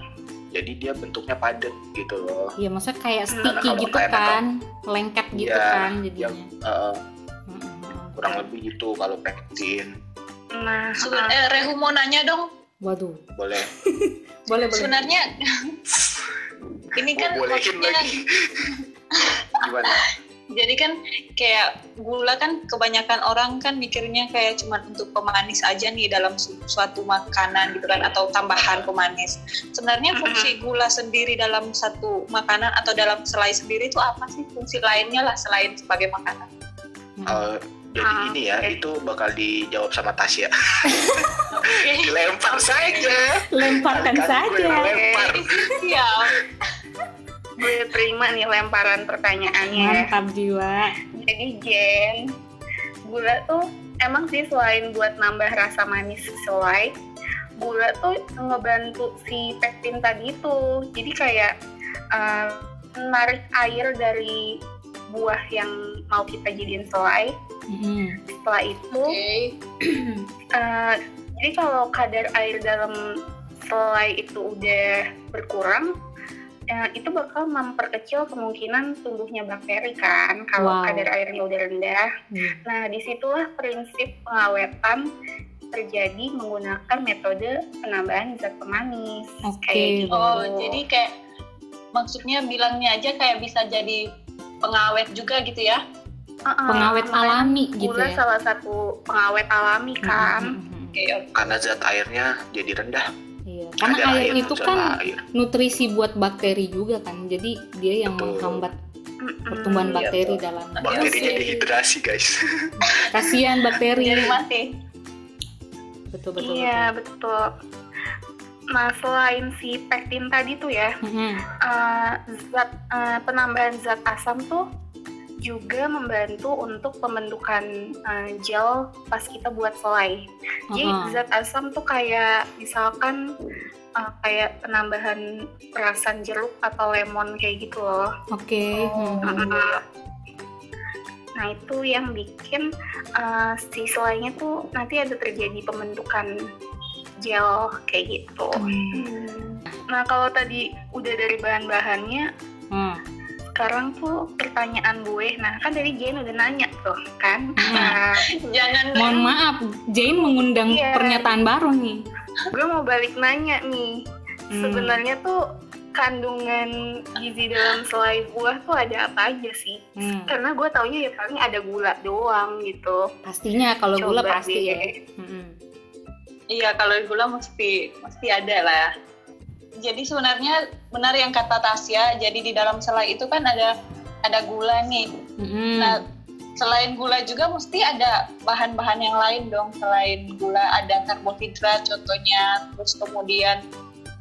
Speaker 4: jadi dia bentuknya padat gitu loh
Speaker 3: Iya maksudnya kayak
Speaker 5: Hmm,
Speaker 3: sticky
Speaker 4: kalau
Speaker 3: gitu
Speaker 4: kayak
Speaker 3: kan, lengket gitu
Speaker 4: Iya,
Speaker 3: kan jadinya.
Speaker 4: Eh,
Speaker 3: Mm-mm.
Speaker 4: kurang lebih gitu kalau pektin
Speaker 5: nah,
Speaker 6: Seben- eh, Rehu mau nanya dong,
Speaker 3: Waduh,
Speaker 4: [laughs] boleh
Speaker 3: boleh boleh.
Speaker 6: sebenarnya ini
Speaker 4: Gua
Speaker 6: kan
Speaker 4: bolehin
Speaker 6: maksudnya
Speaker 4: lagi gimana
Speaker 6: jadi kan kayak gula kan kebanyakan orang kan mikirnya kayak cuma untuk pemanis aja nih dalam su- suatu makanan gitu kan atau tambahan pemanis. Sebenarnya fungsi gula sendiri dalam satu makanan atau dalam selai sendiri itu apa sih fungsi lainnya lah selain sebagai makanan?
Speaker 4: Eh, jadi
Speaker 5: Ah,
Speaker 4: ini ya
Speaker 5: oke.
Speaker 4: itu bakal dijawab sama [laughs] Tasya
Speaker 6: Oke.
Speaker 4: dilempar saja
Speaker 3: Lemparkan
Speaker 4: Kali-kali gue
Speaker 3: kan saja.
Speaker 4: lempar
Speaker 6: [laughs] Siap.
Speaker 5: gue terima nih lemparan pertanyaannya.
Speaker 3: Mantap jiwa.
Speaker 5: Jadi Jen, gula tuh emang sih selain buat nambah rasa manis sesuai, gula tuh ngebantu si pektin tadi itu. Jadi kayak eh, menarik air dari buah yang mau kita jadiin selai.
Speaker 3: Mm-mm.
Speaker 5: Setelah itu,
Speaker 6: Oke.
Speaker 5: [clears throat] eh, jadi kalau kadar air dalam selai itu udah berkurang, eh, itu bakal memperkecil kemungkinan tumbuhnya bakteri kan. Kalau
Speaker 3: Wow.
Speaker 5: kadar airnya udah rendah,
Speaker 3: Iya.
Speaker 5: Nah, disitulah prinsip pengawetan terjadi menggunakan metode penambahan zat pemanis.
Speaker 3: Oke.
Speaker 5: Kayak gitu.
Speaker 6: Oh, jadi kayak maksudnya bilangnya aja kayak bisa jadi pengawet juga gitu ya.
Speaker 4: Ah,
Speaker 5: Uh-uh,
Speaker 3: Pengawet
Speaker 5: makanya
Speaker 3: alami gitu
Speaker 5: Gula
Speaker 3: ya.
Speaker 5: salah satu pengawet alami kan.
Speaker 3: Mm-mm.
Speaker 6: Oke, oke.
Speaker 4: karena zat airnya jadi rendah
Speaker 3: Iya, karena
Speaker 4: Kadar
Speaker 3: air itu
Speaker 4: zat
Speaker 3: kan
Speaker 4: air.
Speaker 3: nutrisi buat bakteri juga kan. Jadi dia yang
Speaker 4: Betul.
Speaker 3: menghambat
Speaker 5: Mm-mm.
Speaker 3: pertumbuhan
Speaker 6: Iya,
Speaker 3: bakteri dalam.
Speaker 4: bakterinya
Speaker 6: Oke.
Speaker 4: dehidrasi
Speaker 3: Iya
Speaker 4: guys
Speaker 3: Kasihan bakteri.
Speaker 6: Jadi mati.
Speaker 3: Betul betul.
Speaker 5: Iya, betul. Nah, selain si pektin tadi tuh ya,
Speaker 3: betul. Mm-mm.
Speaker 5: eh, zat eh, penambahan zat asam tuh juga membantu untuk pembentukan eh, gel pas kita buat selai. Jadi
Speaker 3: Uh-uh.
Speaker 5: zat asam tuh kayak misalkan uh, kayak penambahan perasan jeruk atau lemon kayak gitu loh.
Speaker 3: Oke.
Speaker 6: Oh.
Speaker 3: Mm-mm.
Speaker 5: Nah itu yang bikin uh, si selainya tuh nanti ada terjadi pembentukan gel kayak gitu. Nah kalau tadi udah dari bahan-bahannya,
Speaker 3: Hmm.
Speaker 5: sekarang tuh pertanyaan gue. Nah kan dari Jane udah nanya tuh
Speaker 3: [laughs]
Speaker 5: kan. Nah,
Speaker 6: Jangan
Speaker 3: Iya. Mohon maaf, Jane mengundang
Speaker 5: Iya.
Speaker 3: pernyataan baru nih.
Speaker 5: gue mau balik nanya nih.
Speaker 3: Hmm.
Speaker 5: Sebenarnya tuh kandungan gizi dalam selai buah tuh ada apa aja sih?
Speaker 3: Hmm.
Speaker 5: Karena gue taunya ya paling ada gula doang gitu.
Speaker 3: Pastinya kalau gula
Speaker 5: Coba
Speaker 3: pasti
Speaker 5: deh.
Speaker 3: ya. Mm-mm.
Speaker 6: Iya, kalau gula mesti mesti ada lah. Jadi sebenarnya benar yang kata Tasya, jadi di dalam selai itu kan ada ada gula nih.
Speaker 3: Mm-mm.
Speaker 6: Nah, selain gula juga mesti ada bahan-bahan yang lain dong. Selain gula ada karbohidrat contohnya, terus kemudian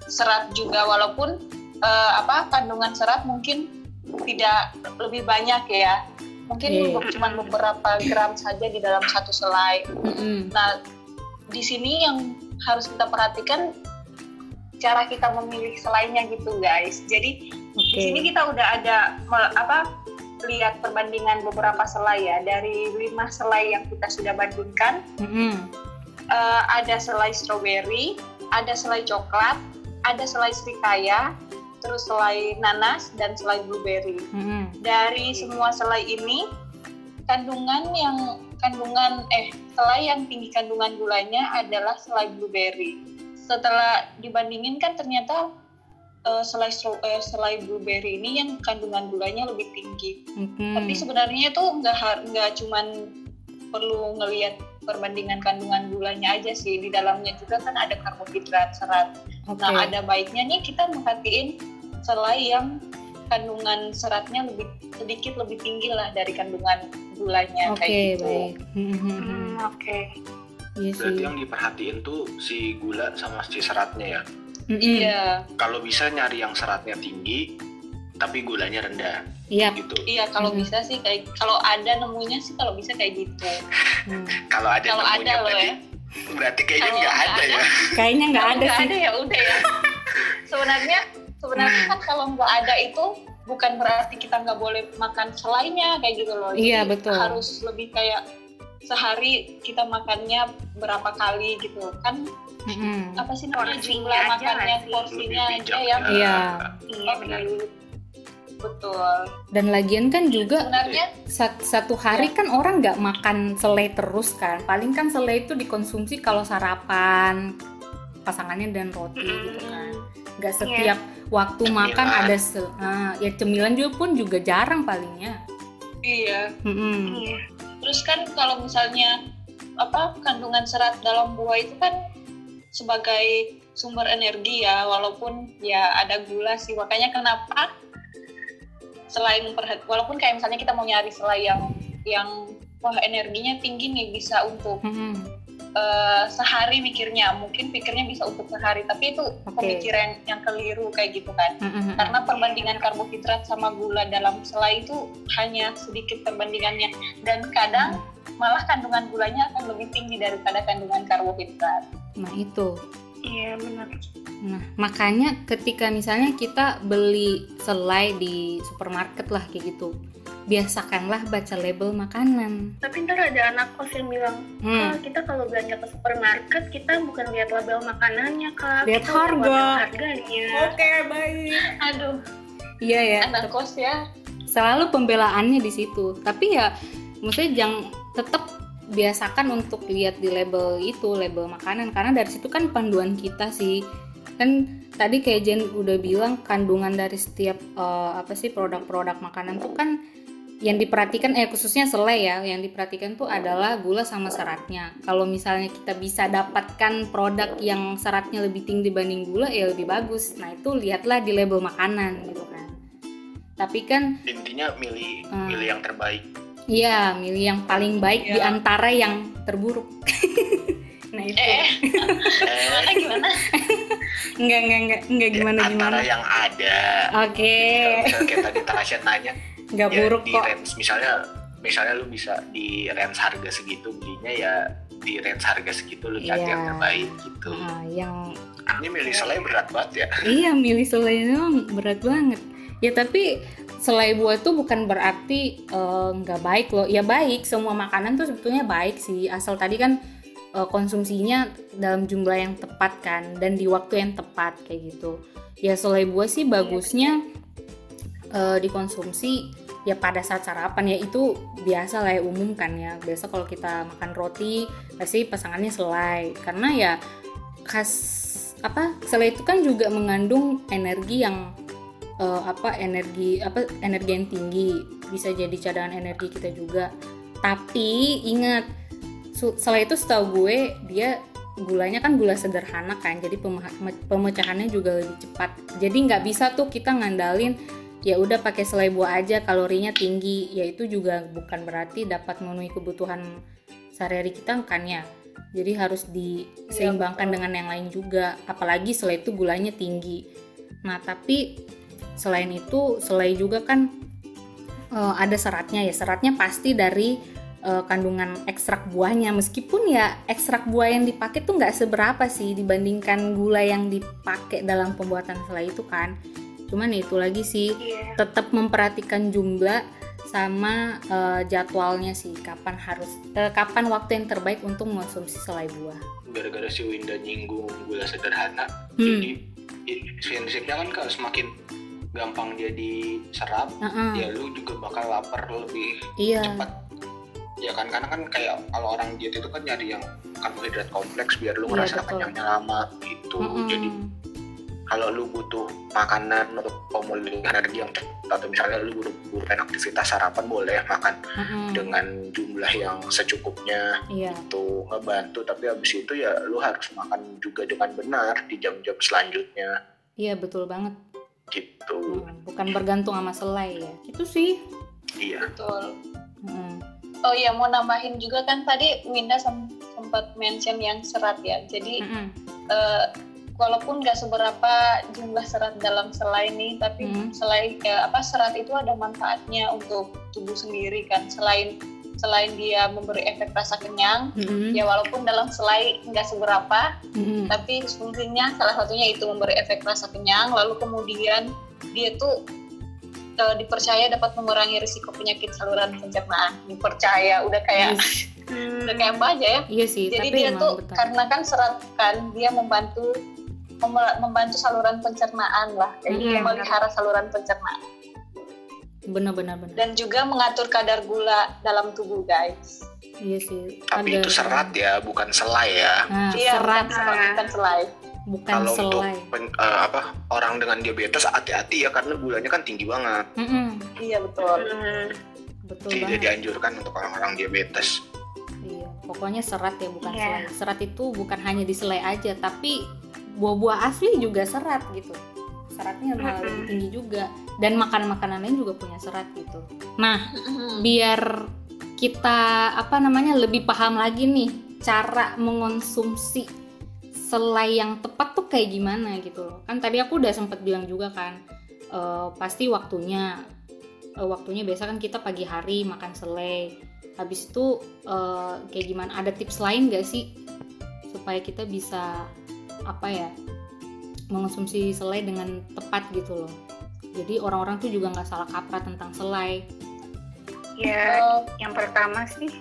Speaker 6: serat juga walaupun eh, apa kandungan serat mungkin tidak lebih banyak ya. Mungkin
Speaker 3: Iya.
Speaker 6: cuma beberapa gram saja di dalam satu selai.
Speaker 3: Mm-mm.
Speaker 6: Nah, di sini yang harus kita perhatikan cara kita memilih selainya gitu, guys. Jadi di
Speaker 3: Oke.
Speaker 6: sini kita udah ada me- apa lihat perbandingan beberapa selai ya dari lima selai yang kita sudah bandingkan
Speaker 3: Mm-mm.
Speaker 6: eh, ada selai strawberry, ada selai coklat, ada selai srikaya, terus selai nanas dan selai blueberry
Speaker 3: Mm-mm.
Speaker 6: dari semua selai ini kandungan yang kandungan eh selai yang tinggi kandungan gulanya adalah selai blueberry. Setelah dibandingin kan ternyata eh, selai stro- eh, selai blueberry ini yang kandungan gulanya lebih tinggi.
Speaker 3: Mm-mm.
Speaker 6: Tapi sebenarnya itu nggak har- nggak cuman perlu ngelihat perbandingan kandungan gulanya aja sih di dalamnya juga kan ada karbohidrat, serat,
Speaker 3: Oke.
Speaker 6: Nah, ada baiknya nih kita merhatiin selai yang kandungan seratnya lebih sedikit lebih tinggi lah dari kandungan gulanya
Speaker 3: Oke,
Speaker 6: kayak gitu.
Speaker 5: Mm.
Speaker 3: baik. Mm-mm.
Speaker 5: Hmm, Oke.
Speaker 3: Iya sih.
Speaker 4: Berarti yang diperhatiin tuh si gula sama si seratnya ya.
Speaker 3: Mm-mm.
Speaker 6: Iya,
Speaker 4: Kalau bisa nyari yang seratnya tinggi tapi gulanya rendah
Speaker 3: Iya.
Speaker 4: gitu.
Speaker 6: iya kalau
Speaker 3: Mhm.
Speaker 6: bisa sih kayak kalau ada nemunya sih kalau bisa kayak gitu.
Speaker 3: Hmm.
Speaker 4: Kalau ada
Speaker 6: Kalau
Speaker 4: nemunya
Speaker 6: ada loh
Speaker 4: berarti
Speaker 6: ya.
Speaker 4: berarti kayaknya
Speaker 6: Kalau
Speaker 4: nggak
Speaker 6: nggak
Speaker 4: ada, ya.
Speaker 3: Kayaknya nggak
Speaker 6: Kalau
Speaker 3: ada
Speaker 6: nggak
Speaker 3: sih.
Speaker 6: ada ya udah
Speaker 3: [laughs]
Speaker 6: ya. sebenarnya sebenarnya kan kalau nggak ada itu bukan berarti kita nggak boleh makan selainnya kayak gitu loh. Jadi
Speaker 3: Iya, betul.
Speaker 6: Harus lebih kayak sehari kita makannya berapa kali gitu kan
Speaker 3: Mm-mm.
Speaker 6: apa sih namanya
Speaker 5: Porsinya
Speaker 6: jumlah
Speaker 5: aja
Speaker 6: makannya
Speaker 5: nggak sih?
Speaker 6: porsinya
Speaker 4: Lebih
Speaker 6: aja
Speaker 4: bijak.
Speaker 6: yang
Speaker 4: Nah,
Speaker 3: Iya.
Speaker 5: Iya benar.
Speaker 6: betul
Speaker 3: Dan lagian kan juga
Speaker 6: sebenarnya
Speaker 3: sat- satu hari kan orang nggak makan selai terus kan. Paling kan selai itu dikonsumsi kalau sarapan pasangannya dan roti gitu kan. Nggak setiap waktu makan
Speaker 4: Cemilan.
Speaker 3: ada se- ah, ya cemilan juga pun juga jarang palingnya.
Speaker 6: iya
Speaker 3: Mm-mm.
Speaker 5: Iya.
Speaker 6: terus kan kalau misalnya apa kandungan serat dalam buah itu kan sebagai sumber energi ya walaupun ya ada gula sih makanya kenapa selain memperhat- walaupun kayak misalnya kita mau nyari selai yang yang wah energinya tinggi nih bisa untuk
Speaker 3: Mm-mm.
Speaker 6: eh, sehari mikirnya mungkin pikirnya bisa untuk sehari tapi itu
Speaker 3: Oke.
Speaker 6: pemikiran yang keliru kayak gitu kan
Speaker 3: Mm-mm.
Speaker 6: karena perbandingan karbohidrat sama gula dalam selai itu hanya sedikit perbandingannya dan kadang malah kandungan gulanya akan lebih tinggi daripada kandungan karbohidrat.
Speaker 3: Nah itu.
Speaker 5: Iya benar.
Speaker 3: Nah, makanya ketika misalnya kita beli selai di supermarket lah kayak gitu, biasakanlah baca label makanan.
Speaker 5: Tapi ntar ada anak kos yang bilang,
Speaker 3: Hmm.
Speaker 5: "Kak, kita kalau belanja ke supermarket kita bukan lihat label makanannya kak,
Speaker 3: Lihat
Speaker 5: kita
Speaker 3: harga."
Speaker 5: label harganya.
Speaker 3: baik.
Speaker 6: Aduh,
Speaker 3: Iya ya.
Speaker 6: anak kos ya.
Speaker 3: Selalu pembelaannya di situ. Tapi ya maksudnya jangan tetap biasakan untuk lihat di label itu, label makanan karena dari situ kan panduan kita sih. Kan tadi kayak Jen udah bilang kandungan dari setiap eh, apa sih produk-produk makanan tuh kan yang diperhatikan eh khususnya selai ya yang diperhatikan tuh adalah gula sama seratnya kalau misalnya kita bisa dapatkan produk yang seratnya lebih tinggi dibanding gula ya lebih bagus nah itu lihatlah di label makanan gitu kan tapi kan
Speaker 4: Intinya milih
Speaker 3: Hmm.
Speaker 4: milih yang terbaik.
Speaker 3: ya milih yang paling
Speaker 4: Iya.
Speaker 3: baik di
Speaker 6: Ya.
Speaker 3: antara yang terburuk [laughs] nah itu
Speaker 6: Eh,
Speaker 4: Eh,
Speaker 6: gimana gimana?
Speaker 3: enggak enggak enggak enggak [laughs]
Speaker 4: ya,
Speaker 3: gimana gimana
Speaker 4: antara yang ada.
Speaker 3: oke
Speaker 4: Kalau misalnya kayak tadi Tasya
Speaker 3: [laughs]
Speaker 4: tanya,
Speaker 3: enggak
Speaker 4: ya
Speaker 3: buruk
Speaker 4: di
Speaker 3: kok
Speaker 4: range misalnya misalnya lu bisa di range harga segitu belinya ya di range harga segitu lu cari
Speaker 3: Iya.
Speaker 4: yang terbaik gitu.
Speaker 3: Nah, yang
Speaker 4: Ini milih selai berat banget ya.
Speaker 3: Iya, milih selai doang berat banget. Ya tapi selai buah itu bukan berarti eh, nggak baik loh. Ya baik, semua makanan tuh sebetulnya baik sih. Asal tadi kan eh, konsumsinya dalam jumlah yang tepat kan dan di waktu yang tepat kayak gitu. Ya selai buah sih bagusnya eh, dikonsumsi ya pada saat sarapan ya itu biasa lah ya umum kan ya. Biasa kalau kita makan roti pasti pasangannya selai karena ya khas apa selai itu kan juga mengandung energi yang eh, apa energi apa energi yang tinggi bisa jadi cadangan energi kita juga tapi ingat su- selai itu setahu gue dia gulanya kan gula sederhana kan jadi pemaha- pemecahannya juga lebih cepat jadi nggak bisa tuh kita ngandalin ya udah pakai selai buah aja kalorinya tinggi ya itu juga bukan berarti dapat memenuhi kebutuhan sehari-hari kita kan ya jadi harus diseimbangkan dengan yang lain juga apalagi selai itu gulanya tinggi nah tapi selain itu selai juga kan eh, ada seratnya ya seratnya pasti dari eh, kandungan ekstrak buahnya meskipun ya ekstrak buah yang dipakai tuh nggak seberapa sih dibandingkan gula yang dipakai dalam pembuatan selai itu kan cuman ya itu lagi sih
Speaker 6: Iya.
Speaker 3: tetap memperhatikan jumlah sama eh, jadwalnya sih kapan harus eh, kapan waktu yang terbaik untuk mengonsumsi selai buah.
Speaker 4: Gara-gara si Winda nyinggung gula sederhana,
Speaker 3: Hmm.
Speaker 4: jadi i- prinsipnya kan kalau semakin gampang dia diserap,
Speaker 3: Heeh,
Speaker 4: ya lu juga bakal lapar lebih
Speaker 3: Iya.
Speaker 4: cepat. Ya kan karena kan kayak kalau orang diet itu kan nyari yang karbohidrat kompleks biar lu
Speaker 3: Iya,
Speaker 4: ngerasa
Speaker 3: betul.
Speaker 4: kenyangnya lama gitu.
Speaker 3: Mm-mm.
Speaker 4: Jadi kalau lu butuh makanan untuk pemulihan energi yang cepat atau misalnya lu buru-buru pengen aktivitas sarapan boleh makan
Speaker 3: Mm-mm.
Speaker 4: dengan jumlah yang secukupnya
Speaker 3: Iya.
Speaker 4: itu ngebantu tapi habis itu ya lu harus makan juga dengan benar di jam-jam selanjutnya
Speaker 3: Iya betul banget.
Speaker 4: gitu
Speaker 3: Hmm, Bukan bergantung sama selai ya. Itu sih.
Speaker 4: iya
Speaker 6: Betul.
Speaker 3: Mm.
Speaker 6: Oh iya mau nambahin juga kan tadi Winda sem- sempat, sempat mention yang serat ya. Jadi
Speaker 3: Mm-mm.
Speaker 6: eh, walaupun nggak seberapa jumlah serat dalam selai nih, tapi
Speaker 3: Mhm.
Speaker 6: selai ya, apa serat itu ada manfaatnya untuk tubuh sendiri kan. Selain selain dia memberi efek rasa kenyang,
Speaker 3: Mm-mm.
Speaker 4: Iya.
Speaker 6: ya walaupun dalam selai nggak
Speaker 3: Hmm.
Speaker 6: seberapa,
Speaker 3: Mm-mm.
Speaker 6: tapi fungsinya salah satunya itu memberi efek rasa kenyang. Lalu kemudian dia tuh eh, dipercaya dapat mengurangi risiko penyakit saluran pencernaan. Dipercaya udah
Speaker 4: Iya.
Speaker 6: kayak udah kayak apa aja ya
Speaker 3: Iya sih,
Speaker 6: jadi
Speaker 3: tapi
Speaker 6: dia
Speaker 3: emang
Speaker 6: tuh
Speaker 3: betul.
Speaker 6: karena kan serat kan dia membantu memel- membantu saluran pencernaan lah jadi
Speaker 3: Iya,
Speaker 6: memelihara saluran pencernaan
Speaker 3: benar-benar benar.
Speaker 6: dan juga mengatur kadar gula dalam tubuh guys
Speaker 3: Iya sih.
Speaker 4: Tapi
Speaker 3: ada-
Speaker 4: itu serat ya, bukan selai ya.
Speaker 3: Nah,
Speaker 6: Iya,
Speaker 3: serat
Speaker 6: bukan serat bukan selai
Speaker 3: bukan
Speaker 4: Kalau untuk
Speaker 3: selai.
Speaker 4: pen- eh, apa orang dengan diabetes hati-hati ya karena gulanya kan tinggi banget.
Speaker 3: Mm-mm.
Speaker 6: iya betul
Speaker 3: Betul banget.
Speaker 4: Jadi Tidak dianjurkan untuk orang-orang diabetes.
Speaker 3: Iya, pokoknya serat ya bukan
Speaker 5: Iya.
Speaker 3: selai. Serat itu bukan hanya di selai aja, tapi buah-buah asli juga serat gitu. Seratnya malah lebih
Speaker 5: Mm-mm.
Speaker 3: tinggi juga dan makanan-makanan lain juga punya serat gitu. Nah,
Speaker 6: Mhm.
Speaker 3: biar kita apa namanya lebih paham lagi nih cara mengonsumsi selai yang tepat tuh kayak gimana gitu loh. Kan tadi aku udah sempet bilang juga kan eh, pasti waktunya Eh, waktunya biasa kan kita pagi hari makan selai habis itu eh, kayak gimana ada tips lain gak sih supaya kita bisa apa ya mengonsumsi selai dengan tepat gitu loh jadi orang-orang tuh juga nggak salah kaprah tentang selai
Speaker 5: ya
Speaker 6: Eh,
Speaker 5: yang pertama sih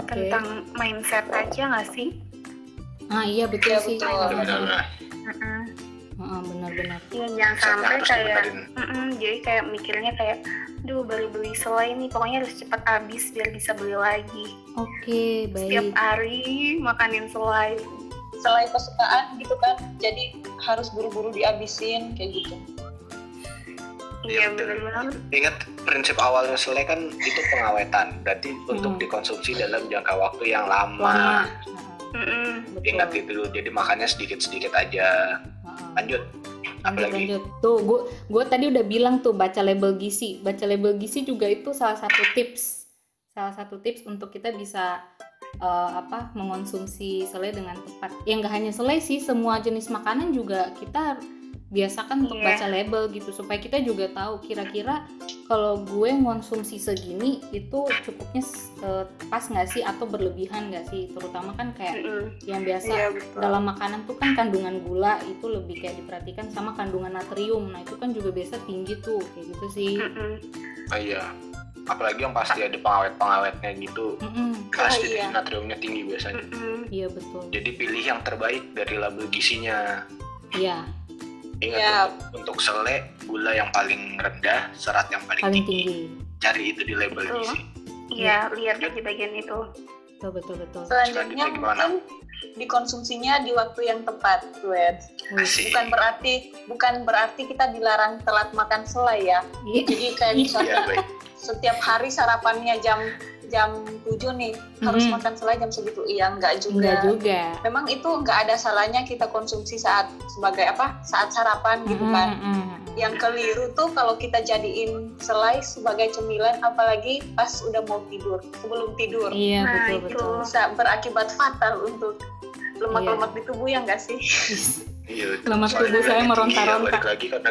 Speaker 3: Oke.
Speaker 5: tentang mindset aja nggak sih
Speaker 3: ah iya betul
Speaker 6: Iya,
Speaker 3: sih
Speaker 6: betul.
Speaker 4: Benar-benar.
Speaker 5: Mm-mm.
Speaker 3: Heeh, benar-benar
Speaker 5: Iya, jangan
Speaker 4: Mindsetnya
Speaker 5: sampai
Speaker 4: harus
Speaker 5: kayak
Speaker 4: dibenerin.
Speaker 5: Mm-mm, jadi kayak mikirnya kayak duh baru beli selai nih pokoknya harus cepat habis biar bisa beli lagi
Speaker 3: oke
Speaker 5: setiap
Speaker 3: baik
Speaker 5: hari makanin selai
Speaker 6: selai kesukaan gitu kan jadi harus buru-buru dihabisin kayak gitu
Speaker 5: iya
Speaker 4: betul.
Speaker 5: bener banget
Speaker 4: Ingat prinsip awalnya selai kan itu pengawetan. Berarti untuk dikonsumsi dalam jangka waktu yang
Speaker 3: lama
Speaker 4: lama.
Speaker 3: Heeh,
Speaker 5: Mm-mm.
Speaker 3: betul
Speaker 4: Ingat itu dulu. Jadi makannya sedikit-sedikit aja.
Speaker 3: Heeh.
Speaker 4: Lanjut.
Speaker 3: lanjut
Speaker 4: Apalagi?
Speaker 3: lanjut tuh gue tadi udah bilang tuh baca label gizi baca label gizi juga itu salah satu tips salah satu tips untuk kita bisa eh, apa mengonsumsi selai dengan tepat ya nggak hanya selai sih semua jenis makanan juga kita biasakan untuk
Speaker 5: Iya.
Speaker 3: baca label gitu supaya kita juga tahu kira-kira kalau gue konsumsi segini itu cukupnya eh, pas nggak sih atau berlebihan nggak sih terutama kan kayak
Speaker 5: Mm-mm.
Speaker 3: yang biasa
Speaker 5: iya betul
Speaker 3: dalam makanan tuh kan kandungan gula itu lebih kayak diperhatikan sama kandungan natrium nah itu kan juga biasa tinggi tuh kayak gitu sih
Speaker 5: Mm-mm.
Speaker 4: Ah, iya. Apalagi yang pasti ada pengawet-pengawetnya gitu.
Speaker 3: Mm-mm.
Speaker 4: Pasti
Speaker 6: iya.
Speaker 4: natriumnya tinggi biasanya.
Speaker 5: Mm-mm.
Speaker 3: iya betul
Speaker 4: Jadi pilih yang terbaik dari label gizinya.
Speaker 3: iya
Speaker 4: Ingat
Speaker 6: Ya.
Speaker 4: untuk, untuk selai, gula yang paling rendah, serat yang paling,
Speaker 3: paling
Speaker 4: tinggi.
Speaker 3: tinggi
Speaker 4: Cari itu di label
Speaker 5: Betul.
Speaker 4: gizi.
Speaker 5: Iya, lihat aja bagian itu.
Speaker 3: betul betul betul
Speaker 6: selanjutnya
Speaker 4: Selanjutnya gimana?
Speaker 6: mungkin dikonsumsinya di waktu yang tepat duet
Speaker 3: Wih,
Speaker 4: Asik.
Speaker 6: bukan berarti bukan berarti kita dilarang telat makan selai ya
Speaker 3: iya.
Speaker 6: jadi kayak misalnya
Speaker 4: Iya, baik.
Speaker 6: setiap hari sarapannya jam jam 7 nih harus
Speaker 3: Mhm.
Speaker 6: makan selai jam segitu iya enggak
Speaker 3: enggak
Speaker 6: juga
Speaker 3: juga
Speaker 6: memang itu enggak ada salahnya kita konsumsi saat sebagai apa saat sarapan gitu kan
Speaker 3: Mm-mm, mm-mm.
Speaker 6: yang keliru tuh kalau kita jadiin selai sebagai cemilan apalagi pas udah mau tidur sebelum tidur
Speaker 3: iya
Speaker 5: Nah,
Speaker 3: betul
Speaker 5: itu.
Speaker 3: betul
Speaker 6: bisa berakibat fatal untuk lemak-lemak di tubuh ya enggak sih
Speaker 4: Iya, betul.
Speaker 3: Lemak tubuh saya
Speaker 4: Soalnya gulanya tinggi, ya,
Speaker 3: meronta-ronta.
Speaker 4: Balik lagi karena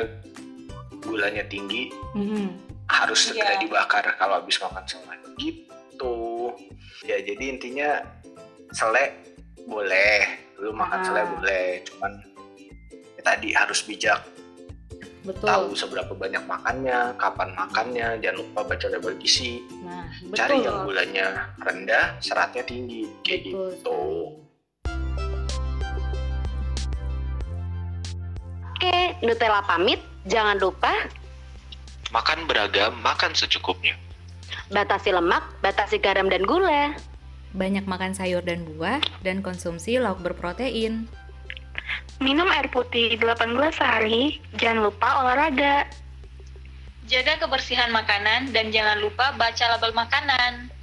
Speaker 4: gulanya tinggi
Speaker 3: Mm-mm.
Speaker 4: harus segera
Speaker 6: Iya.
Speaker 4: dibakar kalau habis makan selai. Gitu. Ya, jadi intinya selai boleh, lu makan
Speaker 3: Ah.
Speaker 4: selai boleh, cuman ya tadi harus bijak
Speaker 3: betul
Speaker 4: tahu seberapa banyak makannya, kapan makannya, jangan lupa baca label gizi,
Speaker 3: nah
Speaker 4: cari
Speaker 3: betul
Speaker 4: yang gulanya rendah, seratnya tinggi, kayak
Speaker 3: Betul
Speaker 4: gitu.
Speaker 2: Oke, Nutella pamit. Jangan lupa
Speaker 4: Makan beragam, makan secukupnya.
Speaker 2: batasi lemak, batasi garam dan gula.
Speaker 7: Banyak makan sayur dan buah dan konsumsi lauk berprotein.
Speaker 5: Minum air putih 8 gelas sehari, jangan lupa olahraga.
Speaker 6: jaga kebersihan makanan dan jangan lupa baca label makanan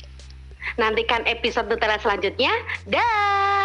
Speaker 2: Nantikan episode Nutella selanjutnya. Dah.